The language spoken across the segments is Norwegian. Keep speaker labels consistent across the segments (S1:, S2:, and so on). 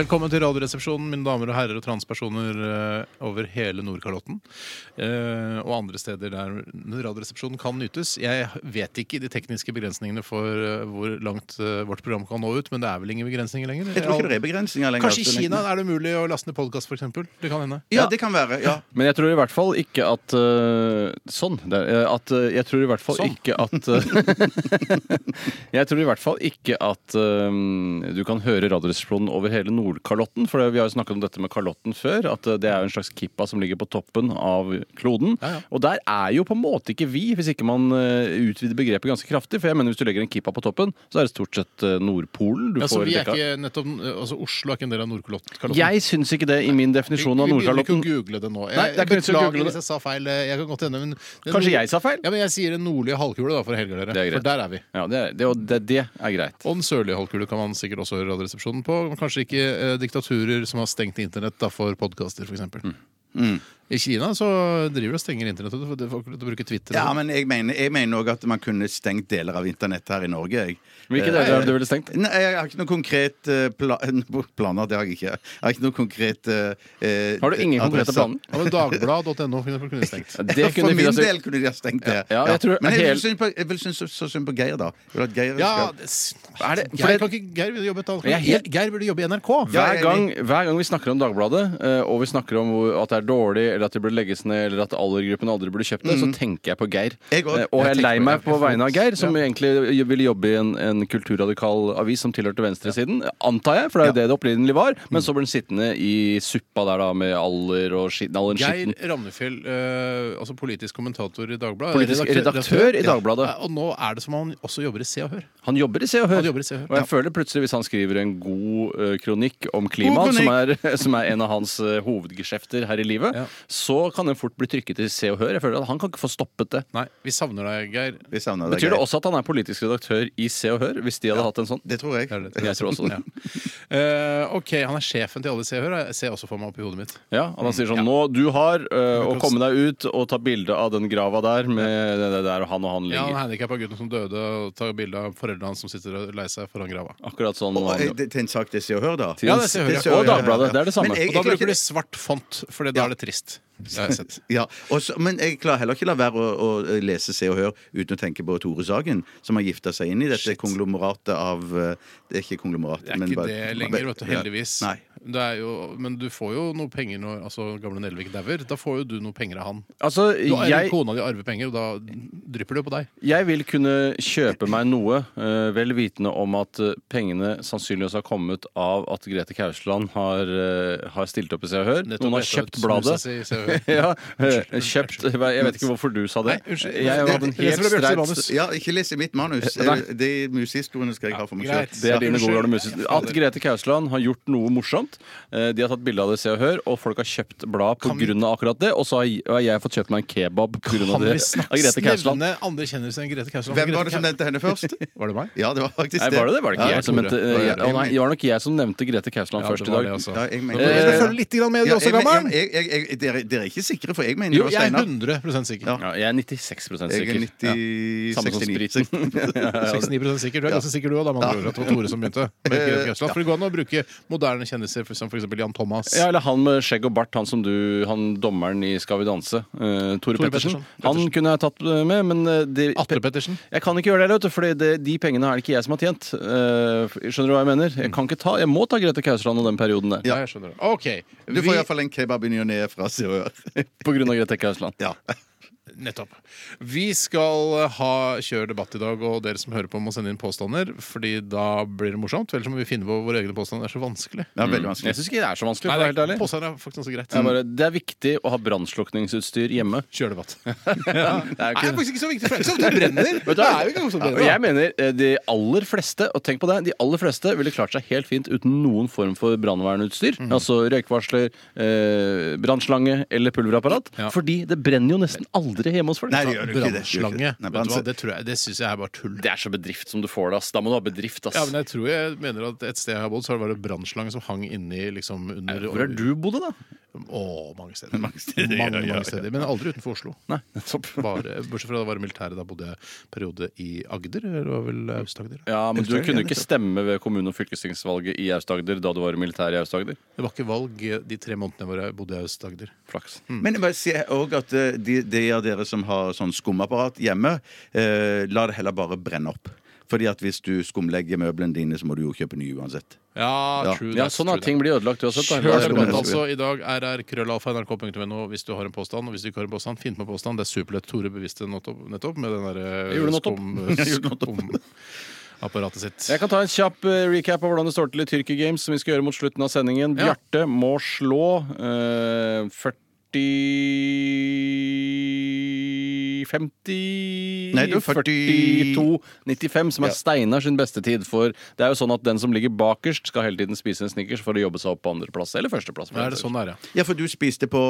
S1: Velkommen til Radioresepsjonen, mine damer og herrer og transpersoner eh, over hele Nordkalotten. eh, og andre steder der Radioresepsjonen kan nytes. Jeg vet ikke de tekniske begrensningene for eh, hvor langt eh, vårt program kan nå ut, men det er vel ingen begrensninger lenger?
S2: Jeg tror ikke det er begrensninger lenger.
S1: Kanskje i Kina er det umulig å laste ned podkast, f.eks.? Det kan hende.
S2: Ja, det kan være. ja.
S3: Men jeg tror i hvert fall ikke at øh, Sånn. Der, øh, at, øh, jeg tror i hvert fall
S1: Sånn.
S3: ikke at øh, Jeg tror i hvert fall ikke at øh, du kan høre Radioresepsjonen over hele Nordkalotten. For vi har jo snakket om dette med Kalotten før. At øh, det er jo en slags kippa som ligger på toppen av kloden.
S1: Ja, ja.
S3: Og der er jo på en måte ikke vi, hvis ikke man øh, utvider begrepet ganske kraftig. For jeg mener hvis du legger en kippa på toppen, så er det stort sett øh, Nordpolen du
S1: Ja, så Altså,
S3: får
S1: vi er
S3: dekka.
S1: ikke nettopp, eh, altså Oslo er ikke en del av Nordkalotten?
S3: Jeg syns ikke det i min definisjon av
S1: Vi- Vi begynner ikke å
S3: Nordkalotten.
S1: google det nå. Jeg,
S3: Nei, det er ikke vits å google
S1: beklager
S3: det.
S1: hvis jeg sa feil. eh, Jeg kan godt hende, men det
S3: Kanskje
S1: nord-
S3: jeg sa feil?
S1: Ja, men Jeg sier den nordlige halvkule da, for å helgardere.
S3: Det er greit.
S1: For der er vi.
S3: Ja, det, er- det, og det, det er greit.
S1: Og den sørlige halvkule kan man sikkert også høre Radioresepsjonen på. Men kanskje ikke eh, diktaturer som har stengt internett da, for podkaster, f.eks.
S3: Mm.
S1: eksempel I Kina så driver de og stenger internett. og sånn. det- Folk bruker Twitter.
S2: Ja, men jeg mener, jeg mener også at man kunne stengt deler av internett her i Norge. Jeg. Eh,
S3: Hvilke deler er det du ville stengt?
S2: Nei, jeg har ikke noen konkret eh, pla planer. Det har jeg ikke. Jeg har ikke noen konkret eh,
S3: Har du ingen konkrete
S2: adresser.
S3: planer?
S1: Ja, men Dagblad.no kunne kunne stengt.
S3: Ja,
S2: Ja,
S3: Det
S2: For
S3: kunne altså-
S2: min
S3: Frida si.
S2: del kunne de ha stengt det.
S3: Ja, jeg tror-
S2: Men jeg
S3: hel-
S2: vil synes på- jeg vil synes så- så synd på Geir, da. Jeg vil at Geir
S1: Ja,
S2: skal-
S1: det,
S3: Er det- for
S1: Geir,
S3: det-
S1: kan ikke, Geir burde jobbe et annet
S3: Jeg er helt-
S1: Geir burde jobbe i NRK.
S2: Ja,
S3: Hver
S2: jeg er
S3: gang, hver gang vi snakker om Dagbladet, eh, og vi snakker om hvor- at det er dårlig, eller at det burde legges ned, eller at aldergruppen aldri burde kjøpt det, så tenker jeg på Geir.
S2: Jeg òg.
S3: Eh, Og jeg
S1: Jeg
S3: er lei
S1: tenker på
S3: meg
S1: det.
S3: på vegne av Geir, som
S1: Ja.
S3: egentlig ville jobbe i en, en kulturradikal avis som tilhørte venstresiden, antar jeg, for det er jo det det opprinnelig var, men så ble den sittende i suppa der da, med alder og skitten, all den skitten.
S1: Geir Ramnefjell, eh, altså politisk kommentator i Dagbladet.
S3: Politisk redaktør i Dagbladet.
S1: Ja, og nå er det som om han også jobber i Se og Hør.
S3: Han jobber i Se og Hør.
S1: Han jobber i Se og Hør,
S3: Og jeg føler plutselig, hvis han skriver en god eh, kronikk om klima,
S2: God
S3: som, er- som er en av hans eh, hovedgeskjefter her i livet,
S1: Ja.
S3: så kan den fort bli trykket i Se og Hør. Jeg føler at Han kan ikke få stoppet det.
S1: Nei, vi savner deg, Geir.
S2: Vi savner deg,
S3: Betyr det
S2: Geir.
S3: også at han er politisk redaktør i Se og Hør, hvis de hadde hatt en sånn?
S2: Det tror jeg.
S1: Det er det.
S3: Jeg tror også det.
S1: Eh, ok, han er sjefen til alle i Se og Hør. Jeg ser også for meg oppi hodet mitt.
S3: Ja, og Han sier sånn Nå, du har eh, å komme deg ut og ta bilde av den grava der med det der og han og han
S1: Ja, han
S3: ligger.
S1: handikappa gutten som døde, og tar bilde av foreldrene hans som sitter og er lei seg foran grava.
S3: Akkurat sånn.
S2: Og, eh,
S3: han-
S2: det- Til en sak til Se og Hør, da.
S1: Ja, det er Se og Hør,
S2: Til
S1: ja.
S2: Se og
S3: Og
S2: Hør,
S3: Dagbladet,
S2: ja.
S3: det er det samme.
S2: Men jeg-
S1: Og da
S2: jeg klarer
S1: bruker de
S2: ikke-
S1: svart font, for da er det trist. Det har jeg sett.
S2: Ja, og så- men jeg klarer heller ikke la være å, å eh, lese Se og Hør uten å tenke på Tore Sagen, som har gifta seg inn i dette konglomeratet av eh, Det er ikke konglomerat,
S1: Det er ikke det lenger, vet du, heldigvis.
S2: Nei.
S1: Det er jo, men du får jo noe penger når altså, gamle Nelvik dauer. Da får jo du noe penger av han.
S3: Altså,
S1: Du, eller
S3: jeg,
S1: Kona di arver penger, og da drypper det jo på deg.
S3: Jeg vil kunne kjøpe meg noe, eh, vel vitende om at eh, pengene sannsynligvis har kommet av at Grete Kausland har, eh, har stilt opp i Se og Hør.
S1: Nettopp
S3: Noen har
S1: etter
S3: kjøpt
S1: at
S3: bladet.
S1: snuset sier Se og Hør.
S3: Ja, eh, kjøpt Jeg vet ikke hvorfor du sa det.
S1: Nei, unnskyld.
S3: Jeg hadde en
S1: Det- det- det- det-
S3: helt
S1: det- det- det-
S3: streit
S1: det- det-
S2: Ja, ikke les i mitt manus.
S3: Nei.
S2: Eh, De musehistoriene skal jeg ha for meg
S1: greit.
S2: selv.
S3: det er dine
S1: Unnskyld.
S3: gode gamle muses. At Grete Kausland har gjort noe morsomt. eh, De har tatt bilde av det i Se og Hør, og folk har kjøpt blad
S1: Kan vi-
S3: pga. akkurat det. Og så har jeg- har jeg fått kjøpt meg en kebab pga.
S1: Kan vi
S3: det. Av Grete Kausland.
S1: nevne andre kjendiser enn Grete Kausland?
S2: Hvem var
S1: Grete
S2: det som
S1: Kau-
S2: nevnte henne først?
S1: Var det meg?
S2: Ja, det var faktisk
S3: Nei, var det det? Var det ikke
S2: Ja,
S3: jeg som
S1: Tore.
S3: mente eh, jeg- Å, nei, Det var nok jeg som nevnte Grete Kausland
S1: Ja,
S3: først i
S1: det var
S3: dag.
S1: det, altså.
S2: Ja, jeg mener-
S1: Men dere
S2: Eh,
S1: følger litt grann med, du
S2: Ja,
S1: også,
S2: jeg-
S1: gammeren?
S2: jeg- jeg- jeg- dere, dere er ikke sikre, for jeg mener det
S1: Jo,
S2: var
S1: jeg er 100
S2: Steinar.
S1: sikker.
S2: Ja.
S3: Ja, jeg er 96
S2: Jeg er
S3: sikker.
S2: 90,
S3: Samme som
S2: 69.
S3: spriten.
S1: Ja, ja, 69 sikker. Du er ganske sikker du òg, da, med andre ord. At det var Tore som begynte. med
S2: Eh,
S1: Grete Kausland. For det går an å bruke moderne kjendiser for- som f.eks. Jan Thomas.
S3: Ja, eller han med skjegg og bart, han som du Han dommeren i Skal vi danse. eh, Tore, Pettersen.
S1: Pettersen.
S3: Han kunne jeg tatt eh, med, men eh, det,
S1: Atle Pettersen.
S3: jeg kan ikke gjøre det, heller, for de pengene er det ikke jeg som har tjent. Eh, skjønner du hva jeg mener? Jeg kan ikke ta, jeg må ta Grete Kausland og den perioden der.
S1: Ja, jeg skjønner det. OK.
S2: Du får
S1: vi-
S2: iallfall en kebab i ny og ne fra Se og Hør.
S3: På grunn av Grete Kausland.
S2: Ja.
S1: Nettopp. Vi skal ha kjør debatt i dag, og dere som hører på må sende inn påstander, fordi da blir det morsomt. Ellers må vi finne på våre egne påstander. Det er så vanskelig.
S2: Det er veldig
S3: Mm. Jeg
S2: vanskelig.
S3: syns ikke det er så vanskelig. for å være helt ærlig.
S1: påstander er faktisk ganske greit.
S3: Det er, bare, det er viktig å ha brannslukningsutstyr hjemme.
S1: Kjør debatt.
S3: Det er jo
S1: Nei,
S3: ikke-
S1: det er faktisk ikke så viktig, for det er ikke sånn at det brenner.
S3: Vet du
S1: Det
S3: hva?
S1: er jo ikke sånn at det
S3: Ja, og
S1: brenner.
S3: jeg mener eh, de aller fleste og tenk på det, de aller fleste ville klart seg helt fint uten noen form for brannvernutstyr. Altså røykvarsler, eh, brannslange eller pulverapparat.
S1: Ja.
S3: Fordi det brenner jo nesten aldri ikke hjemme hos folk.
S2: Nei, det gjør du ikke. Det, gjør
S1: Brannslange.
S2: ikke det. Nei,
S1: Vet du hva,
S2: brannslange.
S1: det tror jeg, det syns jeg er bare tull.
S3: Det er så bedrift som du får det, ass. Da må du ha bedrift, ass.
S1: Ja, men jeg tror jeg mener at et sted jeg har bodd, så har det vært en brannslange som hang inni liksom under
S3: Hvor er du bodde, da?
S1: Å, mange steder.
S2: Mange steder, ja,
S1: mange,
S2: ja, ja.
S1: mange steder. Men aldri utenfor Oslo.
S3: Nei, nettopp.
S1: Bare, bortsett fra da var det militæret. Da bodde jeg en periode i Agder, eller det var vel Aust-Agder.
S3: Ja, men du
S2: Elvstøy,
S3: kunne
S2: ja,
S3: ikke stemme ved kommune- og fylkestingsvalget i Aust-Agder da du var i militæret i Aust-Agder.
S1: Det var ikke valg de tre månedene hvor jeg bodde i Aust-Agder.
S3: Flaks.
S2: Mm. Men jeg bare sier også at eh, de, de av dere som har sånn skumapparat hjemme, eh, la det heller bare brenne opp. Fordi at hvis du skumlegger møblene dine, så må du jo kjøpe nye uansett.
S1: Ja,
S2: Ja.
S1: true
S3: Ja,
S1: that,
S3: sånn
S1: true
S3: at ting blir ødelagt uansett. da.
S1: Kjør
S2: det
S3: Helt
S2: er
S1: debatt
S2: det.
S1: altså i dag. rr.krøllalfa.nrk.no hvis du har en påstand. Og hvis du ikke har en påstand, finn på en påstand. Det er superlett. Tore beviste nettopp, nettopp med den eh,
S3: Jeg gjorde nettopp.
S1: derre skumapparatet sitt.
S3: Jeg kan ta en kjapp eh, recap av hvordan det står til i Tyrkia Games, som vi skal gjøre mot slutten av sendingen.
S1: Ja.
S3: Bjarte må slå eh, 40 50
S2: Nei, det er 40
S3: 92,95, som er Steinar sin beste tid. For det er jo sånn at den som ligger bakerst, skal hele tiden spise en snickers for å jobbe seg opp på andreplass eller førsteplass.
S1: Ja, er det sånn det er, ja.
S2: Ja, for du spiste på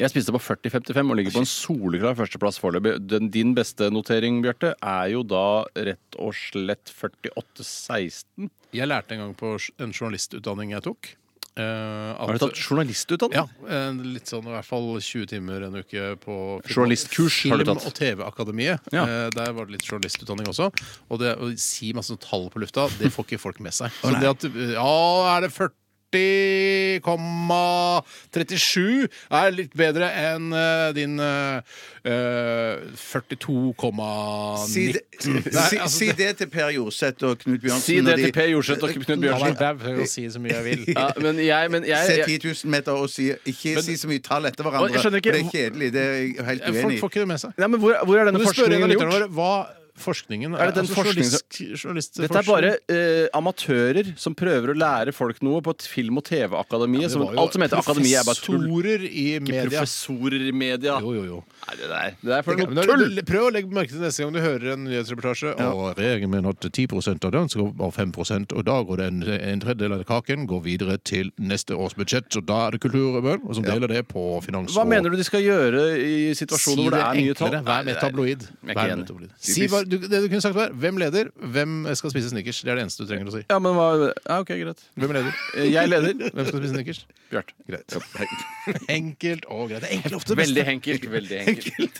S3: Jeg spiste på 40,55 og ligger på en soleklar førsteplass foreløpig. Den- Din beste notering, Bjarte, er jo da rett og slett 48,16.
S1: Jeg lærte en gang på en journalistutdanning jeg tok eh, at,
S3: Har du tatt journalistutdanning?
S1: Ja, eh, litt sånn i hvert fall 20 timer en uke på film-
S3: Journalistkurs har du
S1: Film-
S3: tatt.
S1: og TV-akademiet.
S3: Ja.
S1: Eh, Der var det litt journalistutdanning også. Og det å si masse sånn tall på lufta, det får ikke folk med seg. Så det at Ja, er det 40? 37 er litt bedre enn eh, din eh, eh, 42,90.
S2: Si det,
S1: Nei,
S2: si,
S1: altså,
S2: si det til Per Jorseth og Knut Bjørnsen.
S3: Si det
S2: når de-
S3: til Per Jorseth og Knut
S1: Han
S3: Bjørnsen.
S1: er dau, jeg kan si så mye jeg vil.
S3: Ja, men jeg, men jeg,
S2: Se
S3: jeg,
S2: 10 000 Eh, meter og si, ikke si så mye tall etter
S3: Å, jeg
S2: hverandre.
S3: skjønner ikke.
S2: for Det er kjedelig. Det er jeg helt
S1: Folk
S2: uenig i.
S1: får ikke det med seg.
S3: Nei, men hvor, hvor er
S1: Kan
S3: denne
S1: du spørre en av
S3: forskningen
S1: lytterne
S3: gjort?
S1: våre hva forskningen altså,
S3: Er det den forskningen som-
S1: journalist, journalistforskning?
S3: Dette er bare eh, amatører som prøver å lære folk noe på et film- og TV-akademiet.
S1: Det
S3: som-
S1: var jo
S3: altså, alt som heter akademi, er bare tull.
S1: Professorer i
S3: Ikke
S1: media.
S3: Professorer i media.
S1: Jo, jo, jo.
S3: Nei, det der, det der er for
S1: Men da-
S3: noe tull!
S1: du- Prøv å legge merke til neste gang du hører en nyhetsreportasje. Og regjeringen mener at 10 av den skal være 5 og da går det en, en tredjedel av kaken går videre til neste års budsjett. Og da er det kulturarbeid, og som deler det på finans
S3: Hva mener du de skal gjøre i situasjoner hvor det er mye tall?
S1: Vær mer tabloid.
S3: Jeg er ikke
S1: Vær
S3: enig.
S1: mer tabloid. Si hva, du, det du kunne sagt var hvem leder, hvem skal spise snickers. Det er det eneste du trenger å si.
S3: Ja, men hva ja, OK, greit.
S1: Hvem leder?
S3: Eh, Jeg leder.
S1: Hvem skal spise snickers?
S3: Bjarte.
S1: Greit. Enkelt og greit. Det er enkelt ofte det
S3: Veldig
S1: beste.
S3: enkelt. Veldig enkelt.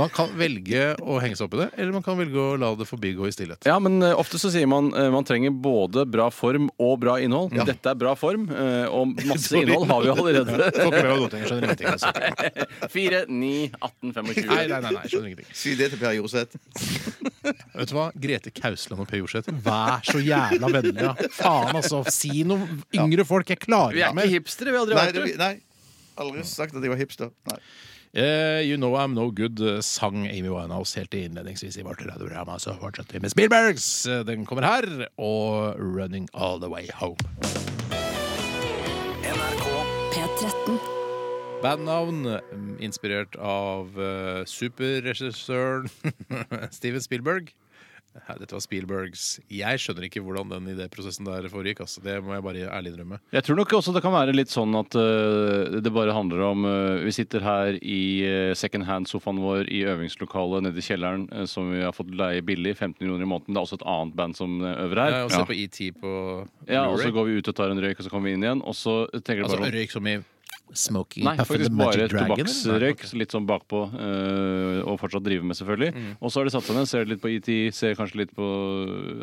S1: Man kan velge å henge seg opp i det, eller man kan velge å la det forbigå i stillhet.
S3: Ja, men eh, ofte så sier man eh, man trenger både bra form og bra innhold. Dette er bra form, eh, og masse innhold har vi allerede.
S1: Får ikke med meg godtgjøring, skjønner ingenting. altså.
S3: 4, 9, 18, 25.
S1: Nei, nei, nei, nei, skjønner ingenting.
S2: Si det til Per Jorseth.
S1: Vet du hva? Grete Kausland og Per Jorseth, vær så jævla vennlig, da. Faen, altså. Si noe yngre folk. Jeg klarer
S3: Vi er
S1: ikke
S3: ikke
S1: mer.
S3: hipstere, vi har aldri
S2: Nei,
S3: vært
S2: det,
S3: det.
S2: nei. Aldri sagt at jeg var hipster. Nei.
S1: Eh, you Know I'm No Good eh, sang Amy Winehouse helt innledningsvis i vårt radioprogram. Så fortsetter vi med Spielbergs. Eh, Den kommer her. Og Running All The Way Home.
S4: P13.
S1: Bandnavn mm, inspirert av eh, superregissøren Steven Spielberg. Nei, Dette var Spielbergs. Jeg skjønner ikke hvordan den idéprosessen der foregikk. Altså. Det må jeg bare ærlig innrømme.
S3: Jeg tror nok også det kan være litt sånn at eh, det bare handler om eh, Vi sitter her i eh, second hand-sofaen vår i øvingslokalet nede i kjelleren, eh, som vi har fått leie billig, 15 kroner i måneden. Det er også et annet band som eh, øver her.
S1: Jeg ser på ET på
S3: Ja, og så
S1: Blu-ray.
S3: går vi ut og tar en røyk, og så kommer vi inn igjen. Og så tenker de
S1: Altså
S3: bare sånn
S1: røyk som i smoking
S3: Nei,
S1: Puff and the
S3: faktisk bare
S1: Magic Dragon, eller?
S3: tobakksrøyk, så litt sånn bakpå, eh, og fortsatt drive med, selvfølgelig. Og så har de satt seg ned, ser litt på ET, ser kanskje litt på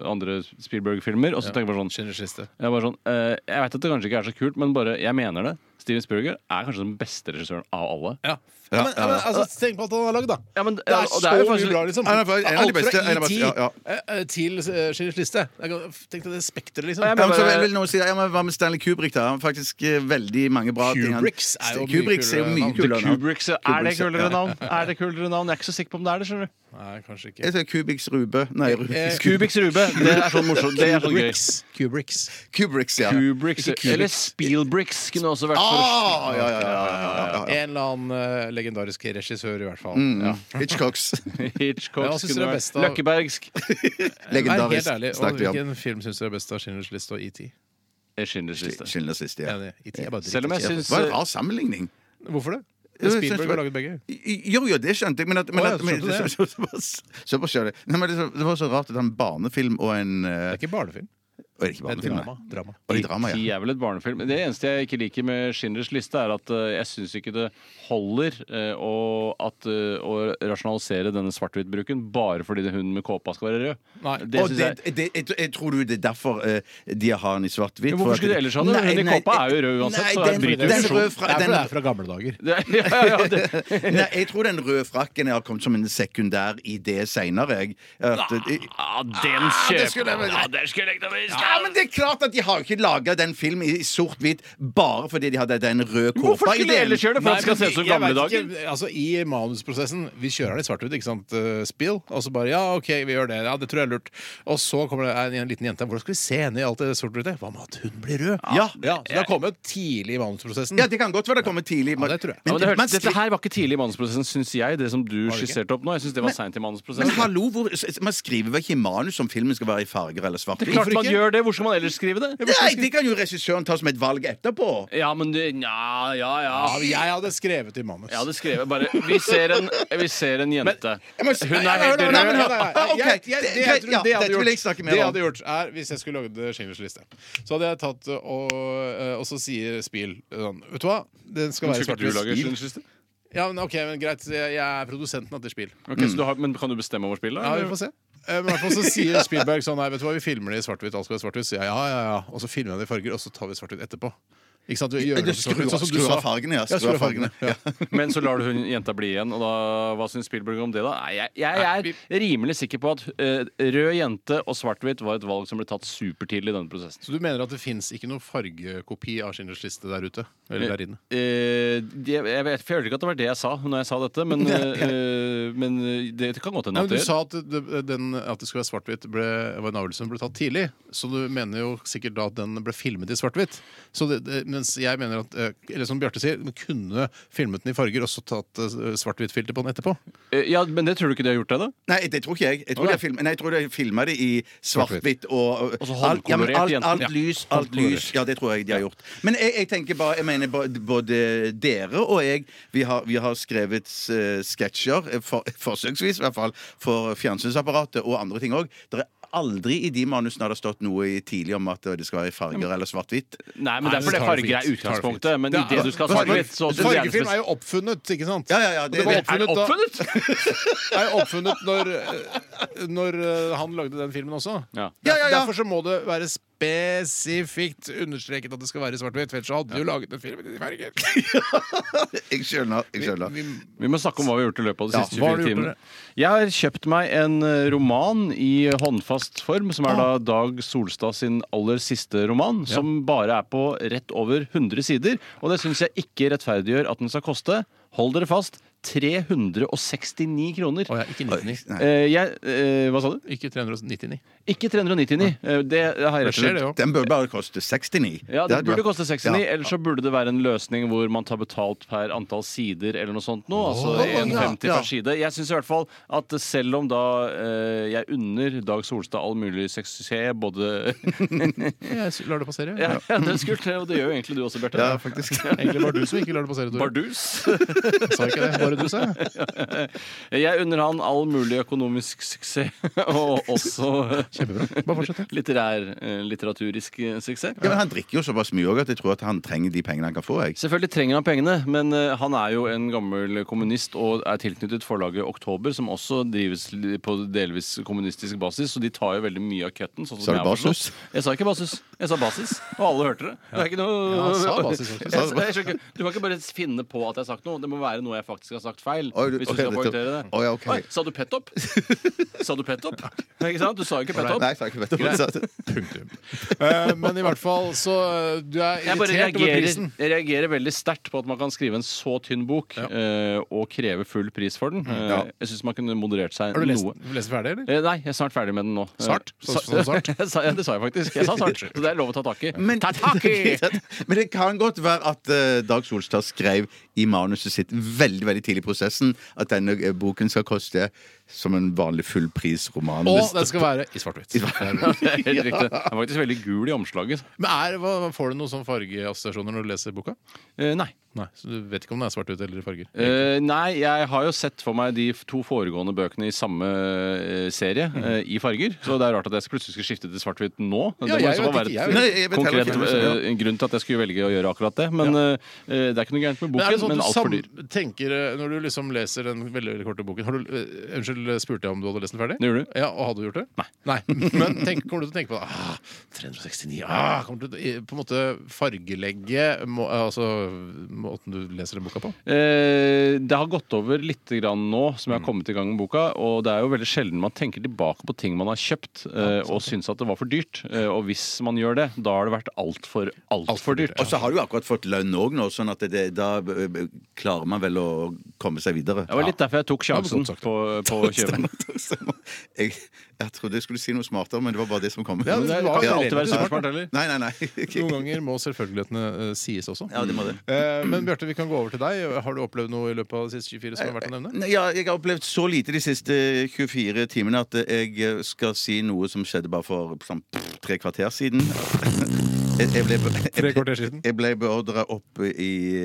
S3: andre Spielberg-filmer, og så tenker jeg bare sånn
S1: Skinner siste.
S3: Jeg, er bare sånn, eh, jeg vet at det kanskje ikke er så kult, men bare, jeg mener det. Steven Spielberg er kanskje den beste regissøren av alle.
S1: Ja. Ja, men, ja, men altså, tenk på alt han har lagd, da!
S3: Ja, men,
S1: det
S3: ja,
S1: er
S3: og
S1: så
S3: det er jo faktisk-
S1: mye bra, liksom.
S2: Ja, det er faktisk en av de
S1: Alt
S2: beste- en av
S1: fra
S2: de beste, ja,
S1: ET eh, til eh, Schindlers liste. Jeg kan- Tenk deg det spekteret, liksom.
S3: Ja,
S2: Ja,
S3: men
S2: men så
S3: bare-
S2: vil vel noen si, ja, men Hva med Stanley Kubrick? da? Han har faktisk eh, veldig mange bra ting. Han-
S1: Kubricks er jo mye
S2: Kubricks er jo
S1: kulere
S2: mye
S1: navn.
S2: kulere navn.
S3: Kubrick, så er det
S2: Kubrick,
S3: kulere
S2: ja.
S3: navn? Er det kulere navn? Jeg er ikke så sikker på om det er det, skjønner du.
S1: Nei, kanskje ikke.
S2: Jeg tror Kubiks Rube Nei, Rube.
S1: Eh,
S3: Kubiks Rube, det er sånn morsomt. Det er sånn gøy.
S1: Kubricks. Kubricks.
S2: Kubricks, ja.
S3: Kubricks, eller Spielbricks kunne også vært for
S2: Ah, ja, ja, ja, ja, ja, ja.
S1: En eller annen eh, legendarisk regissør, i hvert fall.
S2: Mm,
S1: Ja.
S2: Hitchcocks.
S3: Hitchcock
S1: Ja, hva synes
S3: kunne
S1: dere er
S3: vært
S1: best av-
S3: Løkkebergsk.
S1: Vær helt
S2: Legendarisk.
S1: ærlig, og
S2: Snakket vi om.
S1: Hvilken film syns dere er best av Schindlers liste og ET?
S3: Schindlers liste.
S2: Schindlers liste, ja.
S1: Enig. E.T. er bare dritt.
S3: Selv om jeg
S2: Det
S3: syns
S2: var en rar sammenligning.
S1: Hvorfor det?
S2: Jo, jeg synes
S1: Spielberg
S2: det-
S1: har laget begge.
S2: Jo, jo, det skjønte jeg, men, at, men,
S1: Å, ja,
S2: at,
S1: skjønte
S2: men
S1: du det?
S2: så- så- så- Såpass skjønner jeg. Nei, men det, så- det var så rart at han barnefilm og en
S1: Det
S2: eh,
S1: er ikke barnefilm.
S2: og Ikke
S1: Det er
S2: barnefilm,
S1: drama.
S2: nei.
S1: drama.
S2: Og i drama,
S3: E.T.
S2: ja.
S3: er vel et barnefilm. Det eneste jeg ikke liker med Schindlers liste, er at eh, jeg syns ikke det holder eh, å, at, eh, å rasjonalisere denne svart-hvitt-bruken bare fordi det hun med kåpa skal være rød.
S1: Nei.
S3: Det
S2: Og
S3: synes
S2: det,
S3: jeg
S2: det, jeg, tror- jeg tror du det er derfor eh, de har han i svart-hvitt.
S3: Men
S2: for
S3: hvorfor
S2: at
S3: skulle
S2: det-
S3: de ellers ha det?
S2: Nei,
S3: Rønne
S2: nei,
S3: Koppa er jo rød uansett,
S2: nei,
S3: så
S2: den,
S3: bryter
S2: den,
S3: jo
S2: røde
S1: Det er
S2: fra, den,
S1: fordi det er fra gamle dager.
S3: det, ja, ja, ja, det,
S2: Nei, jeg tror den røde frakken har kommet som en sekundær idé seinere.
S3: ah, Den
S2: det skulle jeg
S3: kjøper
S2: vel-
S3: ah, Den skulle jeg da visst
S2: Ja, men det er klart at De har jo ikke laga den filmen i sort-hvitt bare fordi de hadde den røde kåpa.
S3: Hvorfor skulle de ellers gjøre det? For at det skal se ut som gamle dager?
S1: altså, I manusprosessen Vi kjører den i svart-hvitt, ikke sant? eh, Spill. Og så bare Ja, OK, vi gjør det. Ja, det tror jeg er lurt. Og så kommer det en, en liten jente. Hvordan skal vi se henne i alt det sort-hvite? Hva med at hun blir rød?
S2: Ja.
S1: ja Så det har kommet tidlig i manusprosessen.
S2: Ja, Det kan godt være det kommer tidlig.
S1: Ja, det tror jeg.
S3: Ja, men det
S2: man
S3: hørtes,
S2: slipper-
S3: dette her var ikke tidlig i manusprosessen, syns jeg. Det som du
S1: Var det ikke?
S3: skisserte opp nå. Jeg synes det var seint i
S2: Men
S3: manusprosessen.
S2: hallo, hvor, s- man skriver vel ikke i manus om filmen skal være i farger eller svart?
S3: Det er klart
S1: Hvorfor
S3: man
S1: ikke?
S3: gjør det. Hvor skal man ellers skrive det?
S2: Nei, det kan jo regissøren ta som et valg etterpå.
S3: Ja, men det Nja, ja, ja.
S1: Ja, men jeg hadde skrevet i manus.
S3: Jeg hadde skrevet bare Vi ser en, vi ser en jente.
S2: jeg må si-
S3: Hun
S2: Nei,
S3: er helt
S2: nei, nei, nei,
S3: rød.
S2: nei. Ah, ok.
S1: Jeg- jeg-
S2: Det-
S1: det jeg
S2: greit,
S1: tror-
S2: ja,
S1: det jeg hadde
S2: dette vil jeg
S1: gjort-
S2: snakke mer
S1: det jeg
S2: om.
S1: hadde gjort, er hvis jeg skulle lagd Schindlers liste, så hadde jeg tatt øh, og, øh, og så sier Spiel sånn Vet du hva, det skal være
S3: Skulle ikke du lage
S1: svart-hvitt.
S3: Schindlers liste?
S1: Ja, men ok, men greit, jeg, jeg er produsenten av det Spiel.
S3: Ok, så du har, men kan du bestemme over spillet?
S1: Ja, vi
S3: eller?
S1: får se. Eh, Men i hvert fall så sier Spielberg sånn Nei, vet du hva, vi filmer det i svart-hvitt. Alt skal være svart-hvitt. Så jeg, Ja, ja, ja. Og så filmer jeg det i farger, og så tar vi svart-hvitt etterpå. Ikke sant? Du gjør det
S2: Skru
S1: svart-hvitt,
S2: av-
S1: sånn som du
S2: skru
S1: sa.
S2: av fargene, ja.
S1: Ja, skru av fargene. Ja.
S3: Men så lar du hun jenta bli igjen, og da, hva syns Spielberg om det, da? Nei, jeg, jeg er rimelig sikker på at eh, rød jente og svart-hvitt var et valg som ble tatt supertidlig i denne prosessen.
S1: Så du mener at det fins ikke noen fargekopi av Schindlers liste der ute? Eller der inne?
S3: Eh, det- jeg vet, føler ikke at det var det jeg sa når jeg sa dette, men, eh, men det kan godt hende
S1: Nei,
S3: at
S1: men
S3: det
S1: du sa at det, den, at det skulle være svart-hvitt ble- var en avgjørelse som ble tatt tidlig. Så du mener jo sikkert da at den ble filmet i svart-hvitt. Så det- det- Mens jeg mener at eh, Eller som Bjarte sier, man kunne filmet den i farger og så tatt eh, svart-hvitt-filter på den etterpå.
S3: Eh, Ja, Men det tror du ikke de har gjort det, da?
S2: Nei, det tror ikke jeg. Jeg tror de har film- nei, jeg tror de har filma det i svart-hvitt og
S3: Og så
S2: alt, ja, men
S3: håndkolorert
S2: alt,
S3: jenten.
S2: alt
S3: Ja,
S2: lys. Alt lys. Ja, det tror jeg de har gjort. Men jeg, jeg tenker bare Jeg mener både, både dere og jeg Vi har, vi har skrevet eh, sketsjer, eh, for, forsøksvis i hvert fall, for fjernsynsapparatet og andre ting òg. Det er aldri i de manusene har det stått noe i tidlig om at det skal være i farger eller svart-hvitt.
S3: Nei, men
S1: Nei, men
S3: derfor det
S1: tar det
S3: farger
S1: fint.
S3: er utgangspunktet. Men i
S1: Ja,
S3: det du skal ha
S1: farge-
S3: svart-hvitt, så så
S1: Fargefilm
S3: gjerne
S1: er jo oppfunnet, ikke sant?
S2: Ja, ja, ja,
S1: Og
S2: det-
S1: var
S2: det-
S3: Er det
S1: da-
S3: oppfunnet?
S1: er jo oppfunnet når, eh, når eh, han lagde den filmen også.
S3: Ja.
S2: Ja, ja, ja.
S1: Derfor så må det være spesifikt understreket at det skal være i svart-hvitt. for Ellers så hadde du laget den filmen i farger.
S2: Jeg skjønner. Jeg skjønner.
S1: Vi,
S3: Vi må snakke om hva vi har gjort i løpet av de
S1: Ja,
S3: siste
S1: hva har du
S3: 24
S1: gjort,
S3: timene. Jeg har kjøpt meg en eh, roman i håndfast form, som er da
S1: Ah.
S3: Dag Solstad sin aller siste roman, som bare er på rett over 100 sider. Og det syns jeg ikke rettferdiggjør at den skal koste, hold dere fast, 369 kroner.
S1: ja, ikke 99.
S2: Nei.
S3: Eh, jeg, eh, hva sa du?
S1: Ikke 399.
S3: Ikke 399. Eh, Det har jeg
S1: Det
S3: rett og slett
S1: skjer, det òg.
S2: Den bør bare koste 69.
S3: Ja,
S2: Det
S3: Det
S2: hadde
S3: burde
S2: vært-
S3: koste 69,
S2: Ja.
S3: ellers så burde det være en løsning hvor man tar betalt per antall sider eller noe sånt noe. Altså
S2: Åh,
S3: 1,50
S2: ja, ja.
S3: per side. Jeg syns i hvert fall at selv om da eh, jeg unner Dag Solstad all mulig suksess, både
S1: Jeg lar det passere.
S3: ja, ja, det er skult, og det gjør jo egentlig du også, Bjarte.
S2: Ja, faktisk.
S1: Egentlig var det du som ikke lar det passere. Tore.
S3: Bardus.
S1: Sa ikke det, bare du sa det.
S3: Jeg unner han all mulig økonomisk suksess, og også
S1: Kjempebra. Bare fortsett. ja.
S3: litterær, eh, litteraturisk eh, suksess.
S2: Ja, men Han drikker jo såpass mye òg at jeg tror at han trenger de pengene han kan få. Jeg.
S3: Selvfølgelig trenger han pengene, men eh, han er jo en gammel kommunist og er tilknyttet forlaget Oktober, som også drives li- på delvis kommunistisk basis, så de tar jo veldig mye av cutten. Sånn
S2: Sa
S3: som
S2: du
S3: jeg har forstått.
S2: basis?
S3: Jeg sa ikke basis. Jeg sa basis, og alle hørte det. Det er ikke noe
S1: Ja, han sa basis, faktisk.
S3: Jeg sa- jeg skjønner ikke- Du kan ikke bare finne på at jeg har sagt noe. Det må være noe jeg faktisk har sagt feil.
S2: Oi, du-
S3: hvis du
S2: ok,
S3: skal
S2: nettopp.
S3: poengtere det.
S2: Oi, ja, ok.
S3: Oi, sa du pet-opp? Sa du pet-opp? Ikke sant? Du sa jo ikke pet-opp.
S2: Nei, takk, vet du hva jeg sa.
S1: Punktum. Eh, men i hvert fall, så eh, Du er
S3: Jeg bare
S1: irritert over
S3: reagerer,
S1: prisen.
S3: jeg reagerer veldig sterkt på at man kan skrive en så tynn bok eh, og kreve full pris for den. Eh, Jeg syns man kunne moderert seg
S1: Mm. Har du lest,
S3: noe.
S1: du lest ferdig, eller?
S3: Eh, Nei, jeg er snart ferdig med den nå. Eh,
S1: Sart? Sa-
S3: sa-
S1: sa du sart?
S3: Jeg sa- ja, det sa jeg faktisk. Jeg sa sart, så det er lov å ta tak i.
S2: Men,
S3: ta tak i!
S2: men det kan godt være at eh, Dag Solstad skrev i manuset sitt veldig veldig tidlig i prosessen at denne eh, boken skal koste som en vanlig fullprisroman.
S1: Og
S2: Hvis-
S1: den skal være i svart-hvitt.
S3: Det er helt riktig. Den er faktisk veldig gul i omslaget.
S1: Men er, hva, Får du noen sånne fargeassosiasjoner når du leser boka?
S3: Eh, nei.
S1: Nei, så Du vet ikke om den er svart-hvitt eller i farger?
S3: Eh, nei, jeg har jo sett for meg de f- to foregående bøkene i samme eh, serie,
S1: Mm.
S3: eh, i farger. Så det er rart at jeg plutselig skal skifte til svart-hvitt nå. Det
S1: Ja,
S3: må i
S1: jeg
S3: så fall
S1: vet
S3: være
S1: ikke, jeg
S3: et
S2: Nei, jeg vet heller
S3: konkret
S2: ikke. Ja.
S3: eh, grunn til at jeg skulle velge å gjøre akkurat det. Men eh, eh, det er ikke noe gærent med
S1: Men er det
S3: boken,
S1: sånn at
S3: men
S1: du
S3: altfor dyr.
S1: sam tenker, eh, Når du liksom leser den veldig, veldig korte boken har du, eh, Unnskyld, spurte jeg om du hadde lest den ferdig?
S3: Det gjorde du.
S1: Ja, Og hadde du gjort det? Nei. Men tenk, kommer du til å tenke på det? Ah, 369 ah, Kommer du til å eh, på en måte fargelegge må, altså, måten du leser den boka på?
S3: Eh, det har gått over litt grann nå som
S1: Mm.
S3: jeg har kommet i gang med boka. Og det er jo veldig sjelden man tenker tilbake på ting man har kjøpt eh, og syns at det var for dyrt. Eh, og hvis man gjør det, da har det vært altfor, altfor dyrt.
S2: Og så har du jo akkurat fått lønn òg nå, sånn at det, da ø, ø, klarer man vel å komme seg videre.
S3: Det var litt derfor jeg tok sjansen
S1: godt sagt.
S3: på, på å kjøpe.
S2: Jeg, jeg trodde jeg skulle si noe smartere, men det var bare det som kom.
S1: Ja, det
S3: kan ikke alltid være
S2: Ja.
S3: supersmart, heller.
S2: Nei, nei, nei.
S1: Noen ganger må selvfølgelighetene eh, sies også.
S2: Ja, det må det.
S1: Eh, Men Bjarte, vi kan gå over til deg. Har du opplevd noe i løpet av de siste 24 som er verdt å
S3: Eh,
S1: nevne?
S2: Nei, Ja, jeg har opplevd så lite de siste 24 timene at jeg skal si noe som skjedde bare for sånn, pff, tre kvarter siden. Jeg, jeg ble,
S3: eh,
S1: Tre kvarter siden.
S2: Jeg ble beordra opp i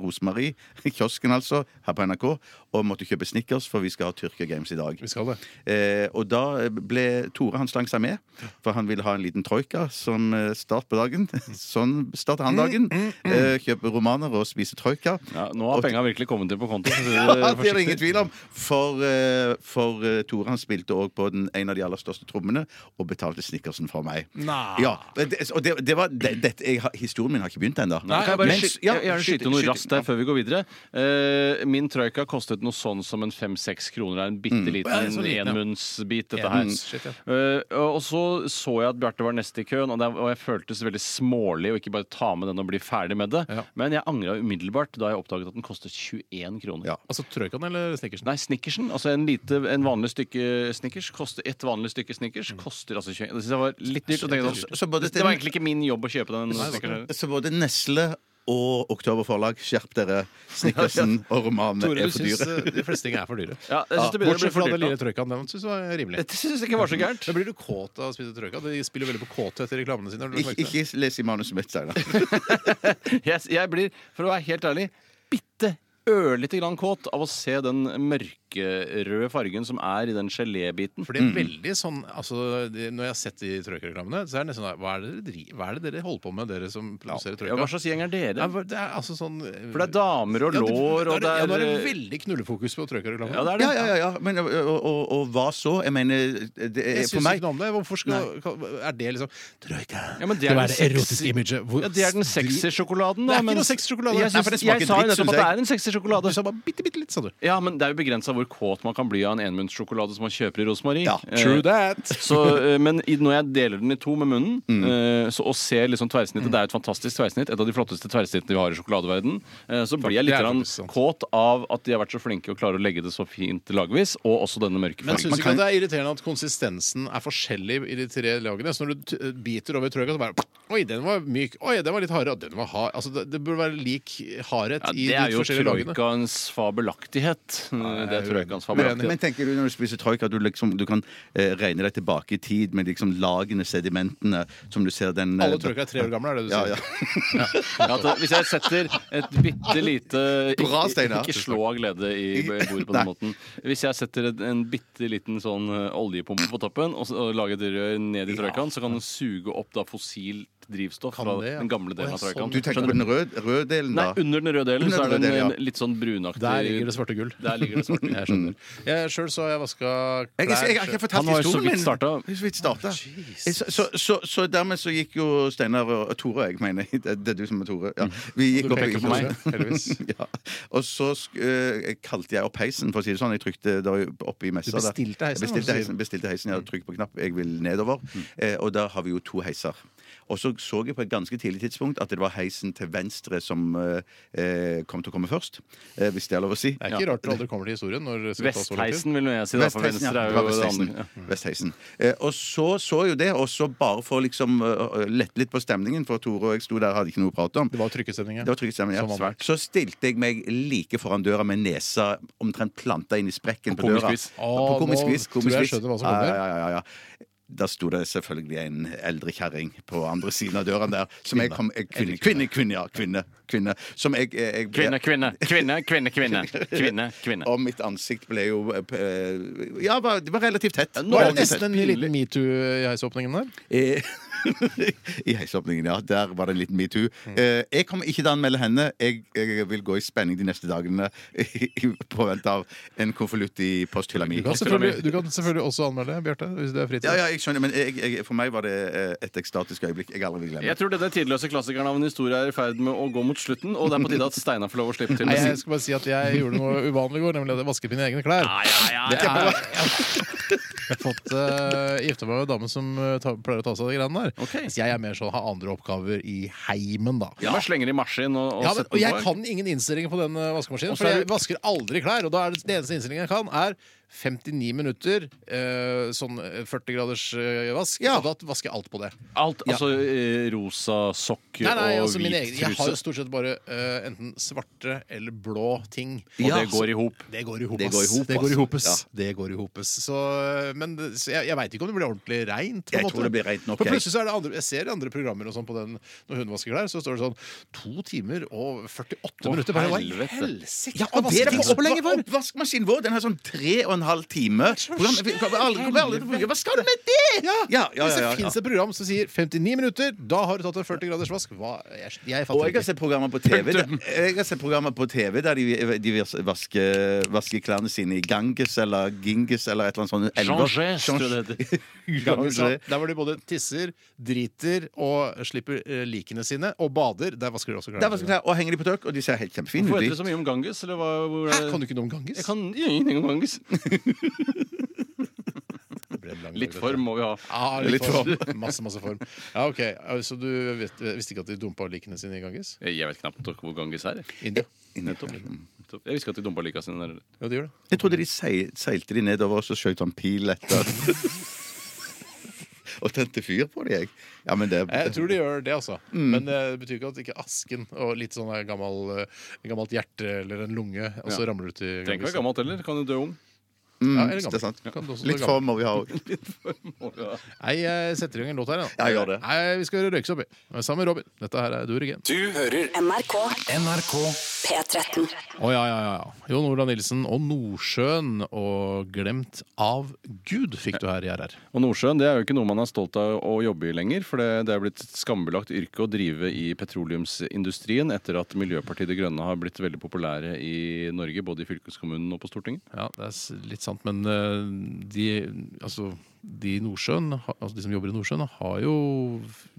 S2: Rosemarie, kiosken altså, her på NRK, og måtte kjøpe Snickers, for vi skal ha Tyrkia Games i dag.
S1: Vi skal det.
S2: Eh, og da ble Tore han slang seg med, for han ville ha en liten troika som eh, start på dagen. Sånn starter han
S1: Mm,
S2: dagen. Eh, kjøper romaner og spiser troika.
S3: Ja, nå har
S2: Og-
S3: penga virkelig kommet inn på konto. så
S2: Ja,
S3: det
S1: eh,
S3: er
S2: det er det
S3: forsiktig.
S2: ingen tvil om. For, eh, for eh, Tore han spilte òg på den, en av de aller største trommene og betalte snickersen for meg.
S1: Nei.
S2: Ja, men det, og det, det var det, det, jeg, har- Historien min har ikke begynt ennå.
S3: Nei, kan jeg bare
S2: Men-
S3: sky-
S2: ja,
S3: jeg- jeg gjerne skyte noe raskt der før vi går videre. Eh, min troika kostet noe sånn som en fem-seks kroner. Det er En bitte
S1: Ja, så
S3: liten
S1: liten, ja.
S3: enmunnsbit, dette her.
S1: Enmunns, shit, ja.
S3: Eh, og så så jeg at Bjarte var nest i køen, og, det, og jeg føltes veldig smålig å ikke bare ta med den og bli ferdig med det.
S1: Ja.
S3: Men jeg angra umiddelbart da jeg oppdaget at den kostet 21 kroner.
S2: Ja.
S1: Altså Trøykan eller Snickersen?
S3: Nei, Snickersen. Altså en lite, en vanlig stykke Snickers koster, Et vanlig stykke
S1: Mm.
S3: Snickers koster altså 21 Det synes jeg var litt dyrt. og tenkte sånn,
S2: Så- så både
S3: det,
S2: til-
S3: var egentlig ikke min jobb å kjøpe den. Snickersen.
S2: Så både Nesle og Oktober Forlag, skjerp dere. Snickersen og romanene
S1: Tore, du eh,
S2: er for
S1: syns
S2: dyre.
S1: de fleste ting er for dyre.
S3: Ja, jeg synes det begynner å bli
S1: Bortsett
S3: for
S1: fra den
S3: dyrt nå.
S1: lille Trøykan. Den syns jeg var rimelig.
S3: Dette syns jeg ikke var så gærent.
S1: Da blir du kåt av å spise trøyka. De spiller veldig på kåthet i reklamene sine. Har du lagt merke
S2: Ikke,
S1: til det?
S2: ikke les i manuset mitt, Steinar.
S3: Jeg, jeg blir, for å være helt ærlig, bitte ørlite grann kåt av å se den mørkerøde fargen som er i den gelébiten.
S1: For det er veldig sånn altså, det, Når jeg har sett de trøykereklamene, så er det nesten sånn hva er, det dere, dri- hva er det dere holder på med, dere som produserer
S3: Ja, hva
S1: trøyka?
S3: slags gjeng er dere?
S1: Nei, hva- det er altså sånn
S3: For det er damer og lår, og det
S1: Ja, nå er det
S3: er
S1: veldig knullefokus på trøykereklamen.
S3: Ja, det er det.
S2: Ja, ja, ja, ja. Men, og, og, og hva så? Jeg mener, det er
S1: Jeg
S2: for
S1: syns
S2: meg
S1: ikke noe om det. Hvorfor skal, Er det liksom Trøyka.
S3: Ja, men
S1: skal
S3: det er den
S1: være
S3: sexy-
S1: erotisk imaget. Hvor
S3: ja, det er den sexy sjokoladen, da.
S1: Det er ikke
S3: men-
S1: noe sexy sjokolade.
S3: Jeg,
S1: Nei,
S3: synes,
S1: for det
S2: smaker
S3: jeg sa jo
S2: dritt,
S3: nettopp
S2: synes
S3: at det
S2: jeg.
S3: er en sexy sjokolade.
S1: Du sa bare bitte, bitte litt, sa du.
S3: Ja, men det er jo begrensa hvor kåt man kan bli av en enmunnssjokolade som man kjøper i Rosmarie.
S2: Ja,
S3: Eh,
S1: that. Mm.
S3: Så, eh, men i- når jeg deler den i to med munnen eh, så, og ser liksom tverrsnittet Det er et fantastisk tverrsnitt, et av de flotteste tverrsnittene vi har i sjokoladeverden eh, Så blir jeg litt
S1: Det er
S3: grann
S1: faktisk sant.
S3: kåt av at de har vært så flinke og klarer å legge det så fint lagvis, og også denne mørke
S1: Men
S3: fargen.
S1: syns du ikke at det er irriterende at konsistensen er forskjellig i de tre lagene? Så når du t- eh, biter over trøyka, så bare Oi, den var myk. Oi, den var litt hardere. Og den var hard. Altså, det, det burde være lik hardhet
S3: Ja,
S1: i
S3: det er
S1: de
S3: jo
S1: forskjellige lagene.
S3: troikaens fabelaktighet. Det er troikaens
S2: men, men
S3: fabelaktighet.
S2: tenker du når du spiser troika, at du, liksom, du kan eh, regne deg tilbake i tid med liksom lagene, sedimentene, som du ser den eh,
S1: Alle trøyka er tre år gamle, er det du
S2: Ja,
S1: sier?
S2: ja.
S3: Ja, at, hvis jeg setter et bitte lite
S2: Bra, Steinar.
S3: Ikke slå av glede i bordet på
S2: Nei.
S3: den måten. Hvis jeg setter et, en bitte liten sånn eh, oljepumpe på toppen og, så- og lager et rør ned i troikaen, så kan den suge opp da fossilt drivstoff
S1: Kan
S3: fra
S1: det, ja.
S3: den gamle delen
S1: Å, ja,
S3: av troikaen.
S1: sånn.
S2: Du tenker på den røde, røde delen,
S3: Nei,
S2: da?
S3: under den røde delen
S2: Under
S3: så er
S2: den
S3: den
S2: røde delen,
S3: eh, litt sånn brunaktig.
S1: Der ligger det svarte gull.
S3: Der ligger det svarte gull.
S1: Jeg skjønner. Jeg sjøl så har jeg vaska
S2: Jeg, jeg, jeg har ikke fortalt
S3: Han har jo så
S2: historien
S3: vidt
S2: min.
S3: starta.
S2: Jeg har Så, vidt starta. Jeg- så, så, så, så dermed så gikk jo Steinar og og Tore og jeg, mener jeg. Det, det er du som er Tore.
S3: Mm.
S2: Ja. Vi gikk
S1: Du
S2: opp
S1: peker på meg, heldigvis.
S2: ja. Og så sk- eh, kalte jeg opp heisen, for å si det sånn. Jeg trykte da oppe i messa.
S1: Du bestilte
S2: der.
S1: heisen, må du
S2: Jeg Bestilte
S1: si. Mm.
S2: heisen, bestilte heisen, Jeg trykket på knapp. Jeg vil nedover. Eh, og da har vi jo to heiser. Og så så så jeg på et ganske tidlig tidspunkt at det var heisen til venstre som eh, eh, kom til å komme først. Eh, hvis det er lov å si.
S1: Det er ikke rart det aldri kommer til historien. Når det skal ta så lang tid.
S3: Vestheisen, vil nå jeg si. Da, for
S2: Vestheisen,
S3: venstre
S2: ja.
S3: er
S2: Det var
S3: jo det
S2: Vestheisen.
S3: andre. Mm.
S2: Vestheisen. Eh, og så så jo det, og så bare for å liksom eh, lette litt på stemningen, for Tore og jeg sto der og hadde ikke noe å prate om.
S1: Det var trykkestemning, ja.
S2: Det var trygg stemning,
S1: Som
S2: ja.
S1: vanlig.
S2: Så stilte jeg meg like foran døra med nesa omtrent planta inn i sprekken på,
S3: På komisk
S2: døra.
S3: vis.
S1: Å,
S2: På komisk
S1: nå
S2: vis.
S1: tror
S2: komisk
S1: jeg
S2: vis.
S1: skjønner hva som
S2: Ja,
S1: kommer.
S2: Ja, ja, ja, ja. Da sto det selvfølgelig en eldre kjerring på andre siden av døren der. Som jeg kom, jeg, kvinne, kvinne, kvinne, ja. Kvinne. kvinne som jeg, eh, jeg ble-
S3: Kvinne, kvinne, kvinne, kvinne, kvinne. kvinne, kvinne.
S2: Og mitt ansikt ble jo eh, Ja, var- det var relativt tett.
S1: Nå er
S2: Relativt
S1: det nesten
S2: tett.
S1: en liten metoo i heisåpningen der.
S2: Eh, I heisåpningen, ja. Der var det en liten metoo. Eh, jeg kommer ikke til å anmelde henne. Jeg, jeg vil gå i spenning de neste dagene i påvente av en konvolutt i posthylla mi.
S1: Du kan selvfølgelig, du kan selvfølgelig også anmelde, Bjarte, hvis det er fritid.
S2: Ja, ja, jeg skjønner, men jeg, jeg, for meg var det eh, et ekstatisk øyeblikk jeg aldri vil glemme.
S3: Jeg tror denne tidløse klassikeren av en historie er i ferd med å gå mot slutten, og det er på tide at Steinar får lov å slippe til.
S1: Nei,
S3: med
S1: jeg
S3: sin-
S1: skal bare si at jeg gjorde noe uvanlig i går, nemlig at jeg vasket mine egne klær.
S3: Ja, ja, ja,
S1: Jeg
S3: ja.
S1: har jeg har fått uh, gifta meg med en dame som eh, ta, pleier å ta seg av de greiene der.
S3: Ok.
S1: Så jeg er mer sånn har andre oppgaver i heimen, da.
S3: Jeg bare slenger i marsjen og, og
S1: Ja, men,
S3: setter
S1: og
S3: den
S1: jeg
S3: på.
S1: kan ingen innstillinger på den eh, vaskemaskinen.
S3: Og så
S1: For
S3: er
S1: jeg
S3: du-
S1: vasker aldri klær. Og da er det, det eneste innstillingen jeg kan, er 59 minutter, eh, sånn eh, 40 graders eh, vask. Og da vasker jeg alt på det.
S3: Alt, altså eh, rosa sokker
S1: Nei, nei,
S3: og
S1: altså, mine
S3: hvit
S1: egne, jeg har jo
S3: truse.
S1: stort sett bare eh, enten svarte eller blå ting.
S3: Og det går i hop.
S1: Det går i hop,
S2: Det
S1: ass.
S2: går i hop,
S1: Det går i
S2: ass.
S1: hopes.
S2: Ja.
S1: Det går i hopes. Så, eh, men det- så jeg, jeg veit ikke om det blir ordentlig reint. på en
S2: Jeg
S1: måte.
S2: tror det blir rent nok,
S1: For
S2: jeg.
S1: plutselig så er det andre, jeg ser i andre programmer og sånn på den når hun vasker klær, så står det sånn to timer og 48 minutter. Bare, hva i
S3: helvete.
S1: helsike?
S2: Ja, og det er på
S1: Vasketings-
S2: opplegget for! Oppvaskmaskinen vår den har sånn tre og en halv time. Program, vi kommer aldri, kommer aldri til å bruke Hva skal du med det?!
S1: Ja,
S2: Ja, ja,
S1: Hvis det
S2: ja, ja.
S1: fins et program som sier 59 minutter, da har du tatt en 40 graders vask. Hva, jeg, jeg
S2: Og
S1: fatter
S2: jeg har
S1: ikke.
S2: sett programmer på TV der, Jeg har sett programmer på TV der de, de vas- vasker, vasker klærne sine i Ganges eller Gingis eller et eller annet sånt. elver.
S3: Changes, tror jeg det heter.
S1: Ganges, ja.
S2: Changes.
S1: Der hvor de både tisser, driter og slipper eh, likene sine, og bader, der vasker de også
S2: Der
S1: klærne.
S2: vasker
S1: sine.
S2: klær, og henger de på tørk, og de ser helt kjempefine ut.
S3: Hvorfor heter det
S2: de.
S3: så mye om Ganges? Eller hva, hvor
S1: Hæ,
S3: er-
S1: kan du ikke noe om Ganges?
S3: Jeg kan ingenting om Ganges.
S1: Det ble en lang
S3: Litt
S1: dag, dette.
S3: form må vi ha.
S1: Ja, litt,
S2: Litt
S1: form. Masse, masse form. Ja, ok. Så du vet, visste ikke at de dumpa likene sine i Ganges?
S3: Jeg vet knapt hvor Ganges er. jeg.
S1: India?
S2: Nettopp.
S3: Jeg visste ikke at de dumpa lika sine der.
S1: Ja, de gjør det.
S2: Jeg trodde de seil, seilte de nedover, og så skjøt han pil etter. og tente fyr på de, jeg. Ja, men det
S1: Jeg tror de gjør det, altså. Men eh, det betyr ikke at ikke asken og litt sånn her gammel, eh, gammelt hjerte eller en lunge, og så ramler du ut i
S3: Trenger ikke
S1: Ganges.
S3: være gammelt heller. Kan jo dø ung.
S2: Mm,
S1: Ja, eller gammel.
S2: det er sant.
S1: Kan du også
S2: Litt
S1: ta
S2: form må vi ha òg.
S1: Nei, jeg setter i gang en låt her. Da.
S2: Ja, gjør det.
S1: Nei, vi skal høre Røyksopp. i. Sammen med Robin. Dette her er Duregen.
S5: Du hører
S4: NRK
S6: NRK
S4: P13.
S1: Å ja, ja, ja. Jon Olav Nilsen og Nordsjøen og Glemt av Gud fikk du her i RR.
S3: Og Nordsjøen det er jo ikke noe man er stolt av å jobbe i lenger. For det, det er blitt et skambelagt yrke å drive i petroleumsindustrien etter at Miljøpartiet De Grønne har blitt veldig populære i Norge, både i fylkeskommunen og på Stortinget.
S1: Ja, det er s- litt sant, men eh, de, altså, de, i Nordsjøen, ha- altså de som jobber i Nordsjøen, har jo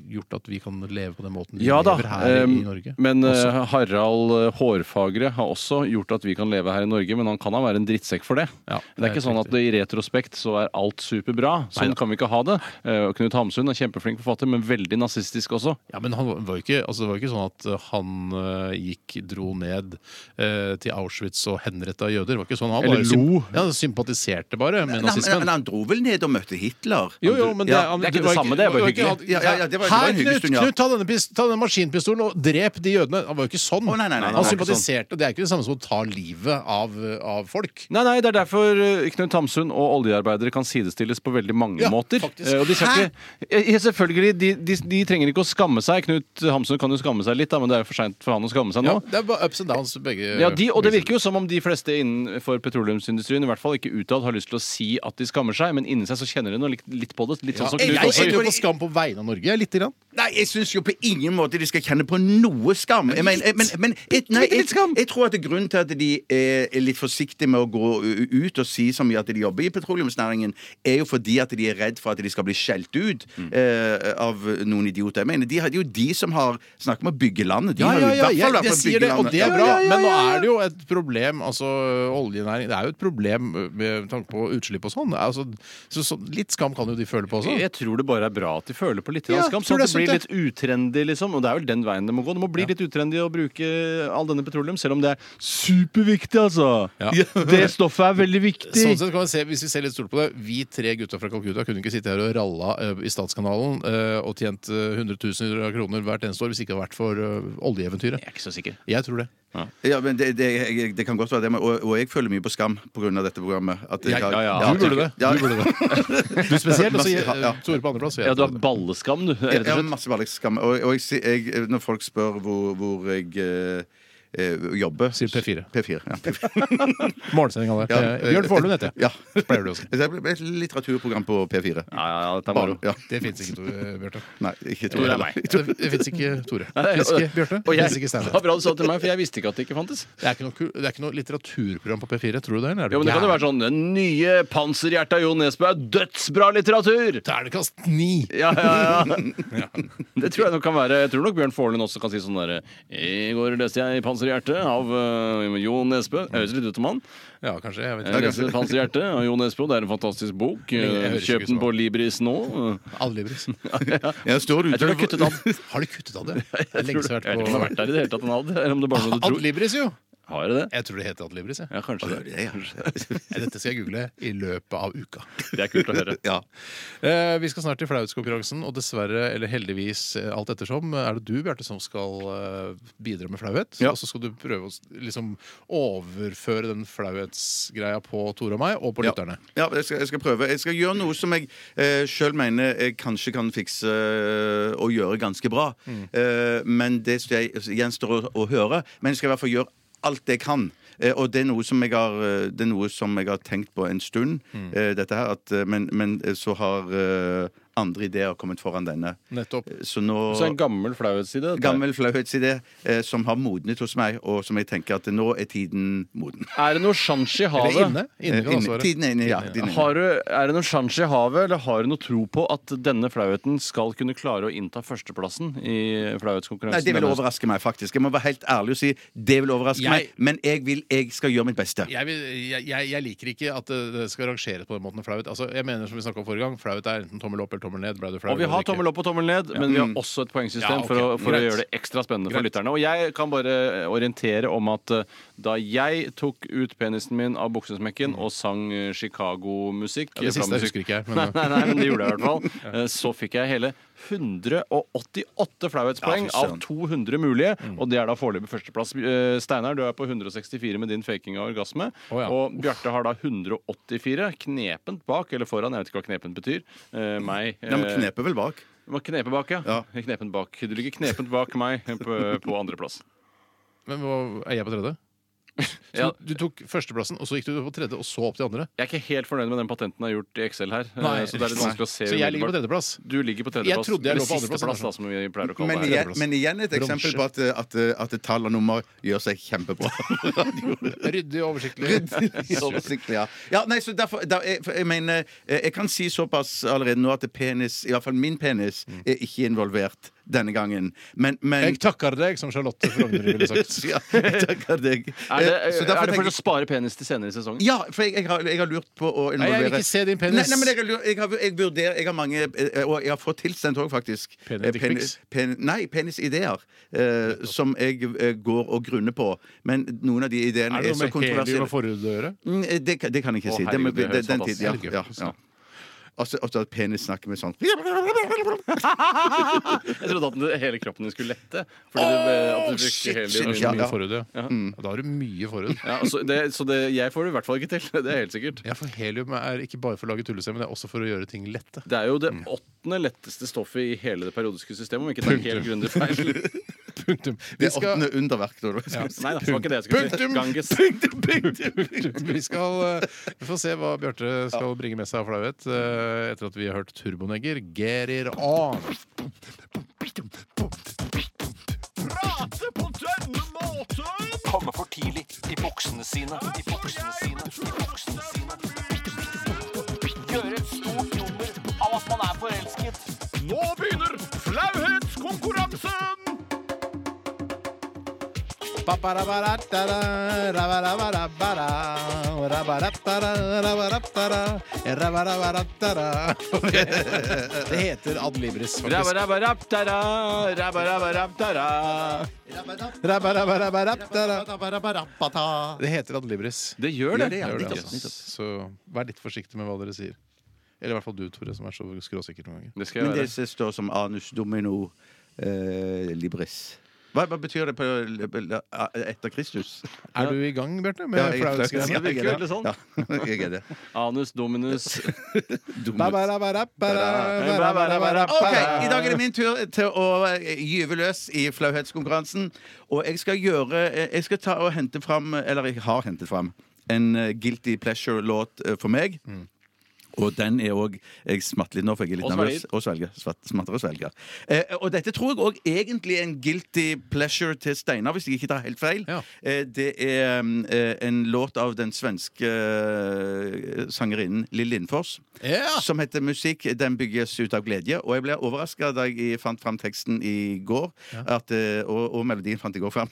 S1: gjort at vi kan leve på den måten vi lever her
S3: eh,
S1: i Norge.
S3: Men eh,
S1: Også.
S3: Harald eh, Hårfagre har også gjort at vi kan leve her i Norge, men han kan da være en drittsekk for det.
S1: Ja,
S3: det er ikke
S1: helt
S3: sånn at det, i retrospekt så er alt superbra. Sånn kan vi ikke ha det. Eh, Knut Hamsun er kjempeflink forfatter, men veldig nazistisk også.
S1: Ja, men han var jo ikke, altså, det var jo ikke sånn at eh, han eh, gikk, dro ned eh, til Auschwitz og henretta jøder. Det var ikke sånn. Han
S3: Eller
S1: bare sym-
S3: lo.
S1: Ja, han sympatiserte bare med
S2: Men,
S1: nazismen.
S2: men han dro vel ned og møtte Hitler?
S1: Jo, jo, men det,
S2: Ja,
S1: han-
S3: det er ikke det
S1: var
S3: samme, det er bare
S1: var ikke-
S3: hyggelig.
S2: Ja, ja, ja, det var- det var
S1: Her,
S2: en hyggelig
S1: Knut,
S2: stund, ja.
S1: Knut ta, denne, pis- ta denne maskinpistolen og drep de jødene. Han var jo ikke sånn.
S2: Å, nei, nei, nei,
S1: han
S2: nei, det er ikke
S1: sympatiserte. Det er ikke det samme som å ta livet av, av folk.
S3: Nei, nei, Det er derfor eh, Knut Hamsun og oljearbeidere kan sidestilles på veldig mange
S1: Ja,
S3: måter.
S1: faktisk.
S3: Eh, Og de, skal ikke, Eh, ja, selvfølgelig, de, de, de trenger ikke å skamme seg. Knut Hamsun kan jo skamme seg litt, da, men det er jo for seint for han å skamme seg
S1: Ja,
S3: nå.
S1: det er bare ups and downs begge
S3: Ja, de, Og det virker jo som om de fleste innenfor petroleumsindustrien i hvert fall ikke utad har lyst til å si at de skammer seg, men inni seg så kjenner de noe litt, litt på det. Litt sånn som
S1: Jeg
S3: Knut
S2: jeg-
S1: kjenner
S3: også.
S1: jo på skam på vegne av Norge, lite grann.
S2: Nei, jeg syns jo på ingen måte de skal kjenne på noe skam. Jeg mener, jeg- men, men, jeg, nei, jeg, jeg tror at det er grunnen til at de er er litt forsiktige med å gå u- ut og si så mye at de jobber i petroleumsnæringen, er jo fordi at de er redd for at de skal bli skjelt ut
S1: Mm.
S2: eh, av noen idioter. Jeg mener, de, har- det er jo de som har snakket om å bygge landet. De
S1: Ja, ja, ja,
S2: har jo
S1: jeg,
S2: i hvert fall
S1: jeg
S2: vært på å
S1: sier
S2: bygge
S1: det, og
S2: landet.
S1: det er
S2: Ja,
S1: bra,
S2: ja, ja,
S1: men nå
S2: ja, ja.
S1: er det jo et eh, problem, altså oljenæring Det er jo et problem med tanke på utslipp og sånn. Altså, så, så, litt skam kan jo de føle på også.
S3: Jeg tror det bare er bra at de føler på litt
S1: Ja,
S3: skam,
S1: tror
S3: sånn at det
S1: jeg
S3: blir
S1: sunt,
S3: litt utrendy, liksom. Og det er vel den veien det må gå. Det må bli litt utrendy å bruke all denne petroleum, selv om det er superviktig, altså.
S1: Ja.
S3: Det stoffet er veldig viktig.
S1: Sånn sett kan man se, hvis Vi ser litt stort på det Vi tre gutta fra Calcutta kunne ikke sitte her og ralla eh, i Statskanalen eh, og tjent eh, hundretusener av kroner hvert eneste år hvis det ikke hadde vært for eh, oljeeventyret.
S3: Jeg er ikke så sikker.
S1: Jeg tror det.
S2: Ja, men det, det, jeg- det kan godt være det, men, og, og jeg føler mye på skam pga. dette programmet. At jeg,
S1: Jeg-
S2: har-
S3: ja, ja.
S1: Du burde det.
S2: Ja,
S1: Du burde det. Du spesielt. Og så
S2: Ja, ja.
S1: eh, Tore på andreplass.
S3: Ja, du har balleskam, du.
S2: jeg, jeg
S3: Rett
S2: har
S3: og slett.
S2: masse balleskam. Og, og jeg, si- jeg, når folk spør hvor, hvor jeg eh, eh, jobber
S1: Sier P4.
S2: P4, ja.
S1: Morgensendinga der.
S2: Ja,
S1: Eh, Bjørn Forlund heter jeg.
S2: Ja.
S1: Pleier du å si.
S2: Det ble et litteraturprogram på P4.
S3: Ja, ja, ja, dette er
S2: Bare,
S3: moro.
S2: ja.
S1: Det fins ikke, Tore Bjørte.
S2: Nei, ikke
S3: Tore
S2: Tore
S3: er
S2: heller.
S3: meg.
S1: Det, det fins ikke Tore. Det fins ikke Bjarte.
S3: Og
S1: Det
S3: jeg-
S1: fins ikke
S3: Det
S1: Steinar.
S3: var bra du sa det til meg, for jeg visste ikke at det ikke fantes.
S1: Det er ikke noe, kul- det er ikke noe litteraturprogram på P4, tror du det? Eller er
S3: Jo, men det kan jo
S1: gæren?
S3: være sånn Den nye panserhjerta Jon Nesbø er dødsbra litteratur!
S1: Ternekast ni!
S3: Ja, ja, ja. Det tror jeg nok kan være Jeg tror nok Bjørn Forlund også kan si sånn derre I går leste jeg Panserhjerte av eh, Jon Nesbø. Jeg høres litt ut som han.
S1: Ja, kanskje. Jeg vet
S3: Jeg
S1: ikke.
S3: leser Panserhjerte av Jon Nesbø. Det er en fantastisk bok. Eh,
S1: høres ikke
S3: Kjøp
S1: som
S3: den på Libris nå.
S1: Allivris.
S2: Ja, står
S3: Jeg tror det er kuttet av.
S1: Har de kuttet av det? Det er
S3: Jeg
S1: lenge
S3: tror
S1: siden jeg
S3: jeg vet ikke om det har
S1: har
S3: vært
S1: vært
S3: der i det hele tatt, den hadde, eller om det bare er noe
S1: på
S3: du tror.
S1: Adlibris, jo!
S3: Har jeg det?
S1: Jeg tror det heter Adlibris. jeg.
S3: Ja, kanskje det.
S1: Nei, Dette skal jeg google i løpet av uka.
S3: Det er kult å høre.
S2: Ja.
S1: Eh, vi skal snart til flauhetskonkurransen, og dessverre, eller heldigvis, eh, alt ettersom, er det du, Bjarte, som skal eh, bidra med flauhet.
S3: Ja.
S1: Og så skal du prøve å s- liksom overføre den flauhetsgreia på Tore og meg, og på lytterne.
S2: Ja, jeg skal, jeg skal prøve. Jeg skal gjøre noe som jeg eh, sjøl mener jeg kanskje kan fikse eh, og gjøre ganske bra.
S1: Mm.
S2: Eh, men det skal jeg, altså, gjenstår å, å høre. Men jeg skal i hvert fall gjøre alt jeg kan. Eh, og det er, noe som jeg har, eh, det er noe som jeg har tenkt på en stund,
S1: Mm.
S2: eh, dette her. At, eh, men, men eh, så har eh, andre ideer kommet foran denne.
S1: Nettopp.
S2: Eh, Så nå
S3: Så en gammel flauhetsside. dette her.
S2: Gammel flauhetsidé eh, som har modnet hos meg, og som jeg tenker at nå er tiden moden.
S3: Er det noe sjanse i havet?
S1: Eller inne. inne kan det
S2: Eh, inne-
S1: også være.
S2: Tiden er inne, ja. Tiden er inne.
S3: Har du, er det noen sjanse i havet, eller har du noe tro på at denne flauheten skal kunne klare å innta førsteplassen i flauhetskonkurransen?
S2: Nei, Det vil overraske meg, faktisk. Jeg må være helt ærlig og si det vil overraske
S1: Jeg-
S2: meg. Men jeg, vil, jeg skal gjøre mitt beste.
S1: jeg, vil, jeg, jeg- jeg liker ikke at det det skal rangeres på den måten. Flauet. Altså, jeg mener som vi snakket om forrige gang Flauet er enten tommel opp eller tommel ned. Ble du flau
S3: Og vi
S1: eller
S3: har
S1: ikke?
S3: tommel opp og tommel ned, men vi har også et
S1: Mm. Ja,
S3: poengsystem
S1: ok.
S3: for, å, for å
S1: Greit.
S3: gjøre det ekstra spennende for
S1: Greit.
S3: lytterne. Og jeg kan bare eh, orientere om at eh, da jeg tok ut penisen min av buksesmekken og sang eh, Chicago-musikk
S1: Mm. Ja, det siste
S3: fra
S1: husker
S3: musikk-
S1: ikke jeg, men-
S3: Nei, nei, nei, men det gjorde jeg i hvert fall. Eh, Så fikk jeg hele 188 flauhetspoeng
S2: Ja, fy
S3: av
S2: søren.
S3: 200 mulige,
S1: Mm.
S3: og det er da foreløpig førsteplass. Eh, Steinar, du er på 164 med din faking av orgasme.
S1: Å, ja.
S3: Og Bjarte har da 184, knepent bak, eller foran, jeg vet ikke hva knepent betyr. Eh, meg.
S2: Ja, men
S3: eh,
S2: kneper vel bak.
S3: du må knepe bak, ja.
S2: Ja.
S3: Knepen bak. Du ligger knepent bak meg eh, på, på andreplass.
S1: Men hva- er jeg på tredje? Så
S3: Ja.
S1: Du tok førsteplassen, og så gikk du på tredje, og så opp til andre?
S3: Jeg er ikke helt fornøyd med den patenten jeg har gjort i Excel her. eh, så det er litt vanskelig å se
S1: Så jeg ligger på
S3: umiddelbart.
S1: tredjeplass?
S3: Du ligger på
S1: Jeg
S3: tredjeplass.
S1: trodde jeg
S3: eller
S1: lå på andreplass, altså.
S3: sisteplass, da,
S1: kanskje.
S3: som vi pleier å kalle
S2: Men
S3: det. her.
S2: igjen, men igjen et
S1: Bronse.
S2: eksempel på at, at, at tall og nummer gjør seg kjempebra.
S1: Ryddig og oversiktlig.
S2: Oversiktlig, ja. ja nei, så derfor, da, jeg, for jeg mener, eh, jeg kan si såpass allerede nå at penis, i hvert fall min penis,
S3: Mm.
S2: er ikke involvert denne gangen. Men, men
S1: Jeg takker deg, som Charlotte Frogner ville sagt.
S2: ja, jeg takker deg.
S3: Er det,
S2: Eh, så derfor
S3: er det
S2: tenker
S3: for å
S2: jeg-
S3: spare penis til senere i sesongen?
S2: Ja, for jeg, jeg, har, jeg har lurt på å
S1: Nei,
S2: involvere
S1: jeg vil ikke se din penis.
S2: Nei, nei, men jeg, har lurt- jeg, har, jeg vurderer Jeg har mange eh, Og jeg har fått tilsendt òg, faktisk.
S1: Penis-
S2: eh,
S1: dickpics?
S2: pen- nei, penisideer. Eh, som jeg eh, går og grunner på. Men noen av de ideene
S1: Er
S2: er,
S1: det noe
S2: så
S1: med helium
S2: kontroversielle.
S1: og forhud å gjøre?
S2: Mm, eh, det, kan- det kan jeg ikke
S3: Å,
S2: si. Det,
S3: herregud,
S2: må-
S3: det høres
S2: det, den tid, ja,
S3: fantastisk
S1: ut.
S2: ja, ja. Og så og så at penis snakker med sånn
S3: Jeg trodde at den- hele kroppen din skulle lette. Fordi det ble, at du brukte
S1: Det
S3: hele
S1: er
S3: din-
S1: så
S2: Ja,
S1: mye
S2: ja.
S1: forhud, ja. Mm. Ja, Da har du mye forhud.
S3: ja, og så, det, så det, jeg får det i hvert fall ikke til. Det er helt sikkert.
S1: Ja, for helium er ikke bare for å lage tullestemmer, det er også for å gjøre ting lette.
S3: Det er jo det
S1: Mm.
S3: åttende letteste stoffet i hele det periodiske systemet, om ikke det er helt grundig feil.
S1: Punktum. Vi
S2: Det
S1: skal
S2: åttende underverk. da, da.
S3: Nei da, det var ikke det jeg skulle si.
S1: Punktum!
S3: Ganges.
S1: Punktum, punktum. Vi skal eh, vi får se hva Bjarte skal bringe med seg av flauhet eh, etter at vi har hørt Turbonegger. Get it on!
S6: Komme for tidlig i buksene sine, i buksene sine, i buksene sine. Gjøre et stort nummer av at man er forelsket. Nå begynner flauhetskonkurransen!
S1: Det heter Ad Libris, faktisk. Det heter Ad Libris.
S3: Det gjør det.
S2: det, ja.
S1: Gjør det,
S2: Nettopp,
S1: altså.
S2: nettopp.
S1: Så vær litt forsiktig med hva dere sier. Eller i hvert fall du, Tore, som er så skråsikker noen ganger.
S3: Det skal
S2: Men
S3: jeg
S2: det
S3: være.
S2: som står som anus domino eh, libris. Hva, hva betyr det på etter Kristus?
S1: Er du i gang, Bjarte?
S2: Ja,
S1: Med
S2: jeg-
S1: flauhetsgreiene?
S2: Ja, jeg
S3: virker
S2: er det.
S3: veldig sånn.
S2: Ja, jeg er det.
S3: Anus dominus.
S2: OK, i dag er det min tur til å eh, gyve løs i flauhetskonkurransen. Og jeg skal gjøre eh, Jeg skal ta og hente fram Eller jeg har hentet fram en eh, Guilty Pleasure-låt eh, for meg. Og den er òg Jeg smatter litt nå, for jeg er litt
S3: Og
S2: nervøs.
S3: svelger.
S2: Og svelger. Svat- Smatter og svelger. Eh, og dette tror jeg òg egentlig er en guilty pleasure til Steinar, hvis jeg ikke tar helt feil.
S1: Ja.
S2: Eh, det er mm, eh, en låt av den svenske eh, sangerinnen Lill Lindfors.
S1: Ja.
S2: Som heter 'Musikk den bygges ut av glede'. Og jeg ble overraska da jeg fant fram teksten i går. At, eh, og, og melodien fant jeg i går fram.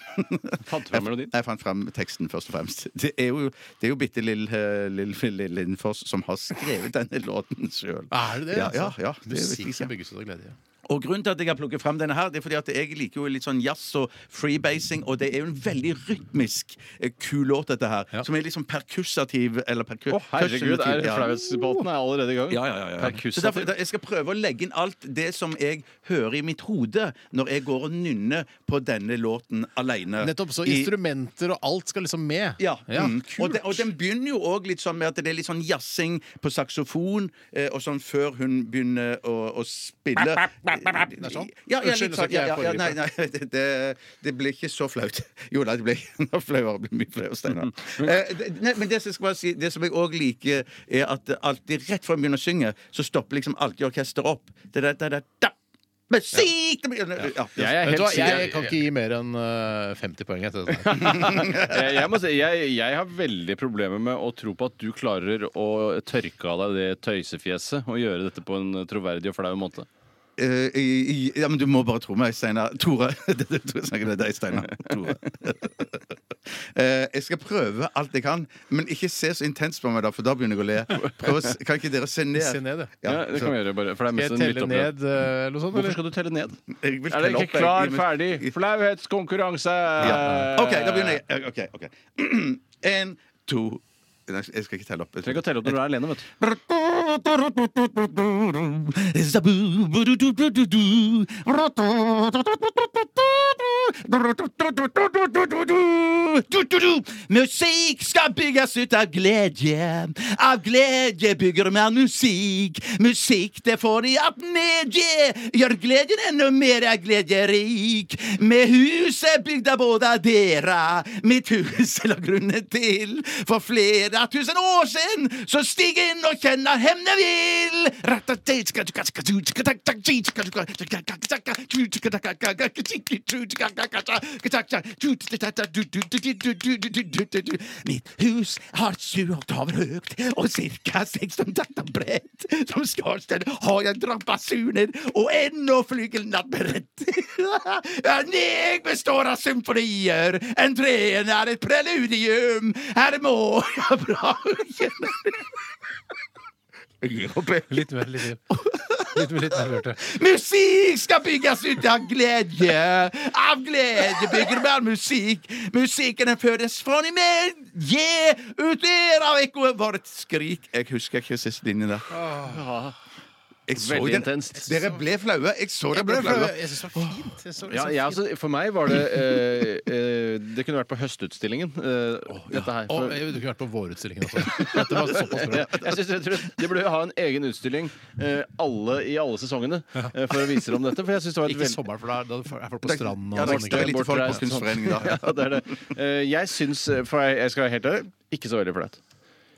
S3: Fant du fram melodien?
S2: Jeg fant fram teksten, først og fremst. Det er jo, det er jo bitte Lill eh, Lill- Lill Lindfors som har skrevet denne låten sjøl.
S3: Ah.
S1: Er det det?
S2: Ja, ja, ja. Det vet jeg
S1: Musikk
S2: ikke.
S1: som bygges ut av glede. ja.
S2: Og grunnen til at jeg har plukket frem denne her, det er fordi at jeg liker jo litt sånn jazz og freebasing, og det er jo en veldig rytmisk eh, kul låt, dette her.
S1: Ja.
S2: Som er litt sånn perkussativ, eller perku...
S3: Å, herregud, er
S2: perkussativ, ja.
S3: flauhetsbåten er allerede i gang?
S2: Ja, ja, ja, ja.
S3: Perkussativ.
S2: Så derfor, da- jeg skal prøve å legge inn alt det som jeg hører i mitt hode når jeg går og nynner på denne låten alene.
S1: Nettopp. Så
S2: I-
S1: instrumenter og alt skal liksom med.
S2: Ja. Mm.
S1: kult.
S2: Og, de, og den begynner jo òg litt sånn med at det er litt sånn jazzing på saksofon, eh, og sånn før hun begynner å, å spille. Eh,
S1: Det er sånn?
S2: Ja, ja,
S1: Unnskyld,
S2: litt
S1: nå skal
S2: sånn.
S1: ikke
S2: Ja,
S1: jeg
S2: ja, ja, nei,
S1: foregripe.
S2: nei, det, det, det blir ikke så flaut. Jo da, det blir det blir flauere. det blir Mye flauere, Steinar. Eh, det- nei, men det som, jeg skal bare si, det som jeg òg liker, er at alltid rett før hun begynner å synge, så stopper liksom alltid orkesteret opp. Det der, der, der, da. Musikk! Det blir- Ja.
S1: Vet
S3: Jeg er
S1: du
S3: helt
S1: hva, jeg
S3: sikker-
S1: kan ikke gi mer enn eh, 50 poeng etter dette.
S3: jeg, jeg, må si, jeg, jeg har veldig problemer med å tro på at du klarer å tørke av deg det tøysefjeset og gjøre dette på en troverdig og flau måte.
S2: Eh, i- i- ja, men du må bare tro meg, Steinar. Tore. Det er Tore som snakker, det er deg, Steinar. Tore. Eh, jeg skal prøve alt jeg kan, men ikke se så intenst på meg, da for da begynner jeg å le. Prøv, å s- kan ikke dere se ned?
S1: Se ned, ja.
S3: Ja, det kan vi gjøre bare, for det
S1: Skal
S3: er mest
S1: jeg
S3: en
S1: telle
S3: lytteopplevelse.
S1: ned eh, eller noe sånt?
S3: Hvorfor
S1: Eller?
S3: skal du telle ned?
S2: Jeg vil
S3: Er det
S2: telle opp,
S3: ikke
S2: jeg, i
S3: klar,
S2: mitt-
S3: ferdig? Flauhetskonkurranse!
S2: Ja. OK, da begynner jeg. Eh, OK. ok En, to Nei, Jeg skal ikke telle opp.
S3: Trenger ikke å telle opp når du er alene, vet du.
S2: Musikk skal bygges ut av glede. Av glede bygger man musikk. Musikk det får i at medie gjør gleden enda mer gledelig. Med huset bygd av både dere, mitt hus la grunnen til. For flere tusen år siden, så stig inn og kjenner hemne vil. Mitt hus har 20 oktaver høyt og ca. 16 takter bredt. Som skorsten har jeg drampasuner og ennå flygelen er beredt. Jeg består av symfonier, entreen er et preludium. Her må jeg bra
S1: Litt mer, litt mer. Litt mer, litt mer Bjarte.
S2: Musikk skal bygges ut av glede. Av glede bygger man musikk. Musikken den fødes fra i medie. Ut der av ekkoet var et skrik. Jeg husker ikke siste linjen der. Jeg så
S3: Ah. Veldig
S2: den-
S3: intenst.
S2: Dere ble flaue. Jeg så dere ble flaue.
S1: Jeg syns det var fint. Jeg så- jeg så
S3: Ja,
S1: fint.
S3: jeg, altså, for meg var det eh, eh, Det kunne vært på Høstutstillingen, eh, dette
S1: Og
S3: her. For,
S1: jeg kunne vært på vårutstillingen også. Dette var
S2: Altså,
S1: såpass bra.
S3: Ja, jeg synes rett og slett De burde ha en egen utstilling eh, alle, i alle sesongene eh, for å vise dem dette. For jeg synes det var et
S1: Ikke
S3: veld-
S1: sommeren, for da er- da er folk på stranden
S2: Ja,
S1: og sånne
S2: det det er
S1: greier.
S2: lite folk på Kunstforeningen da.
S3: Ja, det er det. Eh, jeg syns, eh, for jeg, jeg skal være helt ærlig, ikke så veldig flaut.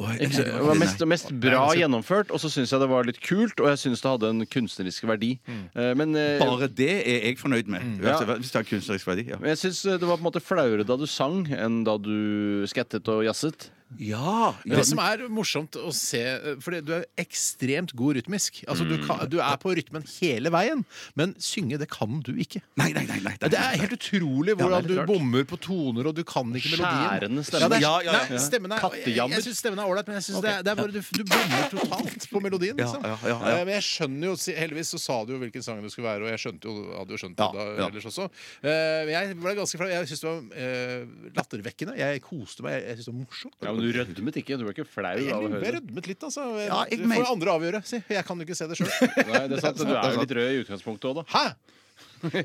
S3: Ikke så- Det var mest, mest bra
S2: altså-
S3: gjennomført, og så syns jeg det var litt kult, og jeg syns det hadde en kunstnerisk verdi.
S2: Mm.
S3: Eh, men eh,
S2: Bare det er jeg fornøyd med.
S1: Mm.
S2: Altså, Hvis det har
S3: eh,
S2: kunstnerisk verdi. Ja.
S3: men jeg syns det var på en måte flauere da du sang, enn da du skattet og jazzet.
S2: Ja!
S1: Det som er morsomt å se For du er ekstremt god rytmisk. Altså,
S2: Mm.
S1: du, kan, du er på rytmen hele veien, men synge, det kan du ikke.
S2: Nei, nei, nei. nei, nei.
S1: Det er helt utrolig
S3: Ja, det er
S1: hvordan
S3: litt
S1: du
S3: rart.
S1: bommer på toner, og du kan ikke melodien.
S3: Skjærende stemme.
S1: det er,
S2: Ja, ja, ja.
S1: Nei, stemmen er, jeg,
S3: Kattejammer.
S1: jeg syns stemmen er ålreit, men jeg synes det, er, det er bare du, du bommer totalt på melodien.
S2: Ja,
S1: Liksom.
S2: ja, ja, ja.
S1: Eh, Men jeg skjønner jo Heldigvis så sa du jo hvilken sang det skulle være, og jeg skjønte jo, hadde jo skjønt
S2: Ja,
S1: det da,
S2: ja.
S1: ellers også. Eh, men Jeg ble ganske flau. Jeg syntes det var eh, lattervekkende. Jeg koste meg. Jeg- Jeg syntes det var morsomt.
S3: Ja, men du rødmet ikke. Du ble ikke flau
S1: Jeg
S3: av å høre
S1: ble
S3: det.
S1: rødmet litt, altså.
S2: Ja, jeg
S1: det får
S2: mener-
S1: andre avgjøre. Si. Jeg kan jo ikke se det sjøl.
S3: Nei, det er sant. Du er jo litt rød i utgangspunktet òg, da.
S1: Hæ?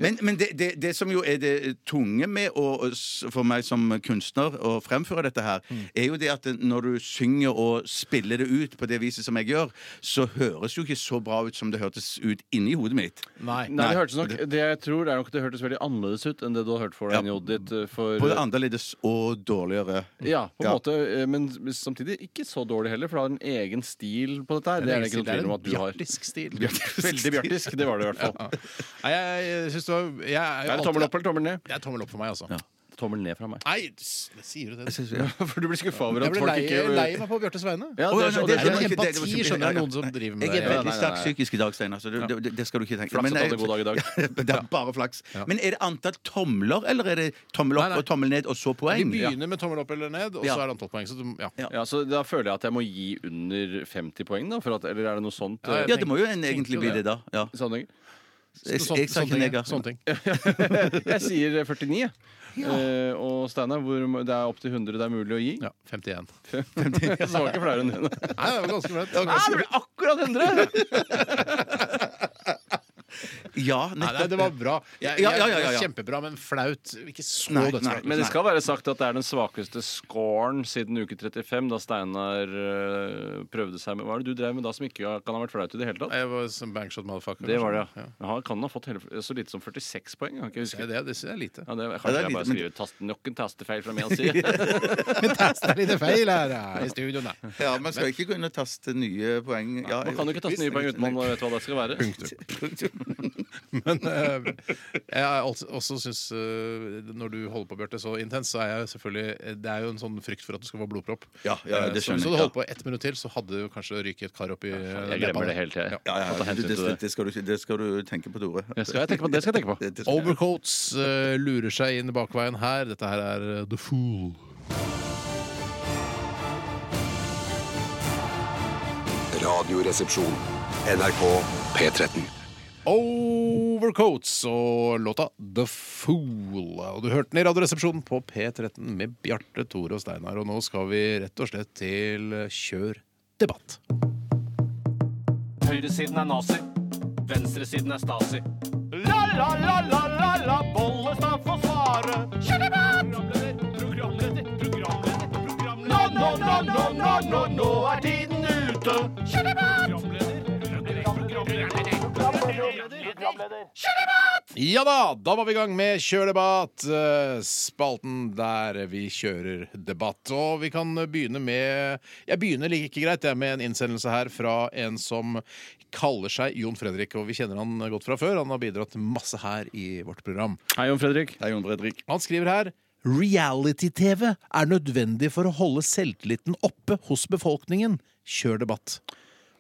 S2: Men, men det, det, det som jo er det tunge med å, for meg som kunstner å fremføre dette her,
S3: Mm.
S2: er jo det at når du synger og spiller det ut på det viset som jeg gjør, så høres jo ikke så bra ut som det hørtes ut inni hodet mitt.
S1: Nei.
S3: Nei, det hørtes nok, det jeg tror det er nok det hørtes veldig annerledes ut enn det du har hørt for deg i hodet ditt. eh, For,
S2: Både annerledes og dårligere.
S3: ja, på en
S2: Ja.
S3: måte, eh, Men samtidig ikke så dårlig heller, for det har en egen stil på dette her. Det er det ikke noe tvil om at du har.
S1: bjartisk stil.
S3: Veldig bjartisk. Det var det i hvert fall.
S1: Nei, jeg, jeg syns det var jeg er, jo
S3: Er det
S1: alltid-
S3: tommel opp eller tommel ned?
S1: Det er tommel opp for meg, altså.
S3: Tommel ned fra meg.
S1: Nei, s- sier du det? Jeg
S3: For du blir skuffa over at
S1: ble
S3: folk
S1: lei,
S3: ikke
S1: lei meg på Bjartes vegne.
S2: Å, ja,
S3: Ja, det er sånn
S2: nei,
S3: så,
S2: det- det var
S3: det er
S2: ikke- det
S1: Empati
S2: var ikke-
S1: skjønner
S2: ja,
S1: jeg
S2: ja.
S1: noen som driver med
S2: Jeg er
S1: det.
S2: veldig
S3: nei,
S2: sterk
S3: nei.
S2: psykisk i dag, Steinar. så du- Det, det, det skal du ikke tenke
S3: Flaks at du hadde
S2: jeg-
S3: god dag i dag.
S2: det er bare flaks. Men er det antall tomler, eller er det tommel
S1: Nei,
S2: opp
S1: nei.
S2: og tommel ned, og så
S1: Vi
S2: poeng?
S1: begynner med tommel opp eller ned, og
S2: Ja.
S1: så er det antall poeng. Så du, ja.
S2: Ja.
S3: ja, så Da føler jeg at jeg må gi under 50 poeng, da? For at, eller er det noe sånt?
S1: Ja,
S3: eh,
S1: jeg
S2: Ja, det må jo en, egentlig bli det, da. Ja.
S3: i sammenhengen?
S2: Jeg,
S1: Sånn-
S2: jeg sa
S1: sånne
S2: ikke
S1: ting,
S2: nega.
S1: Sånne ting.
S3: Jeg sier 49. jeg. Eh, og Steinar, hvor må- det er opp til 100 det er mulig å gi.
S1: Ja, 51.
S3: Så det var ikke flauere enn det.
S1: Nei, det var ganske bra.
S3: Ah, det ble akkurat 100!
S2: Ja,
S1: Nei, nei,
S2: nettopp.
S1: det var bra. Jeg, jeg,
S2: Ja, ja, ja, ja, ja.
S1: Kjempebra, men flaut. Ikke så
S2: Nei,
S1: dødsflaut.
S2: nei,
S3: Men det skal være sagt at det er den svakeste scoren siden uke 35, da Steinar eh, prøvde seg med Hva er det du drev med da som ikke kan ha vært flaut i det hele tatt?
S1: Jeg var som bankshot motherfucker.
S3: Det var det,
S1: kanskje.
S3: ja. Jaha, kan han ha fått hele, så lite som 46 poeng? Jeg kan ikke
S1: Ja,
S3: huske.
S1: det, det synes jeg er lite.
S3: Ja, det, kanskje
S2: Ja, det er
S3: jeg bare
S2: lite, men-
S3: skriver tast, nok en tastefeil fra min side.
S1: Det er litt feil her eh, i studio, nei.
S2: Ja, Man skal ikke gå inn og taste nye poeng. Ja,
S3: Man kan jo ikke taste nye poeng uten man vet hva det skal være.
S1: Men eh, jeg er altså- også syns eh, Når du holder på, Bjarte, så intens, så er jeg selvfølgelig Det er jo en sånn frykt for at du skal få blodpropp.
S2: Ja, ja,
S1: Eh,
S2: det
S1: så hvis
S2: skjønner
S1: du
S2: jeg,
S1: hadde holdt
S2: ja.
S1: på ett minutt til, så hadde du kanskje ryket et kar opp i
S3: Jeg glemmer det hele tida.
S1: Ja.
S3: jeg.
S2: Ja, ja,
S3: Ta
S2: ja.
S3: hensyn
S2: Det,
S3: til
S2: det,
S3: det.
S2: det, skal du, ikke- det skal du tenke på, Tore.
S3: Det skal jeg tenke på. Det skal jeg tenke på.
S2: Det- det skal jeg.
S1: Overcoats eh, lurer seg inn bakveien her. Dette her er eh, The Fool.
S5: Radioresepsjon. NRK P13.
S1: Overcoats og låta The Fool. Og du hørte den i Radioresepsjonen på P13 med Bjarte, Tore og Steinar. Og nå skal vi rett og slett til eh, Kjør debatt.
S6: Høyresiden er nazi. Venstresiden er stasi. La, la, la, la, la, la, Bollestad får svare. Kjør debatt! Programleder, programleder, programleder. Nå, nå, nå, nå, nå, nå, nå er tiden ute. Kjør debatt!
S1: Ja da! Da var vi i gang med Kjør debatt, eh, spalten der vi kjører debatt. Og vi kan begynne med Jeg begynner like greit jeg, med en innsendelse her fra en som kaller seg Jon Fredrik. Og vi kjenner han godt fra før. Han har bidratt masse her i vårt program.
S3: Hei, Jon Fredrik.
S2: Hei, Jon Fredrik.
S1: Han skriver her Reality-TV er nødvendig for å holde selvtilliten oppe hos befolkningen. Kjør debatt.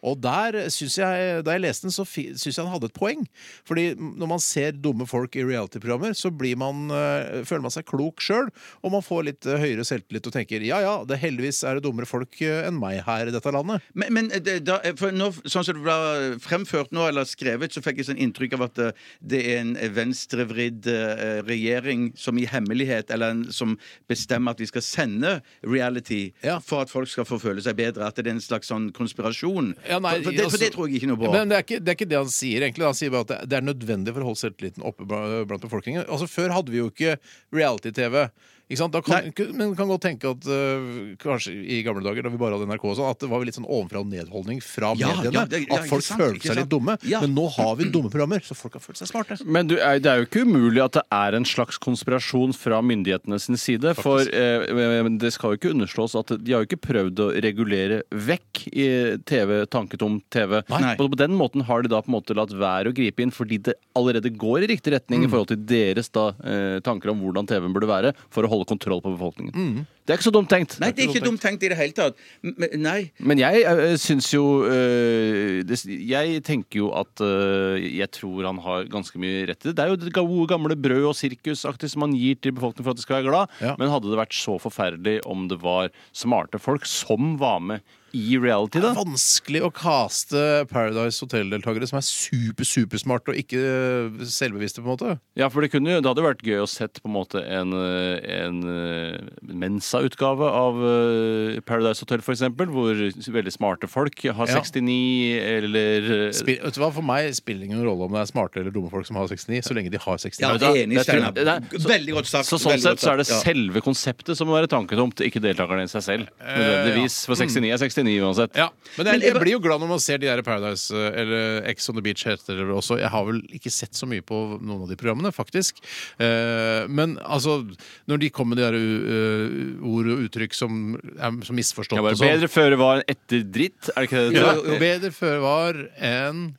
S1: Og der synes jeg, Da jeg leste den, så fi- syns jeg han hadde et poeng. Fordi når man ser dumme folk i reality-programmer, så blir man, eh, føler man seg klok sjøl. Og man får litt eh, høyere selvtillit og tenker ja ja, det heldigvis er det dummere folk eh, enn meg her i dette landet.
S2: Men, men eh, det, da, for nå, sånn som det ble fremført nå, eller skrevet, så fikk jeg sånn inntrykk av at eh, det er en venstrevridd eh, regjering som i hemmelighet, eller en, som bestemmer at vi skal sende reality
S1: Ja.
S2: for at folk skal få føle seg bedre. At det er en slags sånn konspirasjon.
S1: Ja, nei,
S2: for, for, det,
S1: altså-
S2: for det tror jeg ikke noe på.
S1: Men det er ikke, det er ikke det han sier, egentlig. Han sier bare at det, det er nødvendig for å holde selvtilliten oppe bla- blant befolkningen. Altså, Før hadde vi jo ikke reality-TV. Ikke sant? Da kan,
S2: Nei.
S1: ikke- men kan godt tenke at øh, kanskje i gamle dager, da vi bare hadde NRK og sånn, at det var litt sånn ovenfra og nedholdning fra
S2: Ja,
S1: mediene.
S2: ja, det- ja,
S1: at
S2: ikke
S1: folk
S2: sant,
S1: følte
S2: ikke
S1: seg litt
S2: sant.
S1: dumme.
S2: Ja. Mm.
S1: Men nå har vi dumme programmer, så folk har følt seg smarte.
S3: Men du, er- det er jo ikke umulig at det er en slags konspirasjon fra myndighetene sin side. For eh, men det skal jo ikke underslås at de har jo ikke prøvd å regulere vekk i TV, tanketom TV.
S2: Nei.
S3: Og på den måten har de da på en måte latt være å gripe inn, fordi det allerede går
S2: Mm.
S3: i riktig retning i forhold til deres da, eh, tanker om hvordan TV-en burde være for å holde kontroll på befolkningen. Det er ikke så dumt tenkt.
S2: Mm. Nei, det er ikke dumt tenkt i det hele tatt. Men, nei.
S3: Men jeg uh, syns jo øh, det, Jeg tenker jo at øh, jeg tror han har ganske mye rett i det. Det er jo det gode gamle brød- og sirkusaktig som man gir til befolkningen for at de skal være glad.
S1: Ja.
S3: Men hadde det vært så forferdelig om det var smarte folk som var med i reality,
S1: Det
S3: da?
S1: er vanskelig å kaste Paradise Hotel-deltakere som er super, supersmarte og ikke eh, selvbevisste, på en måte.
S3: Ja, for det, kunne, jo- det hadde vært gøy å sett på en måte en, øh, en øh, Mensa-utgave av øh, Paradise Hotel, for eksempel, hvor veldig smarte folk har
S1: Ja.
S3: 69 eller øh,
S1: Spill, vet du hva, For meg spiller det ingen rolle om det er smarte eller dumme folk som har 69, så lenge de har 69.
S2: Ja,
S3: du hva?
S2: enig,
S3: Jeg tror-
S2: Steinar.
S3: det er- så-
S2: Veldig godt sagt.
S3: Så sånn
S2: veldig
S3: sett
S2: godt
S3: så er det
S2: sagt, ja.
S3: selve konseptet som må være tanketomt, ikke deltakerne i seg selv.
S2: Eh,
S3: Nødvendigvis. For
S2: Mm.
S3: 69 er 69 uansett.
S1: Ja, men jeg,
S2: Men det-
S1: jeg blir jo glad når man ser de der Paradise eh, eller Ex on the Beach heter det vel også. Jeg har vel ikke sett så mye på noen av de programmene, faktisk. Eh, Men altså, når de kommer med de der eh, ord og uttrykk som er så misforstått
S3: Jeg bare,
S1: og sånn.
S3: bedre føre var enn etter dritt, er det ikke det? du
S1: Ja,
S3: sa?
S1: jo bedre før var enn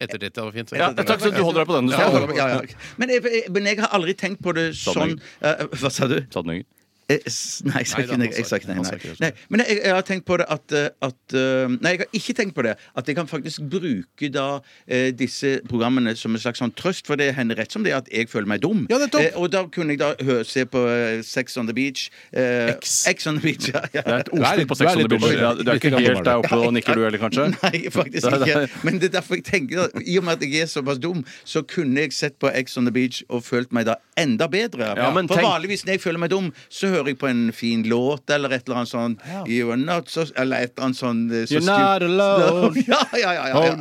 S1: etter dette. Det var fint.
S3: Ja, takk, så du holder deg på den du
S2: Ja,
S3: sa.
S2: ja, ja. Men, jeg, men jeg har aldri tenkt på det sånn
S3: Sånn.
S2: Eh, Hva sa du?
S3: Sa den, Jørgen?
S2: Eh, s- Nei, jeg sa
S1: Nei,
S2: ikke
S1: da,
S2: nei. Jeg sa ikke nei,
S1: han sa
S2: nei.
S1: ikke det.
S2: nei men jeg, jeg har tenkt på det at, eh, at eh, Nei, jeg har ikke tenkt på det. At jeg kan faktisk bruke da eh, disse programmene som en slags sånn trøst, for det hender rett som det er at jeg føler meg dum.
S1: Ja, nettopp.
S2: Eh, og da kunne jeg da hø se på eh, Sex on the Beach. Eh,
S1: X.
S2: X on the Beach, ja. ja.
S3: Det er
S1: Du
S3: et
S1: er
S3: ordspill
S1: litt-
S3: på
S1: du er
S3: 600
S1: litt dum.
S3: bilder. Ja, du er ikke
S1: Hvilken
S3: helt
S1: gammel
S3: der
S1: er
S3: oppe og nikker, du heller, kanskje?
S2: Nei, faktisk
S3: Det er-
S2: ikke. Men det er derfor jeg tenker at I og med at jeg er såpass dum, så kunne jeg sett på Ex on the Beach og følt meg da enda bedre.
S3: Ja, men
S2: For
S3: tenk-
S2: vanligvis når jeg føler meg dum, så hører jeg på en fin låt eller et eller annet sånn You're not so Eller et eller annet sånn eh, så
S3: You're not
S2: stu-
S3: alone.
S2: Ja, ja, ja, ja, ja.
S3: Oh,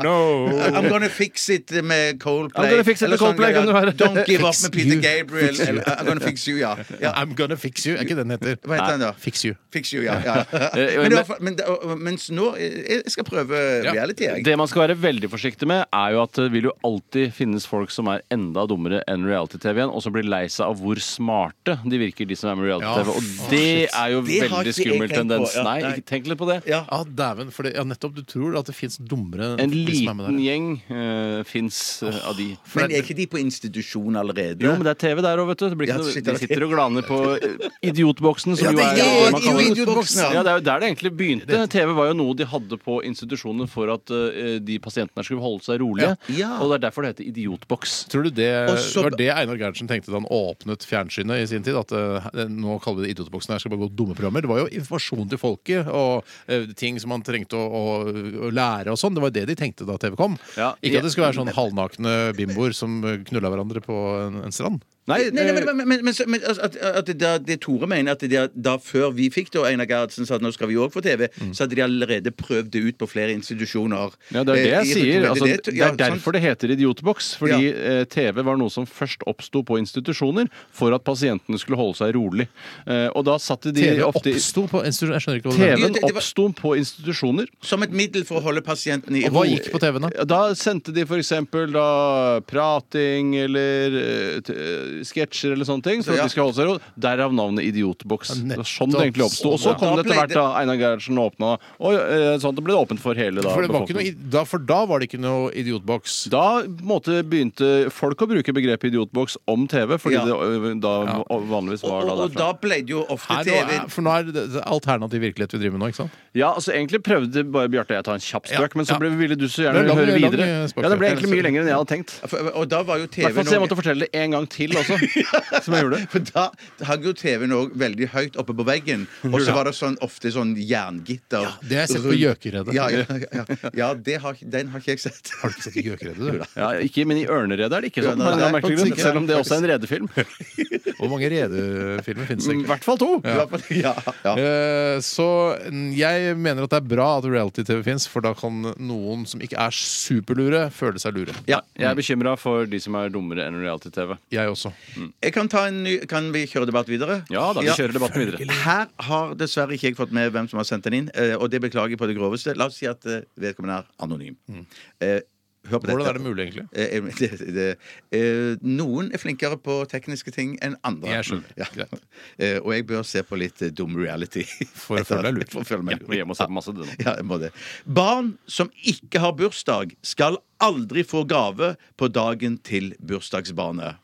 S3: no.
S2: I'm gonna fix it med Coldplay.
S3: I'm gonna fix it
S2: Eller
S3: med Coldplay,
S2: greier.
S3: kan det være.
S2: Don't give up
S1: Fix
S2: med Peter
S1: you.
S2: Gabriel.
S1: Fix you.
S2: Eller, I'm gonna fix you, ja. ja.
S1: I'm gonna fix you. Er ikke den heter?
S2: Hva heter den da?
S1: Fix you.
S2: Fix you, ja. ja.
S3: Eh,
S2: Men, i hvert fall- men, det- og- mens nå eh, Jeg skal prøve reality, jeg.
S3: Det man skal være veldig forsiktig med, er jo at det vil jo alltid finnes folk som er enda dummere enn reality-TV-en, og som blir lei seg av hvor smarte de virker, de som er med i reality-TV.
S1: Ja,
S3: Og det er jo
S2: Det har ikke
S3: veldig
S2: jeg
S3: skummel
S2: tenkt på,
S3: tendens.
S2: ja.
S3: Nei,
S2: Nei.
S3: ikke tenk litt på det.
S2: Ja.
S1: Ja, Ah, dæven. For det, ja, nettopp. Du tror at det fins dummere
S3: En
S1: de som er med der.
S3: liten gjeng uh, fins av de.
S2: Men er ikke de på institusjon allerede?
S3: Jo, men det er TV der òg, vet du. Det blir
S2: Ja,
S3: ikke noe,
S2: shit,
S3: de
S2: det er
S3: sitter og glaner på eh, idiotboksen, som
S2: Ja,
S3: jo
S2: det
S3: er
S2: er
S3: man kaller det.
S2: idiotboksen, ja.
S3: Ja, Det er jo der det egentlig begynte. TV var jo noe de hadde på institusjonene for at eh, de pasientene skulle holde seg rolige.
S2: Ja.
S3: Og det er derfor det heter idiotboks.
S1: Tror du det
S2: Og så-
S1: var det Einar Gerhardsen tenkte da han åpnet fjernsynet i sin tid? At eh, nå kaller vi det Idiotboksen, her skal bare gå dumme programmer. Det var jo informasjon til folket og eh, ting som man trengte å, å, å lære og sånn. Det var det de tenkte da TV kom.
S3: Ja.
S1: Ikke at det skulle være sånn halvnakne bimboer som eh, knulla hverandre på en, en strand.
S2: Nei, nei,
S3: eh,
S2: men, men, men, men, så- men altså, at, at det, da- det Tore mener, at det, da- da før vi fikk det, og Einar Gerhardsen sa at nå skal vi òg få TV, så hadde de allerede prøvd det ut på flere institusjoner.
S3: Mm. Ja, det er det
S2: Eh,
S3: jeg
S2: i-
S3: sier. Altså,
S2: det-
S3: det
S2: ja, sånn,
S3: er derfor det heter idiotboks. Fordi eh, TV var noe som først oppsto på institusjoner for at pasientene skulle holde seg rolig. Eh, og da satte de
S1: TV
S3: ofte
S1: oppsto på institusjon... Jeg skjønner ikke hva du mener.
S3: TV-en
S2: Det- det var-
S3: oppsto på institusjoner.
S2: sånn, Som et middel for å holde pasienten i
S1: Og hva gikk på TV-en, da?
S3: Ja, Da sendte de f.eks. da prating eller eh, t- eh, sketsjer eller sånne ting. For
S2: Ja.
S3: at de skal holde seg ro. Derav navnet
S1: Ja,
S3: Idiotboks. Det var
S1: nettopp.
S3: Sånn det egentlig oppsto. Og så
S2: Sånn, ja.
S3: kom det
S2: Da
S3: etter
S2: ble
S3: hvert da Einar Gerhardsen åpna, og eh, sånn, det ble det åpent for hele da,
S1: For, det var ikke noe,
S3: befolkningen.
S1: i- da, for da var det ikke noe idiotboks.
S3: Da på en måte, begynte folk å bruke begrepet idiotboks om TV, fordi
S2: Ja.
S3: det ø, da vanligvis var
S2: og,
S3: da
S2: og
S3: derfra.
S2: da ble det jo ofte
S1: Her nå
S2: TV
S1: er, for nå er det det er alternativ virkelighet vi driver med nå, ikke sant?
S3: Ja, altså Egentlig prøvde bare Bjarte og jeg å ta en kjapp
S1: Ja,
S3: spøk, men så
S1: ja.
S3: ble, ville du så
S1: Det
S3: gjerne
S1: er lang-
S3: høre
S1: lang,
S3: videre.
S1: eh, spøk,
S3: ja, Det ble
S1: ja.
S3: egentlig mye lenger enn jeg hadde tengt.
S2: Og da var jo
S3: I hvert
S2: TV
S3: fall så jeg måtte fortelle det en gang til også. som jeg gjorde.
S2: For da hang jo TV-en òg veldig høyt oppe på veggen. Og så var det sånn, ofte sånn jerngitter. Ja,
S1: det har jeg sett på Gjøkeredet.
S2: Ja, ja, ja, ja. ja det har, den har ikke jeg sett.
S1: Har du ikke sett Gjøkeredet, du?
S3: Ja, ikke, Men i Ørneredet er det ikke
S2: Ja,
S3: sånn.
S2: nei,
S3: på en
S2: nei,
S3: merkelig
S2: faktisk
S3: grunn,
S2: ikke.
S3: Selv om det også er en redefilm. Mm,
S1: Hvor mange redefilmer finnes det
S2: Mm,
S3: I
S1: egentlig?
S3: hvert fall to.
S2: Ja, ja, ja.
S1: Eh, Så mm, jeg mener at det er bra at reality-TV fins, for da kan noen som ikke er superlure, føle seg lure.
S3: Ja, jeg er bekymra for de som er dummere enn reality-TV.
S1: Jeg også.
S2: Jeg kan, ta en ny, kan vi kjøre debatt videre?
S3: Ja da, vi kjører debatten videre.
S2: Her har dessverre ikke jeg fått med hvem som har sendt den inn, eh, og det beklager jeg på det groveste. La oss si at eh, vedkommende er anonym. Eh, Hør på dette.
S1: Mm. Hvordan er det mulig, egentlig?
S2: Eh, eh, det, det, eh, noen er flinkere på tekniske ting enn andre.
S1: Jeg skjønner.
S2: Ja.
S1: Greit.
S2: Eh, og jeg bør se på litt eh, dum reality.
S1: For å føle deg lurt.
S2: For å føle
S3: Ja,
S2: meg
S3: vi må hjem og se på masse det nå.
S2: Ja, jeg må det. Barn som ikke har bursdag, skal aldri få gave på dagen til bursdagsbarnet.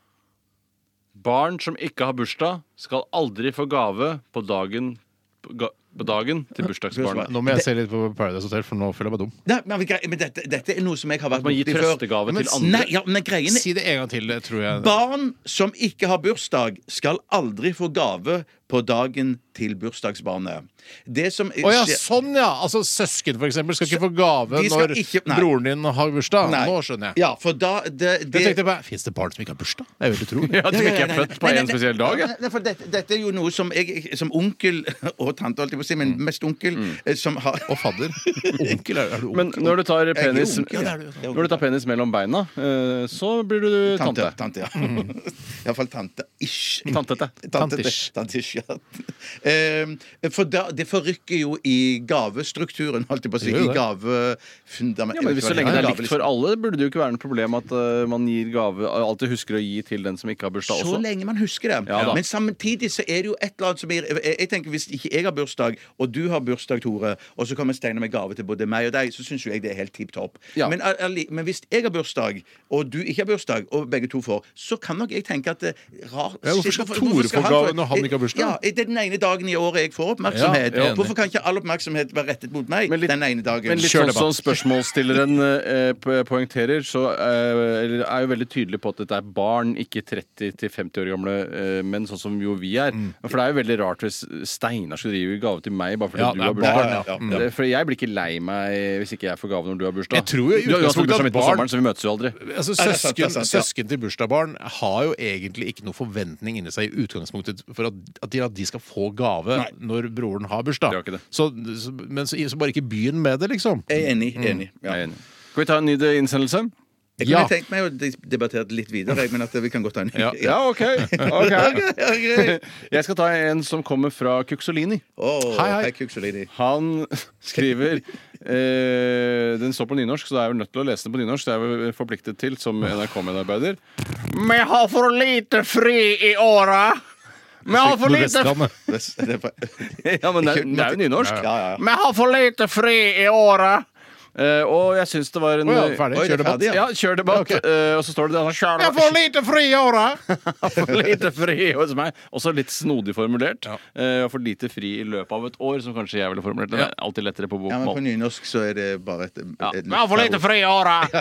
S3: Barn som ikke har bursdag, skal aldri få gave på dagen, på ga- på dagen til bursdagsbarnet.
S1: Nå må jeg se litt på Paradise Hotel, for nå føler jeg meg dum.
S2: Nei, men, grei- men dette, dette er noe som jeg har vært
S3: Man gir
S2: borti før.
S3: trøstegave
S2: Men-
S3: til andre.
S2: Nei, ja, men greien er
S1: Si det en gang til, det tror jeg.
S2: Barn som ikke har bursdag, skal aldri få gave på dagen til bursdagsbarnet. Det som
S1: Å ja, sånn ja! Altså Søsken for eksempel skal ikke få gave
S2: De skal
S1: når
S2: ikke- nei.
S1: broren din har bursdag.
S2: Nei.
S1: Nå
S3: sånn,
S1: skjønner jeg.
S2: Ja, for da det,
S1: Jeg
S2: det,
S1: tenkte bare, Fins det barn som ikke har bursdag? Jeg vil ikke tro det.
S3: Ja, Som ikke
S2: Nei,
S3: er
S2: nei,
S3: født
S2: nei,
S3: på
S2: nei,
S3: en
S2: nei,
S3: spesiell dag. ja.
S2: nei, nei, for dette, dette er jo noe som jeg som onkel og tante, holdt jeg på å si,
S3: Mm.
S2: men mest onkel, eh, som har
S1: Og fadder. Onkel, er, er du onkel?
S3: Men når du tar
S2: er ikke
S3: penis,
S2: onkel, ja, det er du, ja.
S3: når du tar penis mellom beina, eh, så blir du tante. Mm.
S2: Tante. tante ja. Iallfall tante-ish.
S3: Tantete.
S1: Tantish.
S2: Tantish, ja. Ehm, For da, det forrykker jo i gavestrukturen, holdt jeg på å si.
S1: Det gjør
S2: I
S1: det.
S2: gavefundamentet.
S3: Ja, men hvis Så lenge det er
S2: Ja,
S3: likt for alle, burde det jo ikke være noe problem at eh, man gir gave alltid husker å gi til den som ikke har bursdag
S2: Så
S3: også.
S2: lenge man husker det.
S3: Ja da.
S2: Men samtidig så er det jo et eller annet som er jeg, jeg tenker Hvis ikke jeg har bursdag, og du har bursdag, Tore, og så kommer Steinar med gave til både meg og deg, så syns jo jeg det er helt tipp topp.
S3: Ja.
S2: Men, al- alli- men hvis jeg har bursdag, og du ikke har bursdag, og begge to får, så kan nok jeg tenke at det er rart
S1: Ja, hvorfor skal Tore få gave når han ikke har bursdag?
S2: Ja, det er den ene dagen i året jeg får oppmerksomhet.
S1: Ja, jeg er enig.
S2: hvorfor kan ikke all oppmerksomhet være rettet mot meg
S3: Men litt-
S2: den ene dagen?
S3: Men litt
S1: Kjør
S3: sånn som
S1: debatt.
S3: spørsmålsstilleren eh, po- poengterer, så eh, eller er jo veldig tydelig på at dette er barn, ikke 30-50 år gamle eh, menn, sånn som jo vi er.
S1: Mm.
S3: For det er jo veldig rart hvis Steinar skulle drive gave til meg bare fordi
S1: Ja,
S3: du
S1: det er
S3: har bursdag.
S1: barn, ja. Mm.
S3: Det- For jeg blir ikke lei meg hvis ikke jeg får gave når du har bursdag.
S1: Jeg tror jo i
S3: du har uansett
S1: utgangspunktet at
S3: bursdag midt på
S1: barn-
S3: sommeren, så vi møtes jo aldri.
S1: Altså,
S2: Nei, det er sant, det
S1: søsken,
S2: er sant, ja.
S1: søsken til bursdagsbarn har jo egentlig ikke noe forventning inni seg i utgangspunktet for at, at, de, at de skal få gave
S2: Nei.
S1: når broren har bursdag.
S3: De har ikke det.
S1: Så, så, men så, så bare ikke begynn med det, liksom.
S2: Jeg er enig. enig ja.
S3: Jeg er enig. Skal vi ta en ny de- innsendelse?
S2: Jeg
S1: Ja.
S2: kunne tenkt meg å dis- debattere det litt videre, jeg, men at vi kan godt ta en
S1: Ja.
S3: Ja, OK. ok.
S2: Ja, greit.
S3: Jeg skal ta en som kommer fra Kuksolini.
S2: Åh,
S1: Hei, hei.
S2: hei, Kuksolini.
S3: Han skriver eh, Den står på nynorsk, så da er jeg vel nødt til å lese den på nynorsk. Det er jeg vel forpliktet til som NRK-medarbeider. Vi har for lite fri i åra! Vi har for lite
S1: Nordvestlandet.
S2: Det er- det er fra-
S3: Ja, men det, er- det er jo nynorsk.
S2: Ja, ja, ja.
S3: Vi har for lite fri i åra! Eh, og jeg syns det var en
S1: Å ja, ferdig.
S2: Oi, det er
S1: Kjør debatt.
S2: ferdig, ja.
S3: Ja, kjør debatt.
S1: Ja, ok.
S3: Eh, og så står det der kjør debatt.
S1: lite fri i åra!
S3: for lite fri hos meg. Også litt snodig formulert.
S1: Ja.
S3: Eh, for lite fri i løpet av et år, som kanskje jeg ville formulert det. Det er Alltid lettere på
S2: ja, men på
S3: bokmål.
S2: nynorsk så er det bare et, et
S3: Ja.
S2: et-
S3: Vi har for lite fri i året!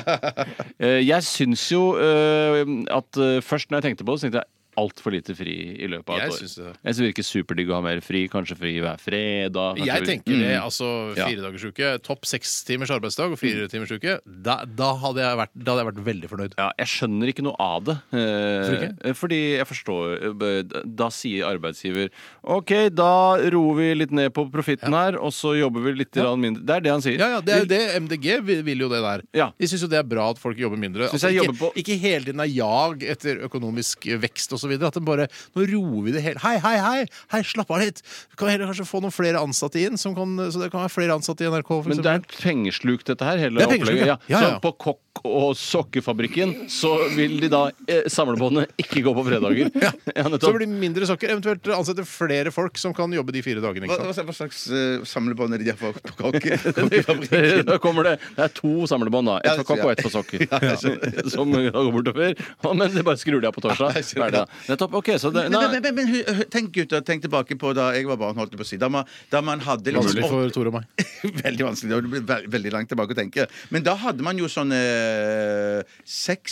S3: Eh, jeg syns jo eh, at eh, først når jeg tenkte på det, så tenkte jeg altfor lite fri i løpet av et
S1: Jeg
S3: år.
S1: syns det.
S3: Jeg syns det virker superdigg å ha mer fri. Kanskje fri hver fredag. kanskje
S1: Jeg
S3: vi-
S1: tenker det,
S2: Mm.
S1: altså
S3: Ja.
S1: fire dagers uke, topp seks timers arbeidsdag og
S2: Mm.
S1: fire timers uke, da, da, hadde jeg vært, da hadde jeg vært veldig fornøyd.
S3: ja, jeg skjønner ikke noe av det. Eh,
S1: Hvorfor
S3: fordi jeg forstår eh, Da sier arbeidsgiver OK, da roer vi litt ned på profitten her, og så jobber vi litt grann mindre. Det er det han sier.
S1: Ja, ja, det er jo det. MDG vil- vil jo det der.
S3: Ja.
S1: De syns jo det er bra at folk jobber mindre.
S3: Synes
S1: Altså,
S3: jeg
S1: ikke,
S3: jobber på-
S1: ikke hele tiden er jag etter økonomisk vekst osv. At de bare Nå roer vi det hele Hei, hei, hei! Hei, slapp av litt! Kan vi heller kanskje få noen flere ansatte inn? Som kan, så det kan være flere ansatte i NRK, for
S3: Men det er
S1: eksempel.
S3: et pengesluk, dette her. Hele
S1: Det er pengesluk,
S3: opplegget.
S1: ja. Ja, ja.
S3: Så på kokk- og sokkefabrikken så vil de da eh, samlebåndene ikke gå på fredager. Ja, nettopp.
S1: Så blir det mindre sokker. Eventuelt ansette flere folk som kan jobbe de fire dagene.
S2: Hva,
S3: liksom.
S1: Ikke sant?
S2: hva- hva slags eh, samlebånd er det de har på på kokkefabrikken?
S3: da kommer det Det er to samlebånd, da. Ett
S2: Ja,
S3: for kokk og ett for sokker. Som går bortover. Men de bare skrur de av på torsdag.
S2: Ja, jeg skjønner
S3: Ferdig, da. Nettopp. OK, så det
S2: Men,
S3: nei.
S2: men, men, men hu- hu- tenk gutter, tenk tilbake på da jeg var barn, holdt jeg på å si. Da man, da man hadde liksom
S1: Vanskelig for Tore og meg.
S2: Veldig vanskelig. Det blir ve- veldig langt tilbake å tenke. Men da hadde man jo sånne eh,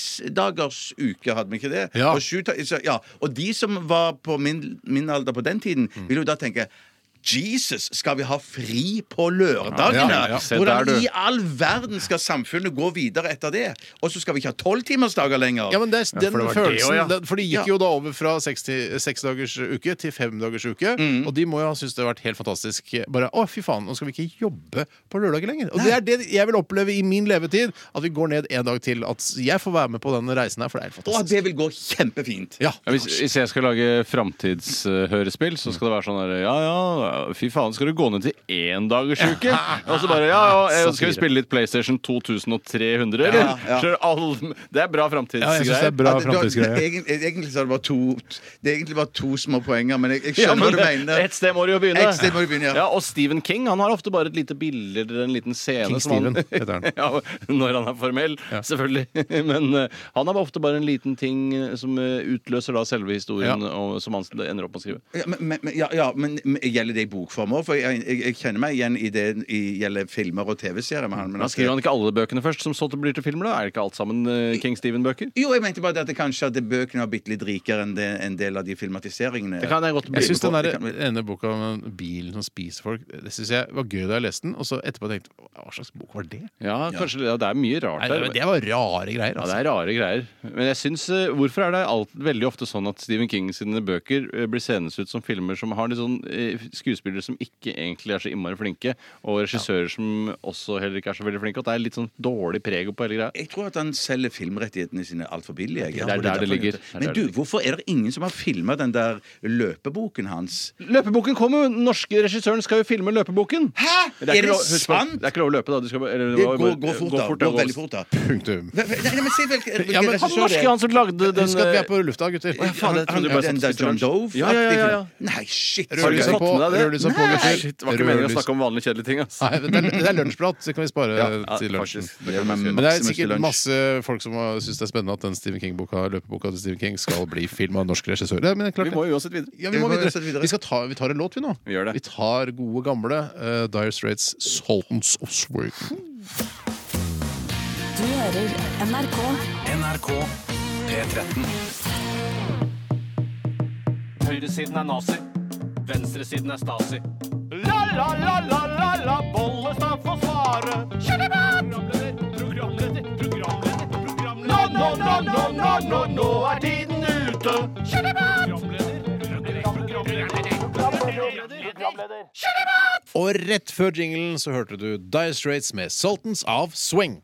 S2: seksdagers uke, hadde man ikke det?
S1: Ja.
S2: Og, sju ta- så, ja. og de som var på min, min alder på den tiden,
S1: Mm.
S2: ville jo da tenke Jesus, skal vi ha fri på lørdagene?
S1: Ja, ja, ja.
S3: Se
S2: Hvordan
S3: der, du.
S2: i all verden skal samfunnet gå videre etter det? Og så skal vi ikke ha tolvtimersdager lenger?
S1: Ja, men det, er- den
S3: for det var det
S1: følelsen
S3: også, ja.
S1: den, For de gikk
S2: Ja.
S1: jo da over fra seks til- seksdagers uke til femdagers uke.
S3: Mm.
S1: Og de må jo ha syntes det har vært helt fantastisk. Bare å, fy faen, nå skal vi ikke jobbe på lørdager lenger. Og det er det jeg vil oppleve i min levetid. At vi går ned en dag til. At jeg får være med på den reisen her, for det er helt
S2: Og
S1: fantastisk.
S2: det vil gå kjempefint.
S1: Ja.
S3: Ja, hvis, hvis jeg skal lage framtidshørespill, så skal det være sånn der Ja ja, ja, Fy faen, skal du gå ned til éndagersuke? Og så bare Ja, ja, ja, skal vi spille litt PlayStation 2300, eller?
S2: Ja, ja.
S3: Så all, det er bra
S1: Ja, jeg synes det
S3: framtidsgreier.
S1: er bra
S2: At det-
S1: framtidsgreier.
S2: Egent- Egentlig så er det bare to Det er egentlig bare to små poenger, men jeg, jeg
S3: Ja,
S2: skjønner
S3: men
S2: hva du mener.
S3: Et sted må du jo begynne.
S2: Et sted må du begynne, ja.
S3: Og Stephen King han har ofte bare et lite bilde eller en liten scene.
S1: King
S3: som han-
S1: Stephen heter han.
S3: ja, når han er formell, selvfølgelig. Men eh, han har ofte bare en liten ting eh, som eh, utløser da selve historien,
S1: Ja.
S3: og, som han ender opp med å skrive.
S2: Ja, men, men, men- ja, ja, men men gjelder det i bokform òg? For jeg, jeg, jeg kjenner meg igjen i det i, gjelder filmer og TV-serier med han. Men
S3: Men
S2: at-
S3: Skriver han ikke alle bøkene først, som så til blir til filmer? da? Er det ikke alt sammen eh, King Stephen-bøker?
S2: jo, jeg mente bare det at det kanskje at det bøkene var bitte litt rikere enn det, en del av de filmatiseringene.
S3: Det kan jeg godt
S1: Jeg
S3: bli
S1: synes
S3: med
S1: den
S3: på.
S1: der
S2: det kan vi-
S1: ene boka om en bil som spiser folk, det synes jeg var gøy da jeg leste den. Og så etterpå tenkte jeg hva slags bok var det?
S3: Ja, kanskje det- ja, Det er mye rart
S1: Nei,
S3: der.
S1: det var rare greier.
S3: Ja,
S1: Altså.
S3: det er rare greier. Men jeg synes, eh, hvorfor er det alt, veldig ofte sånn at Stephen King sine bøker eh, blir senes ut som filmer som har litt sånn eh, skuespillere som ikke egentlig er så innmari flinke, og regissører som også heller ikke er så veldig flinke? At det er litt sånn dårlig preg på hele greia?
S2: Jeg tror at han selger filmrettighetene sine altfor billig. jeg.
S3: Det er der det ligger. Det er der
S2: Men
S3: det
S2: du,
S3: ligger.
S2: hvorfor er det ingen som har filma den der løpeboken hans?
S3: Løpeboken kommer! Den norske regissøren skal jo filme løpeboken!
S2: Hæ?
S3: Men Det er,
S2: Er det
S3: ikke lov, husk på,
S2: sant?
S3: det er ikke lov å løpe, da. Du skal, bare- eller,
S2: Det
S3: bare-
S2: går, går fort, da.
S3: ja,
S2: Går veldig fort, da.
S1: Punktum.
S2: Hva- hva- Nei, nei, men si vel
S1: Ja,
S2: hvilken
S1: men
S3: Han
S2: regissør det
S3: norske,
S2: er.
S3: han som lagde den
S1: Husk at vi
S3: eh,
S1: er på lufta, gutter.
S3: Å, ja, faen, jeg trodde
S2: Han,
S3: bare sånn
S2: den
S3: satt
S2: der John
S3: skuespilleren.
S2: Dove?
S3: Ja, ja, ja, ja.
S2: Nei, shit.
S1: Rødlyset
S3: Har du
S1: på,
S3: fått med deg det?
S1: rødlyset på, gutter.
S3: Shit, det var ikke meningen å snakke om vanlige kjedelige ting, ass.
S1: Nei, men det er- det er lunsjprat, så kan vi spare
S3: Ja,
S1: til lunsjen.
S3: faktisk. Det kan man si.
S1: Men det er
S2: Maximus til
S1: sikkert
S2: lunsj.
S1: masse folk som har- syns det er spennende at den Stephen King-boka, løpeboka til Stephen King skal bli film av en norsk regissør. Ja, men det er klart
S3: Vi må jo uansett videre.
S1: ja, vi, må
S2: Vi må
S1: videre.
S2: uansett videre.
S1: Vi, skal ta, vi tar en låt, vi nå.
S3: Vi gjør det.
S1: vi tar gode, gamle eh, Dire Straits' Sultans of Sweden.
S4: Du hører NRK.
S5: NRK P13.
S6: Høyresiden er nazi. Venstresiden er stasi. La, la, la, la, la, la, Bollestad får svare. Programleder, programleder, programleder, programleder. Nå, nå, nå, nå, nå, nå, nå er tiden ute.
S1: Og rett før jinglen så hørte du Dire Straits med Sultans of Swing.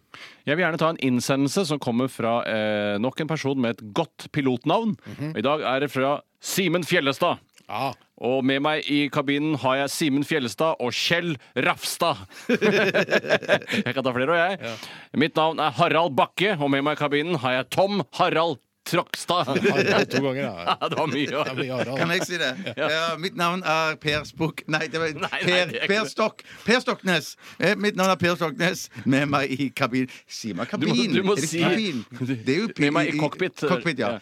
S3: Jeg vil gjerne ta en innsendelse som kommer fra eh, nok en person med et godt pilotnavn.
S1: Mhm.
S3: I dag er det fra Simen Fjellestad.
S1: Ah.
S3: Og med meg i kabinen har jeg Simen Fjellestad og Kjell Rafstad. jeg kan ta flere, og jeg. Mitt navn er Harald Bakke, og med meg i kabinen har jeg Tom Harald Tråkstad.
S1: Harald to ganger, ja.
S3: Ja, det var mye.
S1: Det blir
S3: å-
S2: Kan
S1: Harald.
S2: jeg si det? Ja, mitt navn er Per Spukk Nei, det var
S3: nei,
S2: Per,
S3: det er ikke
S2: per
S3: det.
S2: Stokk. Per Stoknes. Eh, Mitt navn er Per Stoknes. Med meg i kabin. Si meg
S3: Du
S2: kabin.
S3: må, du må
S2: Er det
S3: si
S2: kabin? Det er jo
S3: Med meg i cockpit. eh,
S2: Cockpit, ja.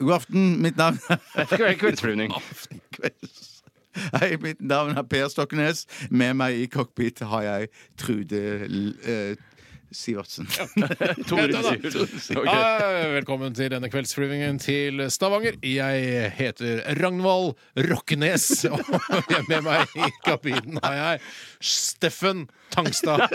S2: God aften. Mitt navn
S3: Kveldsflyvning.
S2: Hei, mitt navn er Per Stoknes. Med meg i cockpit har jeg Trude L- eh, Sivertsen.
S3: Tore Sivert. Ok.
S1: Hei, velkommen til denne kveldsflyvningen til Stavanger. Jeg heter Ragnvald Rokkenes, og med meg i kabinen har jeg Steffen Tangstad.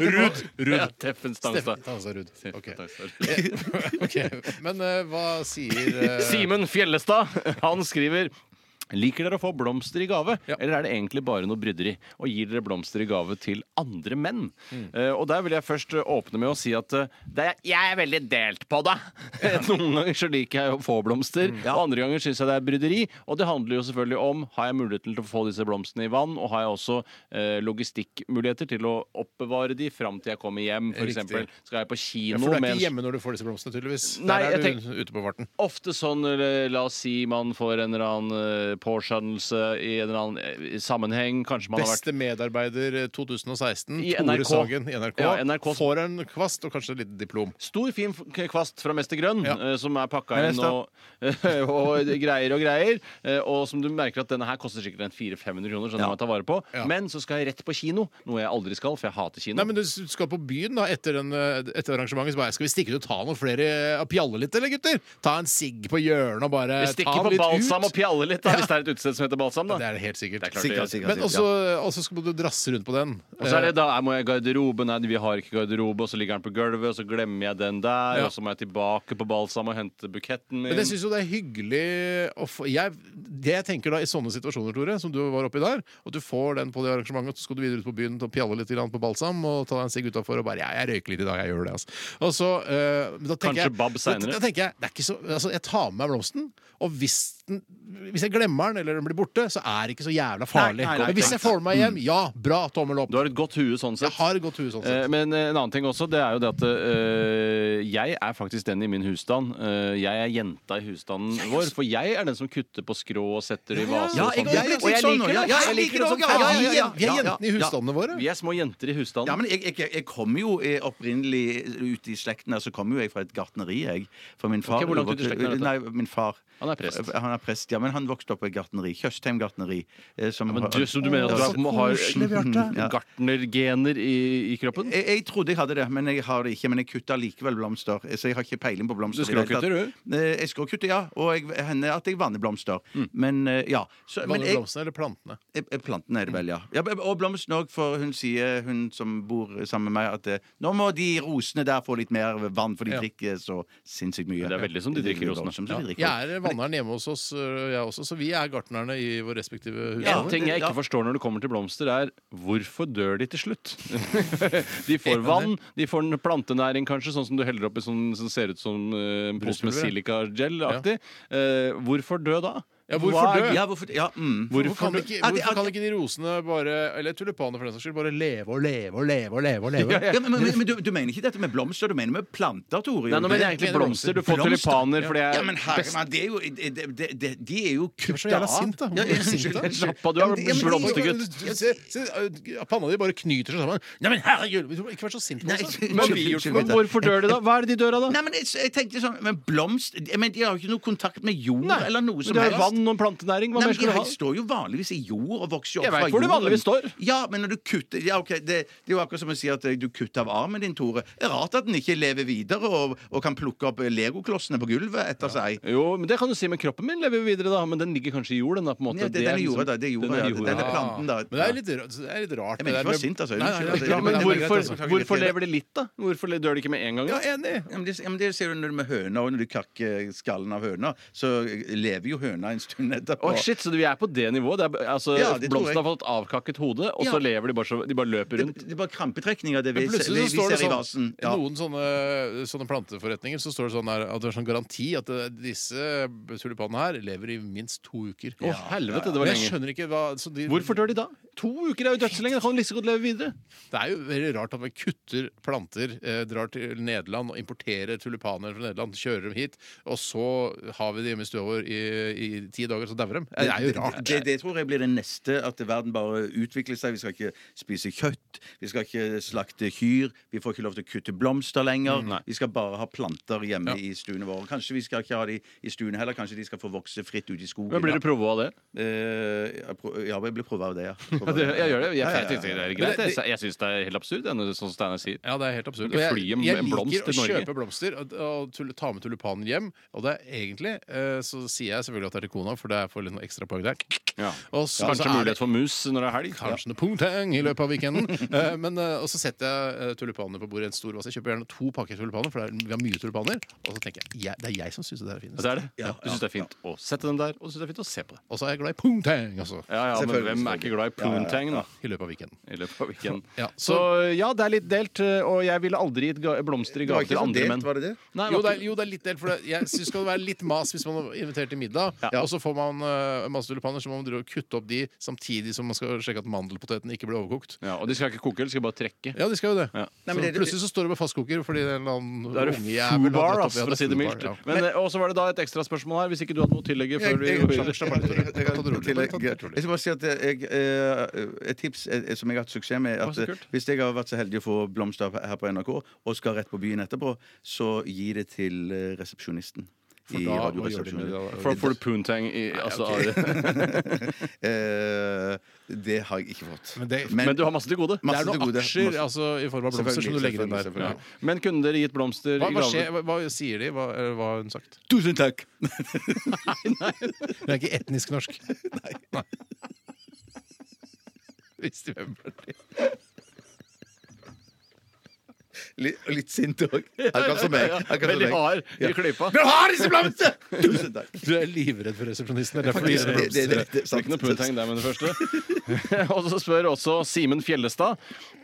S1: Ruud.
S3: Ja,
S1: Ruud.
S3: Teffen
S1: Steffen
S3: Stangstad.
S1: Tangstad Ruud. Ok.
S3: Tangstad.
S1: Ok, Men eh, hva sier eh,
S3: Simen Fjellestad, han skriver Liker dere å få blomster i gave, eller er det egentlig bare noe bryderi? Og gir dere blomster i gave til andre menn? Eh, og der vil jeg først eh, åpne med å si at eh, det er, jeg er veldig delt på det. Noen ganger så liker jeg å få blomster,
S1: Mm.
S3: og andre ganger syns jeg det er bryderi. Og det handler jo selvfølgelig om har jeg muligheten til å få disse blomstene i vann, og har jeg også eh, logistikkmuligheter til å oppbevare de fram til jeg kommer hjem,
S1: Riktig.
S3: f.eks. Skal jeg på
S1: Ja, eh,
S3: kino
S1: for du er
S3: med
S1: ikke
S3: en
S1: hjemme når du får disse blomstene, tydeligvis.
S3: Nei,
S1: Der er
S3: jeg
S1: du ute på varten.
S3: Ofte sånn, eller la oss si man får en eller annen eh, påskjønnelse i en eller annen eh, sammenheng. Kanskje man har vært
S1: Beste medarbeider eh, 2016,
S3: I
S1: Tore
S3: NRK.
S1: Sagen i NRK.
S3: Ja, NRK.
S1: Får en kvast og kanskje et lite diplom.
S3: Stor, fin f- kvast fra Mester Grønn,
S1: Ja.
S3: eh, som er pakka
S1: Jeg
S3: inn
S1: leste
S3: og, og greier og greier. eh, og som du merker at denne her koster sikkert en 400-500 kroner, så den må jeg ta vare på.
S1: Ja.
S3: Men så skal jeg rett på kino, noe jeg aldri skal, for jeg hater kino.
S1: Nei, men Du skal på byen da etter, den, eh, etter arrangementet. Så bare, skal vi stikke ut og ta noen flere og pjalle litt, eller gutter? Ta en sigg på hjørnet og bare
S3: vi
S1: eh, ta
S3: stikker
S1: den
S3: på
S1: litt
S3: balsam
S1: ut.
S3: og pjaller litt, da, hvis det er et utested som heter Balsam,
S1: Det
S3: da.
S1: er det helt sikkert.
S3: Det er klart
S2: Sikkert, sikkert,
S1: Men også,
S2: sikkert,
S1: også skal du drasse rundt på den.
S3: Og
S1: Eh,
S3: så er det da jeg må jeg i garderobe, nei vi har ikke garderobe, og så ligger den på gulvet, og så glemmer jeg den der,
S1: Ja.
S3: og så må jeg tilbake på Balsam og hente buketten min.
S1: Men jeg syns jo det er hyggelig å få jeg, Det jeg tenker da i sånne situasjoner, Tore, som du var oppi der, at du får den på det arrangementet, og så skal du videre ut på byen og pjalle litt grann på balsam og ta deg en sigg utafor og bare Ja, jeg røyker litt i dag, jeg gjør det, altså. Og så, eh, men da tenker
S3: Kanskje
S1: jeg,
S3: Bob senere.
S1: Da, da tenker jeg det er ikke så, altså, Jeg tar med meg blomsten, og hvis, den, hvis jeg glemmer den, eller den blir borte, så er det ikke så jævla farlig.
S2: Nei, nei, nei,
S1: men hvis
S2: ikke
S1: jeg får den med meg hjem, ja, bra, tommel opp.
S3: Du har et godt hue sånn sett.
S1: Jeg har et godt hue sånn
S3: Eh,
S1: sett.
S3: Men eh, en annen ting også, det er jo det at eh, jeg er faktisk den i min husstand. Eh, jeg er jenta i husstanden vår, for jeg er den som kutter på skrå og setter i vaser.
S2: Ja,
S3: og
S2: jeg, jeg,
S3: sånne ting.
S2: jeg,
S3: og jeg
S2: sånn,
S3: liker
S2: ja,
S3: det.
S2: ja,
S3: Jeg liker det
S2: også,
S3: som
S2: ja,
S3: faen.
S2: ja, ja, ja,
S1: Vi er
S2: ja, ja.
S1: jentene i husstandene våre.
S3: Vi er små jenter i husstanden.
S2: Ja, men jeg, jeg, jeg kom jo eh, opprinnelig ut i slekten her, så kom jo jeg fra et gartneri, jeg. For min far
S3: Ok, hvor langt ut i slekten er dette?
S2: Nei, min far.
S3: Han er prest.
S2: Han er prest, Ja, men han vokste opp på et gartneri. Tjøstheim gartneri. eh, som
S3: Men
S2: har-
S3: du, så du mener at du
S1: Å,
S3: har,
S1: så koselig, Bjarte.
S3: har gartnergener i, i kroppen?
S2: jeg, jeg trodde jeg hadde det, men jeg har det ikke. Men jeg kutter likevel blomster. eh, Så jeg har ikke peiling på blomster.
S3: Du Mm.
S2: i det hele
S3: skråkutter,
S2: tatt. Eh, Jeg skråkutter, ja. Og jeg, hender at jeg vanner blomster. Men eh, ja. Så, men
S1: Vanner
S2: jeg,
S1: blomstene eller plantene?
S2: Eh, eh, Planten er det vel,
S3: Mm.
S2: ja. ja b- og blomsten òg, for hun sier, hun som bor sammen med meg, at eh, nå må de rosene der få litt mer vann, for de
S1: Ja.
S2: drikker så sinnssykt mye.
S3: Det er veldig som de drikker rosene.
S2: voldsomt som de drikker.
S1: Jeg er vanneren hjemme hos oss, øh, jeg også, så vi er gartnerne i våre respektive hus.
S2: Ja.
S3: En ting jeg
S2: Ja.
S3: ikke forstår når det kommer til blomster, er hvorfor dør de til slutt? de får vann, de får en plantenæring kanskje, sånn som du heller oppi sånn som ser ut som eh, en pose med
S1: Bruspulver,
S3: silikagel-aktig. Eh, hvorfor dø da?
S1: Ja, hvorfor
S3: Hva er-
S1: dø?
S2: Ja, hvorfor Ja, mm.
S1: Hvorfor,
S3: Hvorfor
S1: kan,
S3: dø?
S1: ikke,
S2: Ja, det-
S1: hvorfor kan ikke de rosene bare Eller tulipaner for den saks skyld bare leve og leve og leve og leve? og leve
S2: ja, men, men, men du, du mener ikke dette med blomster, du mener med planter, Tore?
S3: Nei, nå mener jeg egentlig blomster. Du får tulipaner fordi jeg
S2: Ja, men herremann, det er jo det, det, det, De er jo
S1: Hvorfor er du så jævla sint, da? Hvorfor er du sint, da?
S3: Slapp av, du er
S1: Ja, men de-
S3: blomstergutt.
S1: du- du- Se, se, øh, panna di bare knyter seg sammen. Nei, men herregud! du må Ikke vær så sint på oss. da.
S3: altså. Men vi gjorde- men hvorfor dør de da? Hva er det de dør av da?
S2: sånn. Nei, men jeg, jeg tenkte sånn Men blomst jeg mener, De har jo ikke noe kontakt med jord eller noe
S3: Men
S2: som
S3: de har
S2: helst.
S3: jo vann og en plantenæring. Hva
S2: Nei, men
S3: mer skal du
S2: de
S3: ha?
S2: står jo vanligvis i jord og vokser jo opp
S3: Jeg
S2: fra jorden.
S3: vet hvor det vanligvis står.
S2: Ja, men når du kutter Ja, ok, det, det er jo akkurat som å si at eh, du kutter av armen din, Tore. Det er rart at den ikke lever videre og, og kan plukke opp eh, legoklossene på gulvet etter seg.
S3: Jo, men Det kan du si, men kroppen min lever jo videre, da. Men den ligger kanskje i jord, den da, på en måte.
S2: Ja, det- den er
S3: liksom-
S2: jorda, da. Det er jorda,
S3: den
S2: ja.
S3: jorda.
S2: Den er planten, da.
S1: Men det er litt, ra- det er litt rart.
S2: Jeg
S1: det der
S2: mener ikke å være sint, altså.
S1: Nei, nei,
S2: Unnskyld, altså.
S1: nei,
S3: Ja, men
S1: det er greit,
S3: hvorfor,
S1: altså.
S3: hvorfor lever de litt, da? Hvorfor le- dør de ikke med en gang?
S1: Ja,
S3: Da?
S1: enig.
S2: Ja, men det, ja, men det ser du når du med høna, og når du kakker skallen av høna, så lever jo høna en stund etterpå.
S3: Å, shit, Så vi er på det nivået? Det er, altså,
S2: Ja, det tror
S3: blomsten
S2: jeg.
S3: har fått avkakket hode, og
S2: Ja.
S3: så lever de bare, så, de bare løper
S2: det,
S3: rundt.
S2: det er bare krampetrekninger, det vi,
S1: Men
S2: vi,
S1: plutselig så
S2: vi
S1: står det
S2: ser i
S1: sånn
S2: vasen. Ja.
S1: I noen sånne, sånne planteforretninger så står det sånn her, at det er sånn garanti at eh, disse tulipanene her lever i minst to uker.
S3: Å, helvete, det var
S1: Men jeg
S3: lenge.
S1: skjønner ikke hva så de,
S3: Hvorfor dør de da? To uker er jo dødslenge. Da kan de like så godt leve videre.
S1: Det er jo veldig rart at man kutter planter, eh, drar til Nederland og importerer tulipaner fra Nederland, kjører dem hit, og så har vi de hjemme i stua vår i, i ti dager, så dauer de. Det er jo rart.
S2: Det, det tror jeg blir det neste, at verden bare utvikler seg. Vi skal ikke spise kjøtt, vi skal ikke slakte kyr, vi får ikke lov til å kutte blomster lenger.
S3: Mm,
S2: vi skal bare ha planter hjemme i stuene våre. Kanskje vi skal ikke ha de i stuene heller, kanskje de skal få vokse fritt ute i skogen.
S3: Men Blir
S2: da.
S3: du provo av det?
S2: Eh, jeg pro- ja, jeg blir prøva av det, ja.
S3: Ja, det- Jeg gjør det. Jeg,
S2: Ja, ja,
S3: jeg,
S2: ja.
S3: synes det er greit. Jeg, jeg syns det er helt absurd, denne, sånn som Steinar sier.
S1: Ja, det er helt absurd.
S3: Du kan
S1: Og
S3: fly
S1: jeg,
S3: en-
S1: jeg
S3: en blomst
S1: liker å
S3: til Norge.
S1: kjøpe blomster og, og tull- ta med tulipanen hjem. Og det er egentlig eh, så sier jeg selvfølgelig at det er til kona, for det er for litt noe ekstra poeng der.
S3: Ja.
S1: Og så- så
S3: Kanskje
S1: er det-
S3: mulighet for mus når det er helg.
S1: Kanskje noe pungtang i løpet av weekenden. Eh, men, eh, og så setter jeg eh, tulipanene på bordet i en stor vass. Jeg kjøper gjerne to pakker tulipaner, for det er, vi har mye tulipaner. Og så tenker jeg, jeg det er jeg som syns det der er
S3: Ja,
S1: finest.
S3: Det er det. Du syns det er fint å sette dem der, og du syns det er fint å se på det.
S1: Og så er jeg glad i pungtang, altså.
S3: Ja, ja, men
S2: Selvfølgelig,
S3: hvem er ikke glad i poontang, da?
S1: I løpet av weekenden.
S3: I løpet av weekenden.
S1: Ja,
S3: så, ja, det er litt delt, og jeg ville aldri gitt ga- blomster i
S2: var
S3: gave
S2: ikke
S3: til
S2: så
S3: andre
S2: delt,
S3: menn.
S2: var det det?
S3: Nei,
S1: Jo det, er,
S3: ikke-
S1: jo, det er litt delt, for det, jeg syns det skal være litt mas hvis man er invitert til middag, og så får man eh, masse tulipaner, så må man drive og kutte opp de samtidig som man skal sjekke at mandelpotetene ikke blir overkokt.
S3: ja, og de skal ikke koke, de skal bare trekke.
S1: Ja, de skal jo det.
S3: Ja.
S2: Nei,
S1: så
S2: men det-
S1: plutselig så står det med fastkoker fordi det er en eller annen
S3: Da er det
S1: ungejævel har dratt
S3: foobar,
S1: opp-
S3: altså,
S1: Ja,
S3: for å si det
S1: foobar,
S3: mildt.
S1: ja.
S3: Men, eh, og så var det da et ekstra spørsmål her, hvis ikke du hadde noe å tillegge før
S2: Jeg-
S3: vi
S2: jeg-
S3: går
S2: jeg-
S3: videre.
S1: slapp av litt, Tore.
S2: jeg- jeg-
S1: Ta det rolig.
S2: tillegg-
S1: Ta det rolig.
S2: Jeg skal bare si at jeg, eh, et tips eh, som jeg har hatt suksess med,
S3: Å, så
S2: at eh,
S3: kult.
S2: hvis jeg har vært så heldig å få blomster her på NRK og skal rett på byen etterpå, så gi det til eh, resepsjonisten. i
S1: da- hva gjør de med det
S2: Radioresepsjonen.
S1: da?
S3: For, for poontang i altså,
S2: Eh, det har jeg ikke fått.
S1: Men det-
S3: Men du har masse til gode.
S1: Det
S2: Masse
S1: er
S2: til
S1: noen
S2: gode.
S1: aksjer
S2: Masse-
S1: altså, i form av blomster som du legger inn der.
S2: Selvfølgelig,
S1: Ja.
S2: selvfølgelig,
S3: Men kunne dere gitt blomster
S1: Hva,
S3: i
S1: hva,
S3: gave?
S1: skjer, hva, hva sier de? Hva, eller hva har hun sagt?
S2: Tusen takk!
S1: Hun er ikke etnisk norsk. Nei. Visste hvem det ble.
S2: Litt, litt sint òg. Akkurat som meg. Akkurat som
S3: Veldig
S2: meg.
S3: hard i
S2: Ja.
S3: klypa.
S2: Men har disse blomstene! Tusen takk.
S1: Du er livredd for resepsjonisten. Det er derfor de
S2: Faktisk,
S1: gir
S2: det-
S1: blomster.
S2: det- det- det er sant.
S3: Ikke noe poontang der med det første. og så spør også Simen Fjellestad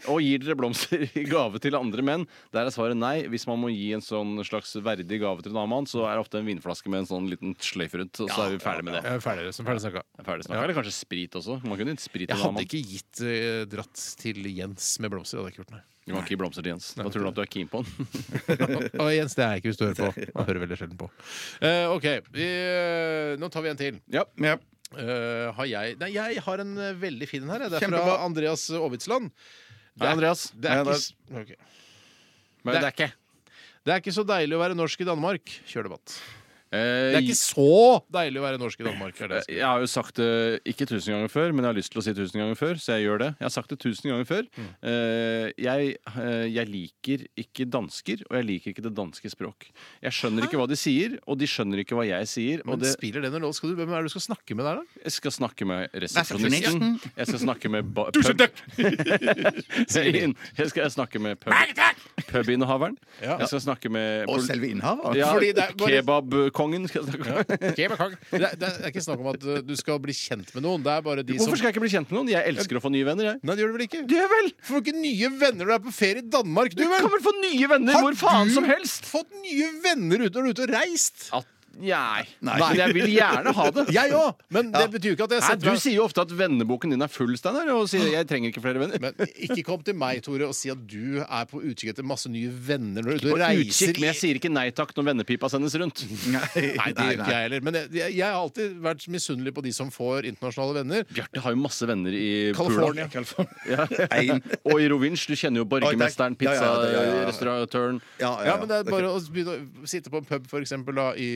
S3: og gir dere blomster i gave til andre menn. Der er svaret nei. Hvis man må gi en sånn slags verdig gave til en annen mann, så er det ofte en vinflaske med en sånn liten sløyfe rundt, og så er vi ferdig med det.
S1: Jeg er ferdig, som ferdig snakka.
S3: Det er Ferdig snakka. Eller kanskje sprit også. Man kunne gitt sprit til
S1: Jeg
S3: en
S1: hadde
S3: annen mann.
S1: ikke gitt eh, dratt til Jens med blomster. Det hadde jeg ikke gjort, nei.
S3: Du kan ikke gi blomster til Jens. Da tror du at du er keen på han.
S1: Og Jens, det er jeg ikke hvis du hører på. Man hører veldig sjelden på. Eh, OK, vi, eh, nå tar vi en til.
S3: Ja.
S2: Ja.
S1: Eh, har jeg Nei, jeg har en eh, veldig fin en her. jeg. Det er fra
S2: Kjempebra.
S1: Andreas Aabitsland.
S3: Hei, Andreas.
S1: Det er,
S2: Hei,
S1: ikke, s- ok.
S3: Men det er ikke
S1: det er ikke så deilig å være norsk i Danmark. Kjør debatt. Det
S3: Eh,
S1: er ikke så deilig å være norsk i Danmark. Er det jeg skal si.
S3: Jeg har jo sagt det ikke tusen ganger før, men jeg har lyst til å si tusen ganger før, så jeg gjør det. Jeg har sagt det tusen ganger før. Eh, Jeg, eh, jeg liker ikke dansker, og jeg liker ikke det danske språk. Jeg skjønner ikke hva de sier, og de skjønner ikke hva jeg sier. Og
S1: Men
S3: det,
S1: spiller det noen rolle? Skal du- Hvem er det du skal snakke med der, da?
S3: jeg skal snakke med resepsjonisten. Jeg skal snakke med ba-
S1: Tusen takk!
S3: Jeg inn- jeg skal snakke med pub- pubinnehaveren.
S1: Ja.
S3: Jeg skal snakke med
S2: Og selve innehaveren.
S3: ja,
S1: Fordi det er bare-
S3: Kebabkongen skal jeg snakke med.
S1: Ok, men kong. Det er, det er ikke snakk om at uh, du skal bli kjent med noen. Det er bare de
S3: Hvorfor
S1: som
S3: skal jeg ikke bli kjent med noen? Jeg elsker å få nye venner, jeg.
S1: Nei, det gjør du vel ikke?
S3: Det er vel!
S1: Du får ikke nye venner når du er på ferie i Danmark, du
S3: Du kan
S1: vel?
S3: vel få nye venner hvor faen som helst!
S1: Fått nye venner uten å være ute og reist?
S3: At, nei.
S2: Nei.
S3: Men jeg vil gjerne ha det.
S1: Jeg òg, men det betyr jo ikke at jeg
S3: Nei,
S1: setter
S3: du
S1: meg-
S3: sier jo ofte at venneboken din er full, Steinar. Og sier jeg trenger ikke flere venner.
S1: Men ikke kom til meg, Tore, og si at du er på utkikk etter masse nye venner når du
S3: På
S1: er ute og reiser.
S3: utkikk, men jeg sier ikke nei takk når vennepipa sendes rundt.
S1: Nei, det gjør ikke jeg heller. Men jeg, jeg, jeg har alltid vært misunnelig på de som får internasjonale venner.
S3: Bjarte har jo masse venner i
S1: California.
S3: Pula. Ja.
S2: Ein.
S3: Og i Rovinj. Du kjenner jo borgermesteren,
S2: Ja, ja, ja, ja, ja, ja.
S3: pizzarestauratøren.
S2: Ja, ja,
S1: Ja, men det er bare å begynne å sitte på en pub for eksempel, da, i,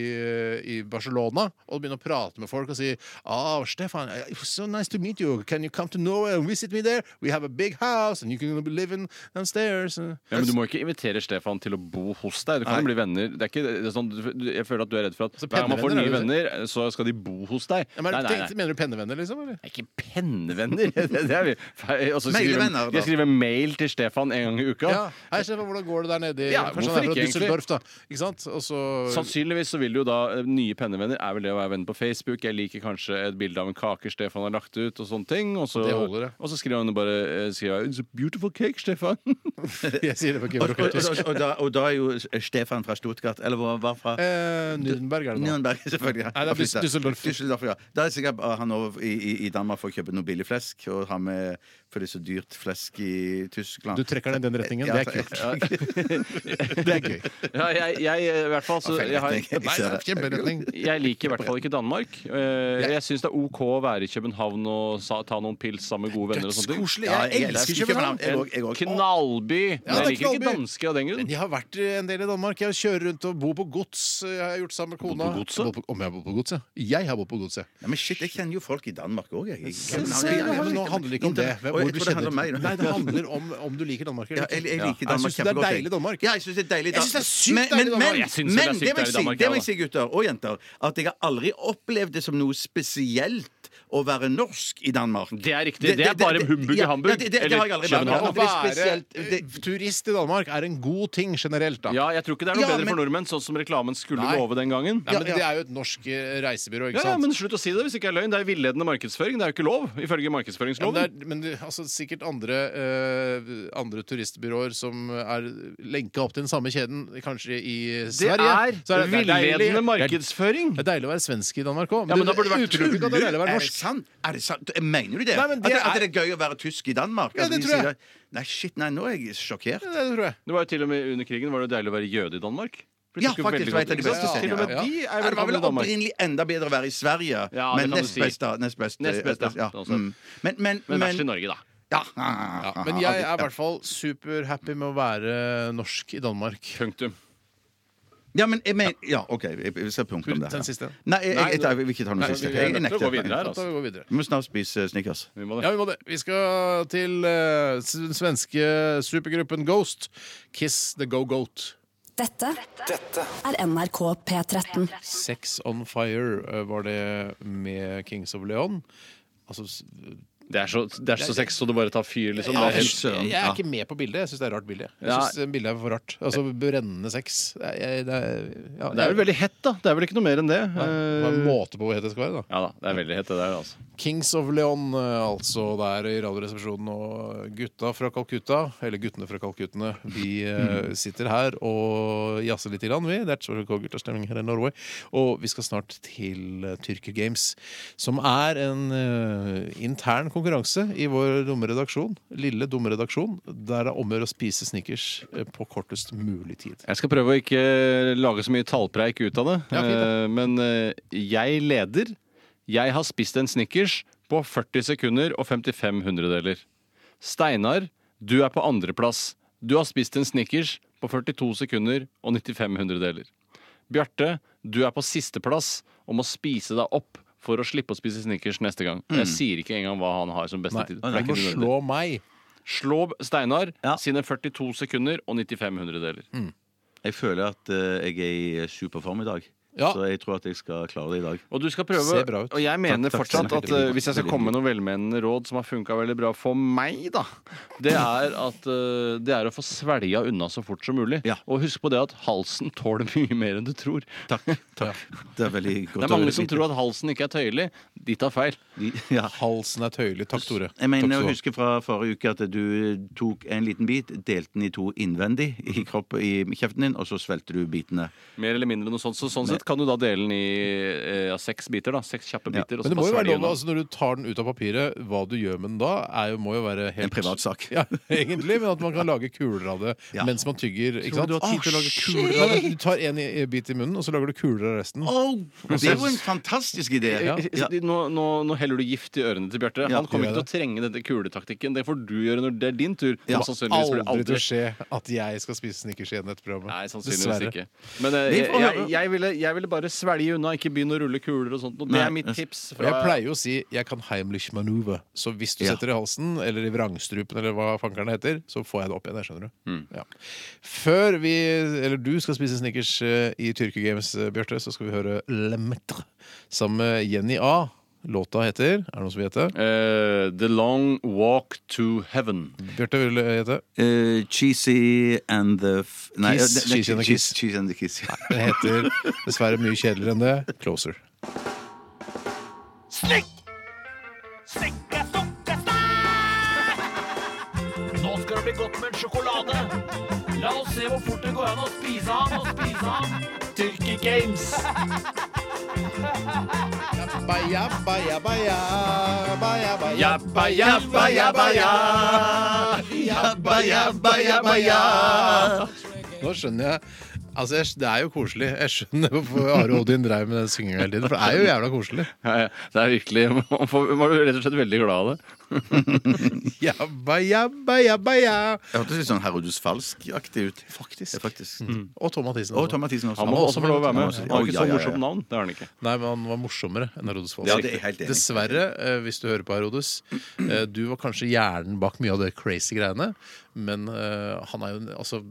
S1: i Barcelona og begynne å prate med folk og si Oh, Stefan, it was so nice to meet you. Can you come to Norway and visit me there? We have a big house and you can be living downstairs.
S3: Ja, men Du må ikke invitere Stefan til å bo hos deg. Du kan jo bli venner. Det er ikke, det er sånn, du- jeg føler at du er redd for at hver gang man får
S1: pennevenner,
S3: nye
S1: er
S3: venner, så skal de bo hos deg.
S1: Ja, men, tenkte- Mener du pennevenner, liksom? Eller?
S3: Det er ikke pennevenner. Det, det er vi. Feil. Og så
S2: Mailevenner,
S3: skriver,
S2: da.
S3: jeg skriver mail til Stefan en gang i uka.
S1: Ja. Hei, Stefan, hvordan går det der nede? i-
S3: Ja,
S1: Kanskje
S3: hvorfor
S1: han er fra
S3: ikke, egentlig? Sånn-
S1: Düsseldorf, da. Ikke sant? Og så
S3: Sannsynligvis så vil jo da eh, nye pennevenner er vel det å være venn på Facebook. Jeg liker kanskje et bilde av en kake Stefan har lagt ut, og sånne ting. Og så,
S1: Det holder, det.
S3: Og så skriver han jo bare eh, skriver, It's a beautiful cake, Stefan.
S1: Jeg sier det på
S2: Og, og,
S1: georgisk.
S2: og, og, da, og da er jo Stefan fra Stuttgart, eller hvor han var fra.
S1: Eh, Nürnberg er det nå.
S2: Nürnberg, selvfølgelig.
S1: Nei, det er Düs- Düsseldorf.
S2: ja. Da er det sikkert bare han over i, i, i Danmark for å kjøpe noe billig flesk, og ha med for det er så dyrt flesk i Tyskland.
S1: Du trekker den i den retningen.
S2: Ja,
S1: Det er kult. Det er gøy.
S3: ja, jeg, jeg, eh, i hvert fall, så,
S2: Ja, feil
S3: jeg, har,
S2: retning.
S1: Nei, det er kjemperetning.
S3: jeg liker i hvert fall ikke Danmark. Eh, Jeg syns det er OK å være i København og sa, ta noen pils sammen med gode venner. og sånne ting
S1: Dødskoselig.
S2: Ja,
S1: Jeg elsker København.
S2: Jeg òg, jeg
S3: En
S2: òg.
S3: knallby. Men
S1: det er
S3: jeg liker ikke
S1: knallby.
S3: dansker av den grunn.
S1: Jeg har vært en del i Danmark. Jeg kjører rundt og bor på gods. Jeg har gjort sammen med kona.
S3: på godset?
S1: Jeg bor på- Om jeg bor på godset? Jeg har bodd på godset.
S2: Nei, men shit, jeg kjenner jo folk i Danmark òg, altså, jeg.
S1: Ja, men nå handler det ikke om det.
S2: Å,
S1: Hvor
S2: jeg
S1: du
S2: tror det handler om meg.
S1: kjenner- Nei, det handler om om du liker Danmark
S2: Ja,
S1: eller
S2: jeg, jeg
S1: ikke.
S2: liker
S1: Ja, jeg
S2: Danmark
S1: syns det er
S2: kjempegodt,
S1: deilig Danmark.
S2: Ja, jeg synes det er deilig
S1: Jeg synes det er sykt
S2: men,
S1: deilig Danmark.
S2: Men,
S3: Jeg synes
S2: men,
S3: det er
S2: men
S3: sykt
S2: det, må
S3: deilig
S2: jeg si,
S3: Danmark,
S2: det
S3: ja,
S2: må jeg si, gutter og jenter, at jeg har aldri opplevd det som noe spesielt å være norsk i Danmark.
S3: Det er riktig. Det, er bare humbug i
S2: ja,
S3: Hamburg.
S2: ja, Det, det, det, har jeg aldri
S1: Men
S2: vært med
S1: Å
S2: på. Det er
S1: være
S2: spesielt det,
S1: eh, turist i Danmark er en god ting generelt, da.
S3: Ja, jeg tror ikke det er noe
S2: Ja,
S3: bedre
S2: men-
S3: for nordmenn, sånn som reklamen skulle
S1: Nei.
S3: love den gangen.
S1: Ja, men Det er jo et norsk eh, reisebyrå, ikke
S3: Ja, ja,
S1: sant?
S3: men slutt å si det hvis det ikke er løgn. Det er villedende markedsføring. Det er jo ikke lov, ifølge
S1: Ja, men,
S3: markedsføringsloven.
S1: det er, men det- altså, sikkert andre, eh, andre turistbyråer som er lenka opp til den samme kjeden, kanskje i
S3: det
S1: Sverige.
S3: er,
S1: så er det- det er deilig-
S3: villedende
S1: det er-
S3: markedsføring.
S1: Det er deilig å være svensk i Danmark òg.
S3: Ja, men da burde det vært
S1: utelukket at det er deilig å være
S2: er det
S1: norsk.
S2: sant? Er det sant? Eh, Mener du det?
S1: Nei, men det
S2: at, at
S1: er-
S2: det er gøy å være tysk i Danmark?
S1: Ja,
S2: Altså,
S1: det
S2: de
S1: tror jeg.
S2: sier at- Nei, shit, nei, nå er jeg sjokkert.
S1: Det tror jeg.
S3: Det var jo til og med Under krigen var det deilig å være jøde i Danmark. For de
S2: Ja,
S3: tok jo
S2: faktisk,
S3: veldig
S2: vet jeg
S3: godt-
S2: det
S3: ikke sant?
S2: beste.
S3: Så Til og med
S1: Ja, ja.
S3: de
S2: Nei,
S3: er
S2: Det var vel
S3: velkommen i Danmark.
S2: opprinnelig enda bedre å være i Sverige,
S3: Ja, det
S2: men
S3: kan du
S2: nest
S3: si.
S2: best, da. Nest best.
S3: Nest best, ja.
S2: ja.
S3: Altså.
S2: Mm. Men, men,
S3: Men verst i
S2: men,
S3: Norge, da.
S2: ja. Ja,
S1: Men
S2: ah.
S1: jeg er i hvert fall superhappy med å være norsk i Danmark.
S3: Punktum.
S2: Ja, men jeg mener Ja, OK. Jeg jeg skal punkte om det.
S1: Ta den
S2: her.
S1: siste.
S2: Nei, jeg, jeg, jeg,
S1: Nei,
S2: jeg vil ikke ta den
S1: Nei,
S2: siste.
S1: vi- vi
S2: Jeg,
S1: er
S2: jeg
S3: nødt til å gå videre
S2: nekter.
S3: her,
S1: Da tar vi og går videre.
S2: Vi må snart spise snickers.
S3: Vi må
S1: Ja,
S3: det.
S1: vi må det. Vi skal til eh, s- den svenske supergruppen Ghost. Kiss the Go-Goat.
S4: Dette
S5: Dette
S4: er NRK P13.
S1: Sex on Fire eh, var det med Kings of Leon. Altså, s-
S3: Det er så, det er så sex så det bare tar fyr, liksom. Det
S2: Ja,
S3: er helt
S2: søren.
S1: jeg er
S2: Ja.
S1: ikke med på bildet. Jeg syns det er rart bilde. Jeg
S3: Ja.
S1: synes eh, bildet er for rart. Altså brennende sex. Det er, det er, ja,
S3: Det er vel veldig hett, da. Det er vel ikke noe mer enn
S1: Nei,
S3: det.
S1: det var en
S3: Eh,
S1: måte på hvor hett det skal være, da.
S3: Ja da, det er veldig hett, det der, altså.
S1: Kings of Leon, eh, altså der i Radioresepsjonen. Og gutta fra Calcutta, eller guttene fra Calcuttene, vi eh, sitter her og jazzer litt, grann, vi. Det er ikke så K-gutterstemning her i Norway. Og vi skal snart til eh, Tyrker Games, som er en eh, intern konkurranse i vår dumme redaksjon. Lille, dumme redaksjon, der det er omgjør å spise snickers eh, på kortest mulig tid.
S3: Jeg skal prøve å ikke lage så mye tallpreik ut av det.
S1: Ja, fint, da.
S3: eh, Men eh, jeg leder. Jeg har spist en Snickers på 40 sekunder og 55 hundredeler. Steinar, du er på andreplass. Du har spist en Snickers på 42 sekunder og 95 hundredeler. Bjarte, du er på sisteplass og må spise deg opp for å slippe å spise Snickers neste gang. Jeg sier ikke engang hva han har som beste
S1: Mm. Nei,
S3: tid. for det er
S1: du må
S3: ikke nødvendig.
S1: slå meg.
S3: Slå Steinar
S2: Ja.
S3: sine 42 sekunder og 95 hundredeler.
S2: Jeg føler at eh, jeg er i superform i dag.
S1: Ja.
S2: Så jeg tror at jeg skal klare det i dag.
S3: Og du skal prøve
S1: Ser bra ut.
S3: Og jeg mener
S2: Takk, takk,
S3: fortsatt
S2: takk.
S3: at eh, hvis jeg skal komme med noen velmenende råd som har funka veldig bra for meg, da, det er at eh, det er å få svelga unna så fort som mulig.
S2: Ja.
S3: Og husk på det at halsen tåler mye mer enn du tror.
S2: Takk. takk. Det er veldig godt
S3: Det er
S2: å
S3: mange
S2: høre
S3: som
S2: litt.
S3: tror at halsen ikke er tøyelig. De tar feil.
S2: ja.
S1: Halsen er tøyelig. Takk, Tore.
S2: Jeg
S1: Takk
S2: mener
S1: skal
S2: å
S1: du ha.
S2: huske fra forrige uke at du eh, tok en liten bit, delte den i to innvendig i, kropp, i kjeften din, og så svelgte du bitene.
S3: Mer eller mindre noe sånt. Så sånn sett kan du da dele den i eh, ja, seks biter. da Seks kjappe
S2: Ja.
S3: biter. og
S1: Men
S3: så
S1: det må
S3: bare
S1: jo være
S3: svelge
S1: lov,
S3: unna.
S1: altså Når du tar den ut av papiret, hva du gjør med den da, er jo, må jo være helt
S2: En privatsak.
S1: Ja, egentlig, men at man kan lage kuler av det mens man tygger. Ikke sant?
S2: du har tid til å lage kuler
S1: av det? Du tar en i, i bit i munnen, og så lager du kuler av resten.
S2: Det er jo en fantastisk idé!
S3: Eh,
S2: Ja.
S3: Nå, nå, nå heller du gift i ørene til Bjarte.
S2: Ja,
S3: Han kommer
S1: gjør
S3: ikke til å trenge denne kuletaktikken. Det får du gjøre når det er din tur.
S2: Ja,
S3: Som sannsynligvis blir
S1: Aldri til å skje at jeg skal spise snickers igjen etter programmet.
S3: Nei, sannsynligvis
S1: Dessverre.
S3: ikke. Men eh,
S2: Vi
S3: jeg,
S2: får
S3: jeg,
S2: høre.
S3: jeg, ville, jeg ville bare svelge unna, ikke begynne å rulle kuler og sånt. Og det
S2: Nei,
S3: er mitt
S2: jeg-
S3: tips.
S1: Og
S3: Fra,
S1: Jeg pleier jo å si 'jeg kan Heimlich manøver', så hvis du
S2: Ja.
S1: setter det i halsen, eller i vrangstrupen, eller hva fankeren heter, så får jeg det opp igjen. Jeg skjønner du. Ja. Før vi, eller du skal spise snickers eh, i Tyrkia Games, eh, Bjarte, så skal vi høre Le Metre sammen med Jenny A. Låta heter Er det noen som vil gjette?
S3: Eh, the Long Walk to Heaven.
S1: Bjarte vil eh, gjette.
S2: Eh, cheesy and the f nei,
S1: Kiss,
S2: eh, ne- ne-
S1: cheesy and the kiss.
S2: Cheesy and the kiss.
S1: Den heter dessverre mye kjedeligere enn det. Closer.
S6: Snikk! Snikke, sukke, snæ! Nå skal det bli godt med en sjokolade. La oss se hvor fort det går an å spise han og spise han. Tyrki Games.
S3: Jabba, jabba, jabba, ja. Jabba, jabba, jabba, ja.
S1: Nå skjønner jeg Altså, jeg, Det er jo koselig. Jeg skjønner hvorfor Are Odin drev med den synginga hele tiden. For det er jo jævla koselig.
S3: Ja, ja. Det er virkelig Man får- man blir rett og slett veldig glad av det.
S1: Jabba, jabba, jabba, ja.
S2: Det hørtes litt sånn Herodus Falsk-aktig ut. Faktisk. Ja, faktisk.
S1: Og Tom Mathisen.
S2: Og
S1: også.
S2: Tom Mathisen også.
S3: Han må også få lov å være med.
S2: Han må
S3: Han har
S2: også-
S3: ikke
S2: Ja,
S3: så
S2: ja, ja.
S3: morsomt navn. Det har han ikke.
S1: Nei, men han var morsommere enn Herodes Falsk.
S2: Ja, det er jeg helt enig i.
S1: Dessverre, eh, hvis du hører på Herodes, eh, du var kanskje hjernen bak mye av det crazy greiene, men eh, han er jo en- altså,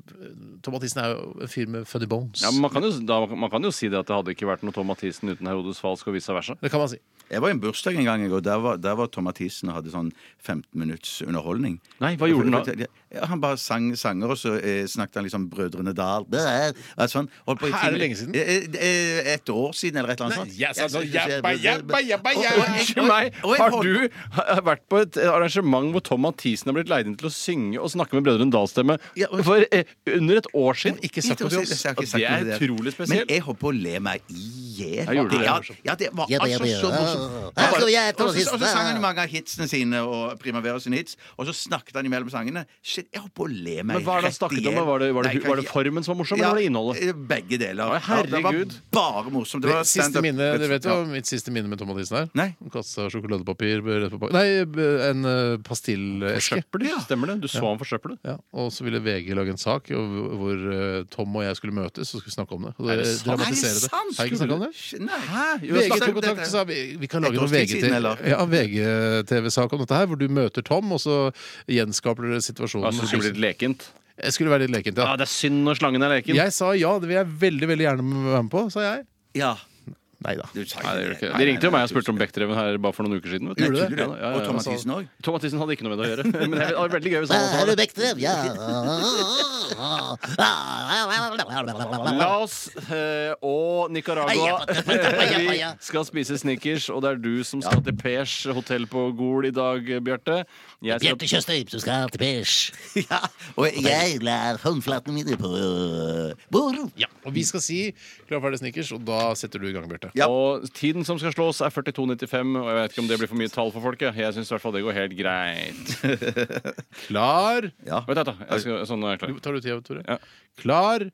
S1: Tom Mathisen er jo en fyr med funny bones.
S3: Ja, men man, kan jo, da, man kan jo si det at det hadde ikke vært noe Tom Mathisen uten Herodes Falsk og vice versa.
S1: Det kan man si.
S2: Jeg var i en bursdag en gang, jeg, og der var, der var Tom Mathisen og hadde sånn 15 minutts underholdning.
S3: Nei, hva gjorde han da?
S2: Ja, Han bare sang sanger, og så eh, snakket han liksom Brødrene Dal Det er- altså, han holdt på i
S1: Hæ,
S2: ti
S1: er det
S2: min-
S1: lenge siden?
S2: Eh, eh, eh, Et år siden, eller et eller annet sånt.
S1: jeg sa
S2: Jeg
S1: sånn,
S2: synes ikke-
S1: jabba, jabba, jabba,
S2: Og- og-
S1: jabba.
S2: og-
S3: Unnskyld meg,
S2: og jeg
S3: har
S2: holdt-
S3: du ha- vært på et arrangement hvor Tom Mathisen har blitt leid inn til å synge og snakke med Brødrene Dal-stemme
S2: Ja, og-
S3: for eh, under et år siden?
S1: Ikke sagt det
S2: Ikke
S1: til
S2: si-
S1: oss.
S2: jeg har ikke
S3: Og
S2: sagt
S3: det
S2: noe
S3: er
S2: til
S3: utrolig
S2: Men
S3: spesielt.
S2: jeg holdt på å le meg i hjel.
S3: Jeg gjorde det.
S2: Ja, ja, det var altså så morsomt. Og så- Og så og så sang han mange av hitsene sine og Primavera sine hits, og så snakket han imellom sangene. shit, jeg holdt på å le meg
S3: Men hva er det han snakket om? da? Var det, var det,
S2: Nei,
S3: var det
S2: kanskje-
S3: formen som var morsom, eller var det innholdet?
S2: Ja, eh, begge deler.
S3: Å, herregud.
S2: Ja, det var bare morsomt. Det
S1: Det
S2: var
S1: siste
S2: stand-up.
S1: minne, dere vet jo
S2: Ja.
S1: mitt siste minne med Tom Mathisen her?
S2: Nei.
S1: Kasta sjokoladepapir rett på bak- Nei, en eh, pastilleske.
S3: Forsøpler, stemmer det? Du så han forsøple?
S1: Ja, og så ville VG lage en sak og- hvor eh, Tom og jeg skulle møtes og skulle snakke om det. Og
S3: Er det sant?
S1: dramatisere Eh, det. Har jeg ikke snakket om det?
S2: Sh- Nei.
S3: Jo,
S1: VG
S2: snakket
S1: tok
S2: om
S1: kontakt og
S2: dette.
S1: sa vi, vi kan
S2: Et
S1: lage
S2: års
S1: noen
S2: tid siden,
S1: VGTV
S2: eller?
S1: ja, VGTV-sak om dette her, hvor du møter Tom, og så gjenskaper dere situasjonen.
S3: Jeg synes det skulle blitt lekent.
S1: Jeg skulle være litt lekent,
S3: Ja,
S1: ja.
S3: det er synd når slangen er leken.
S1: Jeg sa ja, det vil jeg veldig veldig gjerne være med på, sa jeg.
S2: Ja.
S1: Nei da.
S2: Du sa
S3: Nei, det gjør
S2: ikke
S3: ikke.
S2: det.
S3: det. De ringte jo meg og spurte om Bekkdreven her bare for noen uker siden. Vet du.
S1: Gjorde du det?
S2: Tuller du?
S3: Ja, ja, ja,
S2: Og Tom
S3: altså.
S2: Mathisen òg?
S3: Tom Mathisen hadde ikke noe med det å gjøre. Men det var veldig gøy hvis han også hadde det.
S7: Bekkdrev, ja.
S3: Laos eh, og Nicaragua. Vi skal spise snickers, og det er du som skal til Pers hotell på Gol i dag, Bjarte. Jeg skal
S7: Bjarte Tjøstheim, som skal til pers.
S2: Ja. Og jeg,
S7: Jeg lar håndflatene mine på bordet.
S1: Ja, og vi skal si klar, ferdig, snickers, og da setter du i gang, Bjarte.
S2: Ja.
S3: Og tiden som skal slås, er 42,95. Og jeg vet ikke om det blir for mye tall for folk. Jeg, jeg syns i hvert fall det går helt greit.
S1: Klar
S2: ja.
S3: Vent, da. Jeg skal, sånn er jeg klar.
S1: Tar du tida, Tore?
S3: Ja.
S1: Klar,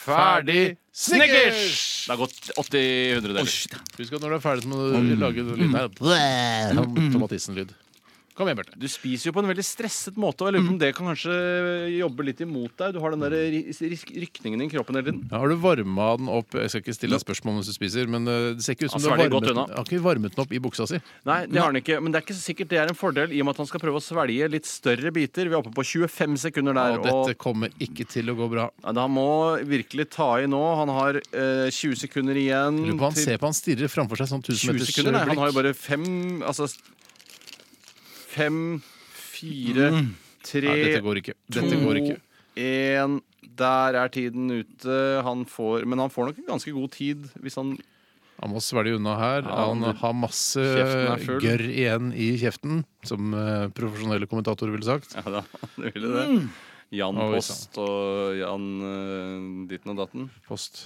S3: Ferdig
S1: snickers!
S3: Det har gått 80 hundredeler.
S1: Husk at når du er ferdig, så må du lage noe lyd her. sånn Tomatisen-lyd. Kom igjen, Bjarte.
S3: Du spiser jo på en veldig stresset måte, og jeg lurer
S1: Mm.
S3: på om det kan kanskje jobbe litt imot deg. Du har den der ris- ris- rykningen i kroppen hele tiden.
S1: Ja, har du varma den opp? Jeg skal ikke stille deg spørsmål mens du spiser, men eh, det ser ikke ut som
S3: Han
S1: du har
S3: svelger
S1: varmet
S3: godt
S1: den.
S3: unna.
S1: Har ikke varmet den opp i buksa si.
S3: Nei, det har han ikke, men det er ikke sikkert det er en fordel, i og med at han skal prøve å svelge litt større biter. Vi er oppe på 25 sekunder der.
S1: Og Mm,
S3: og
S1: dette kommer ikke til å gå bra.
S3: Ja, da må virkelig ta i nå. Han har eh, 20 sekunder igjen.
S1: Lurer på, han
S3: til-
S1: ser på han stirrer framfor seg sånn 1000
S3: 20
S1: meters
S3: sekunder, nei. Han har jo
S1: øyeblikk.
S3: bare fem Altså fem, fire,
S1: Mm.
S3: tre,
S1: Nei, dette går ikke. Dette går
S3: to,
S1: ikke.
S3: én Der er tiden ute. Han får, men han får nok en ganske god tid hvis han
S1: Han må svelge unna her.
S3: Ja,
S1: han
S3: du-
S1: har masse
S3: Kjeften er full.
S1: gørr igjen i kjeften, som eh, profesjonelle kommentatorer ville sagt.
S3: Ja da, det ville det. Jan
S1: Oi,
S3: Post og Jan eh, ditten og datten.
S1: Post.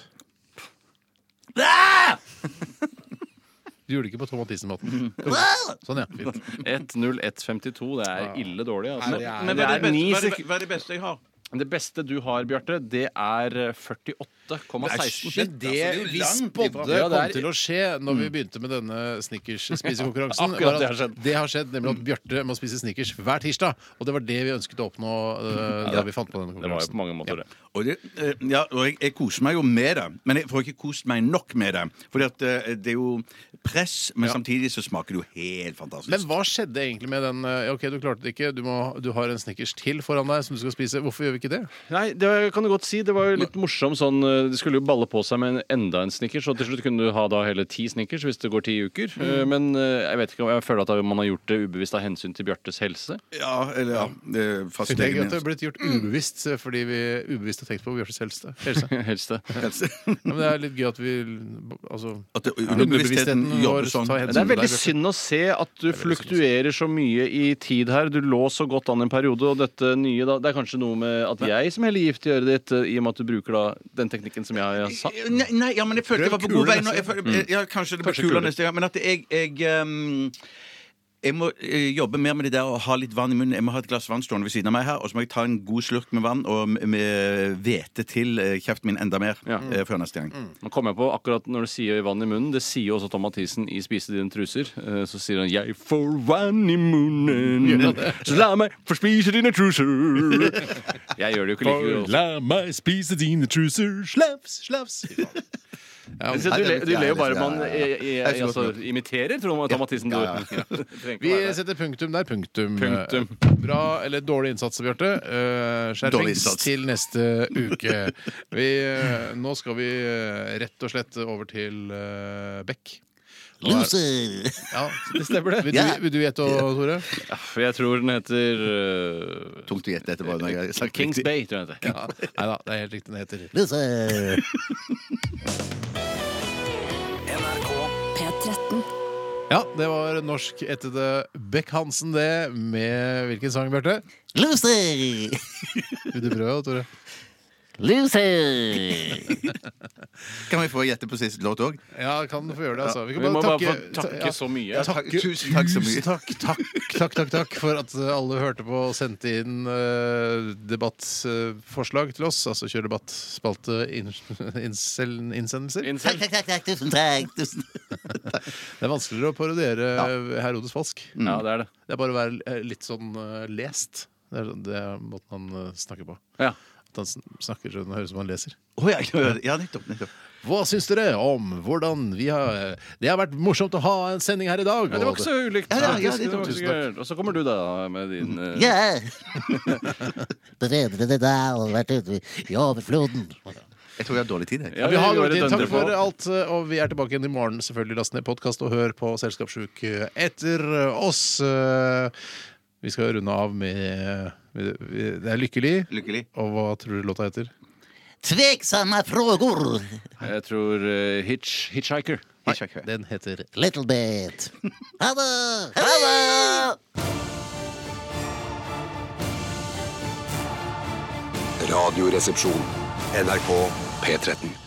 S1: Du gjorde det ikke på Tom Mathisen-måten. Sånn, ja. Fint.
S3: 1.01,52. Det er ille dårlig. Altså.
S8: Men
S3: Men
S8: hva
S3: det
S8: er
S3: er
S8: det
S3: ni
S8: beste- hva er
S3: sek
S8: det- hva er det beste jeg har?
S3: Det beste du har, Bjarte, det er eh, 48,16.
S1: Men det
S3: Altså,
S1: vi spådde
S3: Ja, det
S1: kom
S3: er- Mm.
S1: til å skje når vi begynte med denne snickers-spisekonkurransen,
S3: akkurat
S1: var
S3: det har
S1: at
S3: skjedd.
S1: det har skjedd, nemlig at Bjarte må spise snickers hver tirsdag. Og det var det vi ønsket å oppnå eh, da vi fant på denne
S3: Det var jo på
S1: konkurransen.
S3: mange måter det.
S2: Og, det, eh, ja, og jeg, jeg koser meg jo med det, men jeg får ikke kost meg nok med det. Fordi at eh, det er jo press, men samtidig så smaker det jo helt fantastisk.
S1: Men hva skjedde egentlig med den eh, OK, du klarte det ikke, du, må, du har en snickers til foran deg som du skal spise. Hvorfor gjør vi ikke det?
S3: Nei, det var- kan du godt si. Det var jo litt morsom sånn eh, Det skulle jo balle på seg med en- enda en snickers, og til slutt kunne du ha da hele ti snickers hvis det går ti uker. Eh, Men eh, jeg vet ikke om jeg føler at man har gjort det ubevisst av hensyn til Bjartes helse.
S2: Ja, eller ja, eh,
S1: Jeg tenker
S2: fastlegen
S1: at det har blitt gjort ubevisst eh, fordi vi ubevisst har tenkt på Bjørtes helse. helse. Ja,
S3: Helse.
S1: men det er litt gøy at vi altså,
S2: At det-
S1: Underbevisstheten
S2: underbevisstheten
S1: vår
S2: jobber sånn.
S1: tar
S3: Det
S1: hensyn
S3: er
S1: til
S3: veldig
S1: deg.
S3: synd å se at du fluktuerer så mye i tid her. Du lå så godt an en periode, og dette nye da Det er kanskje noe med at jeg som heller gift i øret ditt, eh, i og med at du bruker da den teknikken som jeg har sagt.
S2: Nei, Eh, nei, ja, men jeg følte jeg var på
S1: Prøv
S2: god vei
S1: kulere
S2: nå. Jeg følte, ja, kanskje det blir
S3: Kanskje
S2: kulere
S3: kulere.
S2: neste gang. Men at jeg, jeg um, jeg må eh, jobbe mer med det der å ha litt vann i munnen. Jeg må ha et glass vann stående ved siden av meg her, og så må jeg ta en god slurk med vann og med- med hvete til eh, kjeften min enda mer
S3: Ja. Mm.
S2: eh, før neste gang.
S3: Nå kom jeg på akkurat når du sier vann i munnen. Det sier jo også Tom Mathisen i Spise dine truser. Eh, Så sier han 'Jeg får vann i munnen, så la meg få spise dine truser'. Jeg gjør det jo ikke like godt.
S1: La meg spise dine truser, slaps, slaps.
S3: Men se, Du, le, du ler jo bare man
S2: Ja, ja,
S3: eh, eh,
S2: Jeg er så
S3: altså,
S2: godt
S3: imiterer Tom Tom Mathisen. Du
S2: Ja, ja,
S3: trenger
S1: Vi
S3: ikke være det.
S1: setter punktum der. Punktum. eh,
S3: Punktum.
S1: Bra eller dårlig innsats, Bjarte. Eh,
S2: Dårlig
S1: Skjerpings
S2: innsats.
S1: til neste uke. Vi, eh, nå skal vi eh, rett og slett over til eh, Beck.
S7: Loser!
S1: Ja, det stemmer det. Vil
S7: Ja.
S1: du, vil du gjette, Tore?
S3: Jeg tror den heter eh,
S2: Tungt å gjette etterpå. når jeg har sagt
S3: Kings
S2: riktig.
S3: Bay, tror jeg den heter.
S1: Ja. Nei da, det er helt riktig. Den heter
S7: Loser!
S4: P13.
S1: Ja, det var norskættede Beck-Hansen, det. Med hvilken sang, Bjarte?
S7: Loser!
S1: Vil du prøve, Tore?
S7: Loser!
S2: Kan vi få gjette på siste låt òg?
S1: Ja, kan få gjøre det, altså.
S3: Vi må bare få takke så mye.
S1: Ja,
S2: Takk-
S1: takke,
S2: tusen takk så mye.
S1: Tusen Takk, takk, takk, takk, takk for at alle hørte på og sendte inn debattforslag til oss. Altså kjør debatt, spalte, inn- innsel- innsendelser.
S7: Takk,
S2: Mm.
S7: takk, takk, takk, tusen takk. Tusen.
S1: Det er vanskeligere å parodiere eh, Herodes falsk.
S3: Ja, det er det.
S1: Det er bare å være eh, litt sånn eh, lest. Det er, sånn, det er måten han eh, snakker på.
S3: Ja.
S1: At han sn- snakker sånn det høres ut som han leser.
S2: Å ja, ja, ja, nettopp. nettopp.
S1: Hva syns dere om hvordan vi har Det har vært morsomt å ha en sending her i dag.
S3: Men det var ikke så ulikt.
S2: Ja, ja, ja,
S3: faktisk.
S2: det
S3: Det var
S2: tusen
S3: ikke- Og så kommer du, da, med din eh,
S7: Ja! Brødrene Dal har vært ute i overfloden.
S2: Jeg tror vi har dårlig tid. Jeg.
S3: ja,
S1: Ja, vi har
S3: gjorde
S1: gått inn. Takk
S3: dønder på.
S1: for alt, eh, og vi er tilbake igjen i morgen. Selvfølgelig Last ned podkast og hør på Selskapssjuk eh, etter oss. Eh, Vi skal runde av med Det er Lykkelig.
S2: Lykkelig.
S1: Og hva tror du låta heter?
S7: Tveksomme frågor.
S3: Jeg tror eh, hitch, Hitchhiker.
S2: Hitchhiker.
S1: Den heter
S7: Little bit. Ha det! Ha det!
S5: Radioresepsjon. NRK P13.